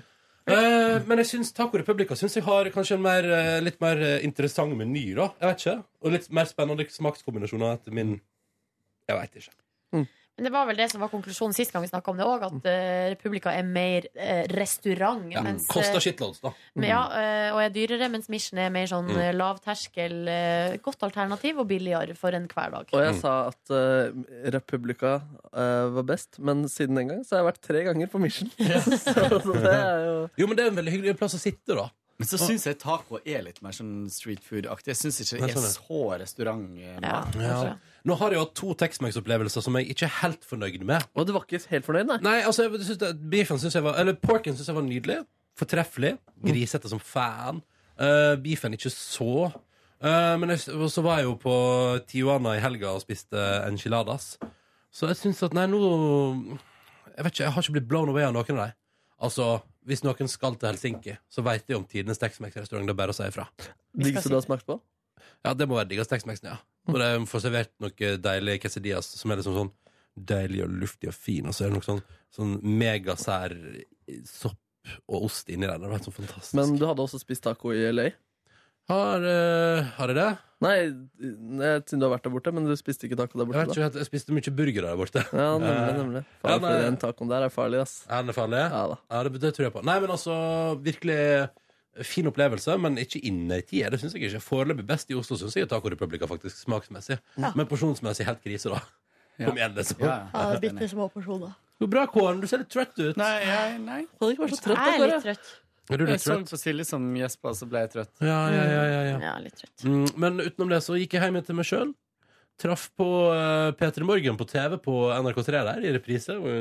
Eh, men jeg syns Taco Republica synes jeg har kanskje en mer, eh, litt mer eh, interessant meny. da Jeg vet ikke Og litt mer spennende smakskombinasjoner etter min Jeg veit ikke. Men det var vel det som var konklusjonen sist gang vi snakka om det òg, at eh, Republica er mer eh, restaurant. Ja. mens, eh, Mm. Koster shitloads, da. men, ja, eh, og er dyrere, mens Mission er mer sånn Mm. eh, lavterskel, eh, godt alternativ og billigere for en hverdag. Og jeg sa at eh, Republica eh, var best, men siden den gang så har jeg vært tre ganger på Mission. så, så det er jo Jo, men det er en veldig hyggelig plass å sitte, da. Men så syns jeg taco er litt mer sånn street food-aktig. Jeg syns ikke det Jeg sånn er skjønner. så eh, restaurantmat. kanskje. Nå har jeg hatt to Tex-Mex-opplevelser som jeg ikke er helt fornøyd med. Og du var ikke helt fornøyd, nei? Nei, altså, jeg synes det, beefen synes jeg var Eller porken synes jeg var nydelig Fortreffelig Grisete som fan Eh, Beefen ikke så Eh, Men jeg, og så var jeg jo på Tijuana i helga Og spiste enchiladas Så jeg synes at, nei, nå Jeg vet ikke, jeg har ikke blitt blown away av noen av deg Altså, hvis noen skal til Helsinki Så vet de om tidenes Tex-Mex-restaurant Det er bare å si ifra Diggeste du har smakt på? Ja, det må være diggast Tex-Mexen, ja Mm. Og det er- får servert noe deilig quesadillas Som er liksom sånn deilig og luftig og fin Og så er det noe sånn, sånn megasær sopp og ost inni der Det har vært sånn fantastisk Men du hadde også spist taco i LA? Har, eh, har jeg det? Nei, jeg siden du har vært der borte, men du spiste ikke taco der Jeg borte. vet da. ikke, helt, jeg spiste mye burger der borte Ja, nemlig, Eh, nemlig. ja, Faen, nei. for den tacoen der er farlig, ass. Er den farlig? Ja da. Ja, det, det tror jeg på Nei, men altså, virkelig eh, fin opplevelse Men ikke innertid, det synes jeg ikke Foreløpig best i Oslo synes jeg Taco Republica faktisk, smaksmessig Men porsjonsmessig helt krise da Kom igjen, liksom Ja. Ja, Bitte små porsjoner. Jo, Bra, Kåren, du ser litt trøtt ut Nei, jeg, nei. Kan ikke være så trøtt, Jeg er da, litt Kåre. trøtt. Er du Jeg litt så trøtt? på Silje som gjespa, og så ble jeg trøtt. Ja, ja, ja, ja, ja. Ja, litt trøtt. Mm, men utenom det så gikk jeg hjem til meg sjøl. Traff på uh, P3 Morgen på TV på NRK3 der, i reprise. Og- Og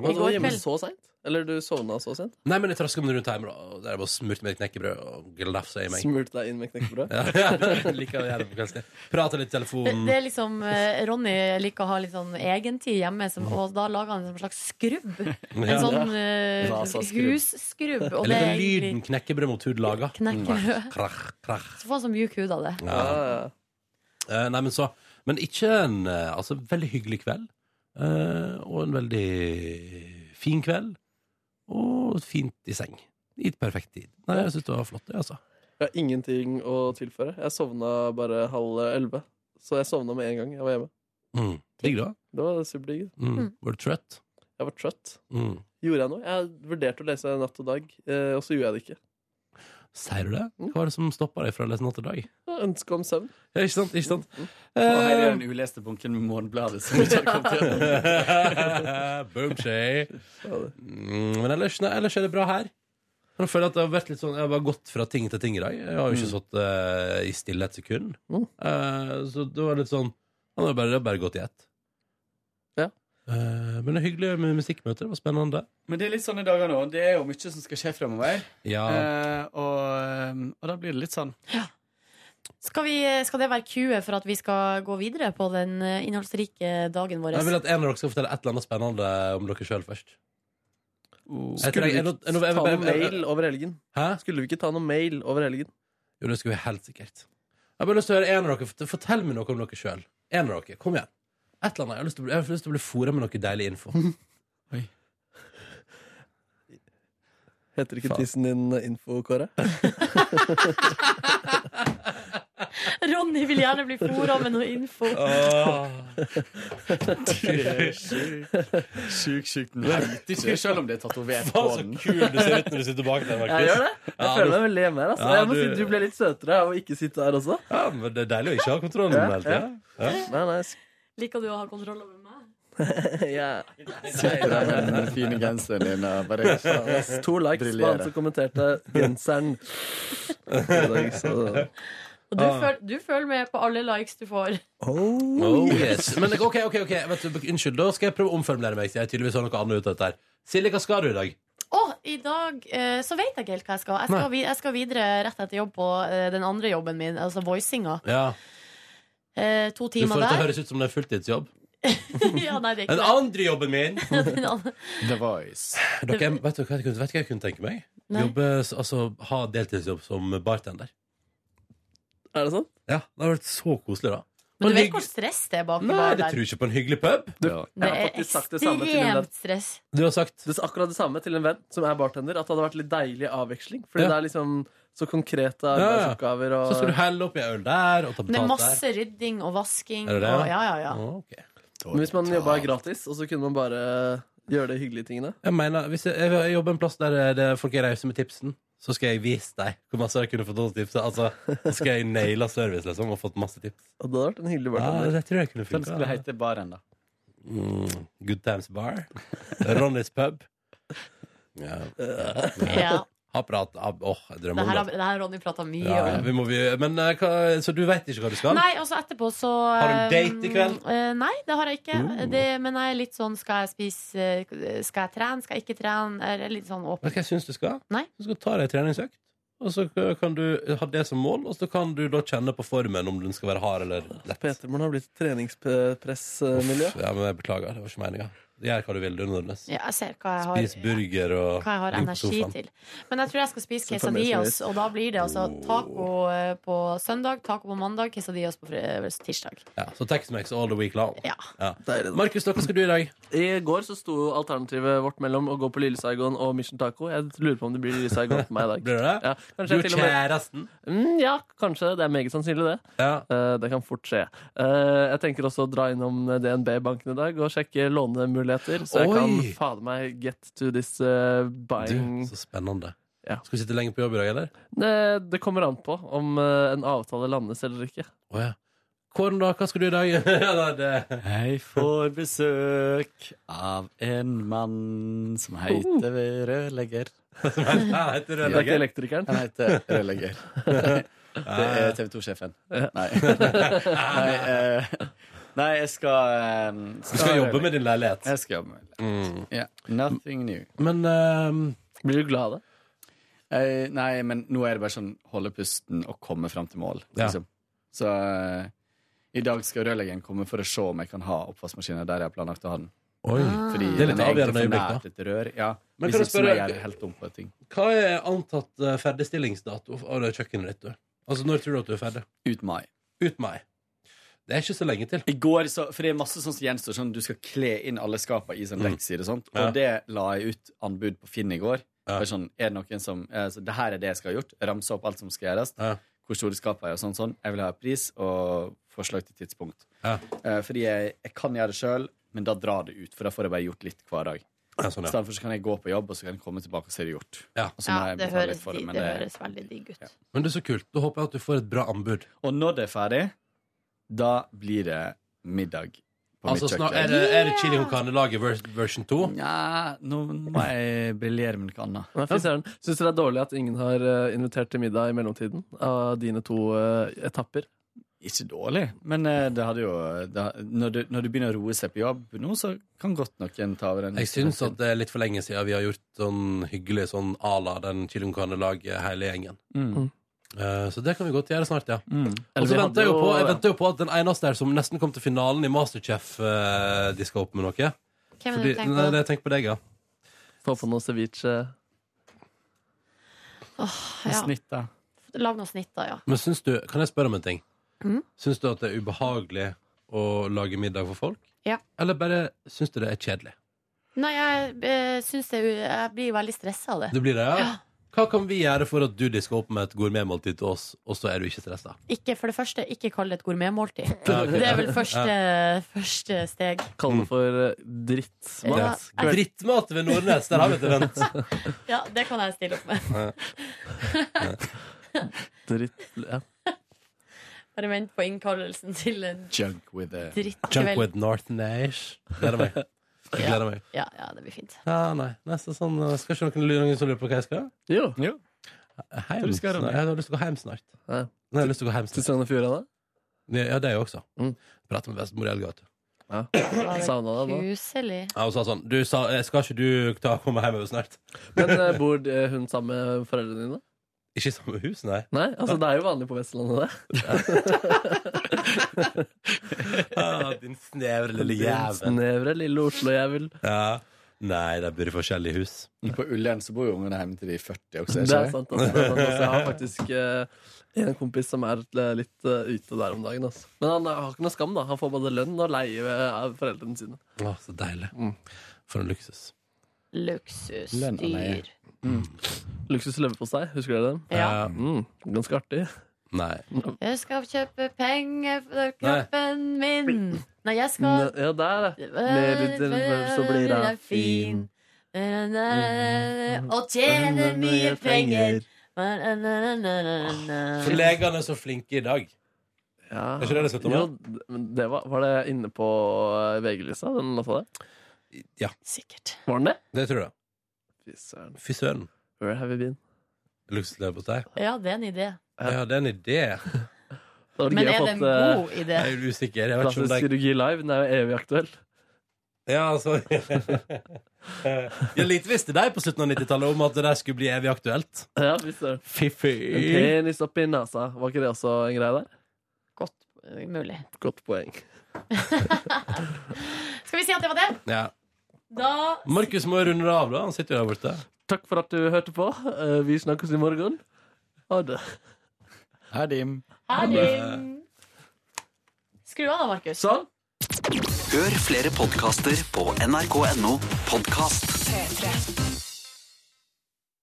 du var I går hjemme kveld. så seint? Eller du sovna så seint? Nei, men jeg traska meg rundt hjemme, da. og Der jeg bare smurte meg et knekkebrød og glafsa i meg. Smurte deg inn med knekkebrød? Ja, ja, liker å gjøre det på kveldstid. Prata litt i telefonen. Det er liksom, eh, Ronny liker å ha litt sånn egentid hjemme, som, Mm. og da lager han en sånn slags skrubb. En Ja. sånn eh, Vasaskrubb. husskrubb. Og det Eller er den egentlig lyden knekkebrød mot hud laga. knekkebrød. Krach, krach. Så får han så mjuk hud av det. Ja. Ja. ja. Eh, nei, men så Men ikke en eh, Altså, veldig hyggelig kveld. eh, og en veldig fin kveld. Og fint i seng. I et perfekt tid. Nei, jeg syns det var flott, det, altså. Jeg har ingenting å tilføre. Jeg sovna bare halv elleve. Så jeg sovna med en gang jeg var hjemme. Mm. Digg, da. Det var superdigg. Mm. Mm. Var du trøtt? Jeg var trøtt. Mm. Gjorde jeg noe? Jeg vurderte å lese Natt og dag, eh, og så gjorde jeg det ikke. Sier du det? Mm. Hva var det som stoppa deg fra å lese Natt og dag? Ønske om søvn. Ja, ikke sant? Ikke sant? Eh, Og her er den uleste bunken med Morgenbladet. Som ikke har kommet til. Boom, shay. Ja, det. Mm, men ellers, nei, ellers er det bra her. Men Jeg føler at det har vært litt sånn Jeg har bare gått fra ting til ting i dag. Jeg har jo ikke sittet eh, i stille et sekund. Mm. Eh, så det var litt sånn Han har bare, det har bare gått i ett. Ja. Eh, Eh, men det er hyggelig med musikkmøter. Det var spennende. Men det er litt sånn i dager nå. Det er jo mye som skal skje fremover. Ja. Eh, og, og da blir det litt sånn Skal, vi, eh, skal det være cue for at vi skal gå videre på den eh, innholdsrike dagen vår? Jeg vil at en av dere skal fortelle et eller annet spennende om dere sjøl først. Jeg Skulle vi trenger- ikke jeg- jeg- jeg- ta jeg- noe jeg- jeg- mail over helgen? Hæ? Skulle vi ikke ta noe mail over helgen? Jo, det skulle vi helt sikkert. Jeg har bare lyst til å høre en av dere Fort- Fortell meg noe om dere sjøl. En av dere. Kom igjen. Et eller annet. Jeg har lyst til å bli, jeg har lyst til å bli fora med noe deilig info. Heter ikke Faen. tissen din info, Kåre? Ronny vil gjerne bli fora med noe info. Sjukt, sjukt nerdy. Selv om det er tatovert på Faen, så den. kul du ser ut når du sitter bak der, Markus. Jeg gjør det. Jeg Ja, føler du- meg veldig hjemme her. Altså. Ja, jeg må du- si Du ble litt søtere av å ikke sitte her også. Ja, men det er deilig å ikke ha kontrollen Ja, hele tiden. ja. Ja. Nei, nei, sk- Liker du å ha kontroll over meg? ja. Sitter der med den fine genseren din og bare To likes på han som kommenterte genseren. I dag, så- Ah. Og du, føl, du følger med på alle likes du får. Oh, yes. Men OK, OK. ok Vet du, Unnskyld, da skal jeg prøve å omformulere meg. Jeg tydeligvis har noe annet ut av dette her. Silje, hva skal du i dag? Og i dag eh, så vet jeg ikke helt hva jeg skal. Jeg skal, Nei. vi- jeg skal videre rett etter jobb på eh, den andre jobben min, altså voicinga. Ja, Eh, to Du får timer det til å der. høres ut som det er fulltidsjobb. ja, nei, det er ikke Den det. andre jobben min! Den andre- The Voice. Dere, vet du hva jeg kunne, vet du hva jeg kunne tenke meg? Nei. Jobbe, altså, ha deltidsjobb som bartender. Er det sånn? Ja, Det hadde vært så koselig, da. Men du Og vet hygg- hvor stress det er bak i Nei, baren det der. tror jeg ikke på en hyggelig pub. Jeg Det har er faktisk sagt det samme til en venn. ekstremt stress. Du har sagt Det er akkurat det samme til en venn som er bartender. At det hadde vært litt deilig avveksling. Fordi Ja. det er liksom så konkrete ja. arbeidsoppgaver. Og... Så skal du helle oppi øl der og ta Det er betalt der. masse rydding og vasking. Er det Mm. det? Og, ja, ja, ja. Å, ok. Men hvis man jobba gratis, og så kunne man bare gjøre de hyggelige tingene Jeg mener, hvis jeg, jeg, jeg jobber en plass der det er folk er rause med tipsen, så skal jeg vise deg hvor masse jeg kunne fått av tipset. Altså, så skal jeg naile service, liksom, og fått masse tips. Og det hadde vært en hyggelig Ja, bartender. det tror jeg kunne Den skulle funka. hete Baren, da. Mm, good Times Bar. Ronnys pub. Ja. ja. Ha prat. ha- Åh, jeg Det drømmer her om har det. det her har Ronny prata mye Ja, ja, om. vi må, vi, men eh, hva, Så du veit ikke hva du skal? Nei, og så etterpå så Har du date i kveld? eh, eh, Nei, det har jeg ikke. Mm. Det, men jeg er litt sånn skal jeg spise eh, Skal jeg trene, skal jeg ikke trene? Jeg er litt sånn åpen. Vet du hva jeg syns du skal? Nei. Du skal ta deg en treningsøkt. Og så kan du ha det som mål, og så kan du da kjenne på formen om den skal være hard eller lett. Petermoren har blitt et treningspressmiljø. Uff, Ja, men jeg Beklager, det var ikke meninga. Gjør hva du vil, du, Nordnes. Ja, jeg ser hva jeg har, Spis burger og hva jeg har ligg på energi sofaen. til. Men jeg tror jeg skal spise Så tar vi det som quesadillas, og da blir det Oh. altså taco eh, på søndag, taco på mandag, quesadillas på fre- eh, tirsdag. Ja, så Tex-Mex all the week long. Ja. Deilig, da. Markus, da, hva skal du i dag? I går så sto alternativet vårt mellom å gå på Lille Saigon og Mission Taco. Jeg lurer på om det blir Lille Saigon for meg i dag. Blir det det? Ja, Du og kanskje jeg til og med kjæresten? mm, Ja, kanskje. Det er meget sannsynlig, det. Ja. Eh, Det kan fort skje. Eh, Jeg tenker også å dra innom DNB-banken i dag og sjekke lånemuligheter, så jeg Oi! kan fader meg get to this eh, Du, buying så spennende. Ja. Skal du sitte lenge på jobb i dag, eller? det, det kommer an på om eh, en avtale landes eller ikke. Å ja. Kåren, da? Hva skal du i dag? ja, det. Jeg får besøk av en mann som heter rørlegger. Ja, heter Det det er ikke Norge? elektrikeren. Han heter rørlegger. Det er TV 2-sjefen. Nei. Nei, eh, nei, jeg skal, eh, Du skal jobbe med din leilighet. Jeg skal jobbe med det. Mm. Ja, Nothing new. Men ehm, Blir du glad av det? Eh, nei, men nå er det bare sånn holde pusten og komme fram til mål. Ja. Liksom. Så eh, i dag skal rørleggeren komme for å se om jeg kan ha oppvaskmaskinen der jeg har planlagt å ha den. Oi. Det er Fordi litt den egentlig avgjørende for øyeblikk, da. nært et rør. Ja. Men kan jeg Hvis ikke så må spørre- jeg gjøre helt om på ting. Hva er antatt eh, ferdigstillingsdato av det kjøkkenet ditt? du? Altså, Når tror du at du er ferdig? Ut mai. Ut meg. Det er ikke så lenge til. I går, så, for det er masse sånt som gjenstår, sånn du skal kle inn alle skapene i sånn Mm. leksier og sånt. Og Ja. det la jeg ut anbud på Finn i går. Ja. Bare sånn, er det noen som eh, så Det her er det jeg skal ha gjort. Ramse opp alt som skal gjøres. Ja. Hvor store skapene er og sånn. sånn. Jeg vil ha pris og forslag til tidspunkt. Ja. Eh, fordi jeg, jeg kan gjøre det sjøl, men da drar det ut. For da får jeg bare gjort litt hver dag. Ja, sånn, I ja. stedet for så kan jeg gå på jobb, og så kan jeg komme tilbake og se det gjort. Ja. Og så må Ja, jeg det betale litt høres, for di- men det det- høres veldig digg ut. Men det er så kult. Da håper jeg at du får et bra anbud. Og når det er ferdig, da blir det middag på Altså, mitt snart, kjøkken. er, det, er det chili con carne-laget vers, version 2? Nja, nå må jeg briljere med noe annet. Nei, fy søren. Syns dere det er dårlig at ingen har eh, invitert til middag i mellomtiden? Av dine to eh, etapper? Ikke dårlig, men eh, det hadde jo det, når, du, når du begynner å roe seg på jobb nå, så kan godt noen ta over den. Jeg syns at det er litt for lenge siden vi har gjort sånn hyggelig sånn à la den chili con carne-laget hele gjengen. mm. Eh, så det kan vi godt gjøre snart, ja. Mm. Og Eller så vi venter hadde jeg jo på, jeg jo- venter jo på at den eneste her som nesten kom til finalen i Masterchef, uh, de skal opp med noe. Hvem er Fordi, nei, det du tenker på? det- tenk på deg, ja. Få på noe ceviche. Ja, Snitt, da. lag noe snitt, da, ja. Men syns du, kan jeg spørre om en ting? Mhm. Syns du at det er ubehagelig å lage middag for folk? Ja. Eller bare syns du det er kjedelig? Nei, jeg eh, syns det Jeg blir veldig stressa av det. Du blir det, ja? Hva kan vi gjøre for at du disker opp med et gourmetmåltid til oss, og så er du ikke stressa? Ikke, for det første, ikke kall det et gourmetmåltid. Ja, ok. Det er vel første, første steg. Kall Mm. det for eh, drittmat. Ja. Kveld- Drittmat ved Nordnes, der har vi et event. Ja, det kan jeg stille opp med. Dritt ja. Bare vent på innkallelsen til en Junk with, a- Drittkveld. Junk with North Nash. Gleder meg. Jeg gleder meg. Ja, ja, det blir fint. Ja, nei. Neste sånn eh, Skal ikke noen lure noen som lurer på hva jeg skal? Jo. Heim. Hva du skal snart. gjøre, Ronny? Jeg har lyst til å gå hjem snart. Nei, jeg har lyst til å gå hjem Til Sogn og Fjordane? Ja, det også. Prate med bestemor i helga, vet du. Savna deg da. Kuselig. Ja, hun sa sånn du sa, eh, Skal ikke du ta komme hjemover snart? Men eh, bor eh, hun sammen med foreldrene dine? Ikke i samme hus, nei. Nei, altså det er jo vanlig på Vestlandet, det. Ah, Din snevre lille Din jævel. Snevre lille Oslo-jævel. Ja. Nei, de bor i forskjellige hus. På Ullern så bor jo ungene hjemme til de er 40 også. Det er sant. Altså, det er sant altså. Jeg har faktisk eh, en kompis som er eh, litt eh, ute der om dagen. Altså. Men han eh, har ikke noe skam, da. Han får både lønn og leie eh, av foreldrene sine. Å, så deilig. For en luksus. Lønn og leie. Luksusdyr. Mm. Luksus leverpostei, husker dere den? Ja. Mm. Ganske artig. Eh, Nei. Jeg skal kjøpe penger for kroppen min. Nei, jeg skal Ja, der, ja. Med litt nerv så blir jeg fin. Mm, Og tjene mye penger. For legene er så flinke i dag. Ja. Er ikke det det skal ta med? Jo, d- men det var, var det inne på eh, VG-lista, den låta der? Ja. Sikkert. Var den det? Det tror jeg. Fy søren. Fy søren. Where have you been? Luksusleverpostei. Ja, det er en idé. Ja, det er en idé. Det hadde vært Men gøy å er det fått, en eh, god idé? Jeg er usikker. Jeg vet ikke om Plastisk det er kirurgi live, den er jo evig aktuell. Ja, altså Jeg lite visste de på slutten av 90-tallet om at det der skulle bli evig aktuelt. Ja, visst er det. En Fiffi. penis oppi nesa. Var ikke det også en greie der? Godt eh, mulig. Godt poeng. Skal vi si at det var det? Ja. Da Markus må jo runde det av, da. Han sitter jo der borte. Takk for at du hørte på. Eh, Vi snakkes i morgen. Ha det. Her, Dim. Ha det. Skru av da, Markus. Sånn. Hør flere podkaster på nrk.no podkast.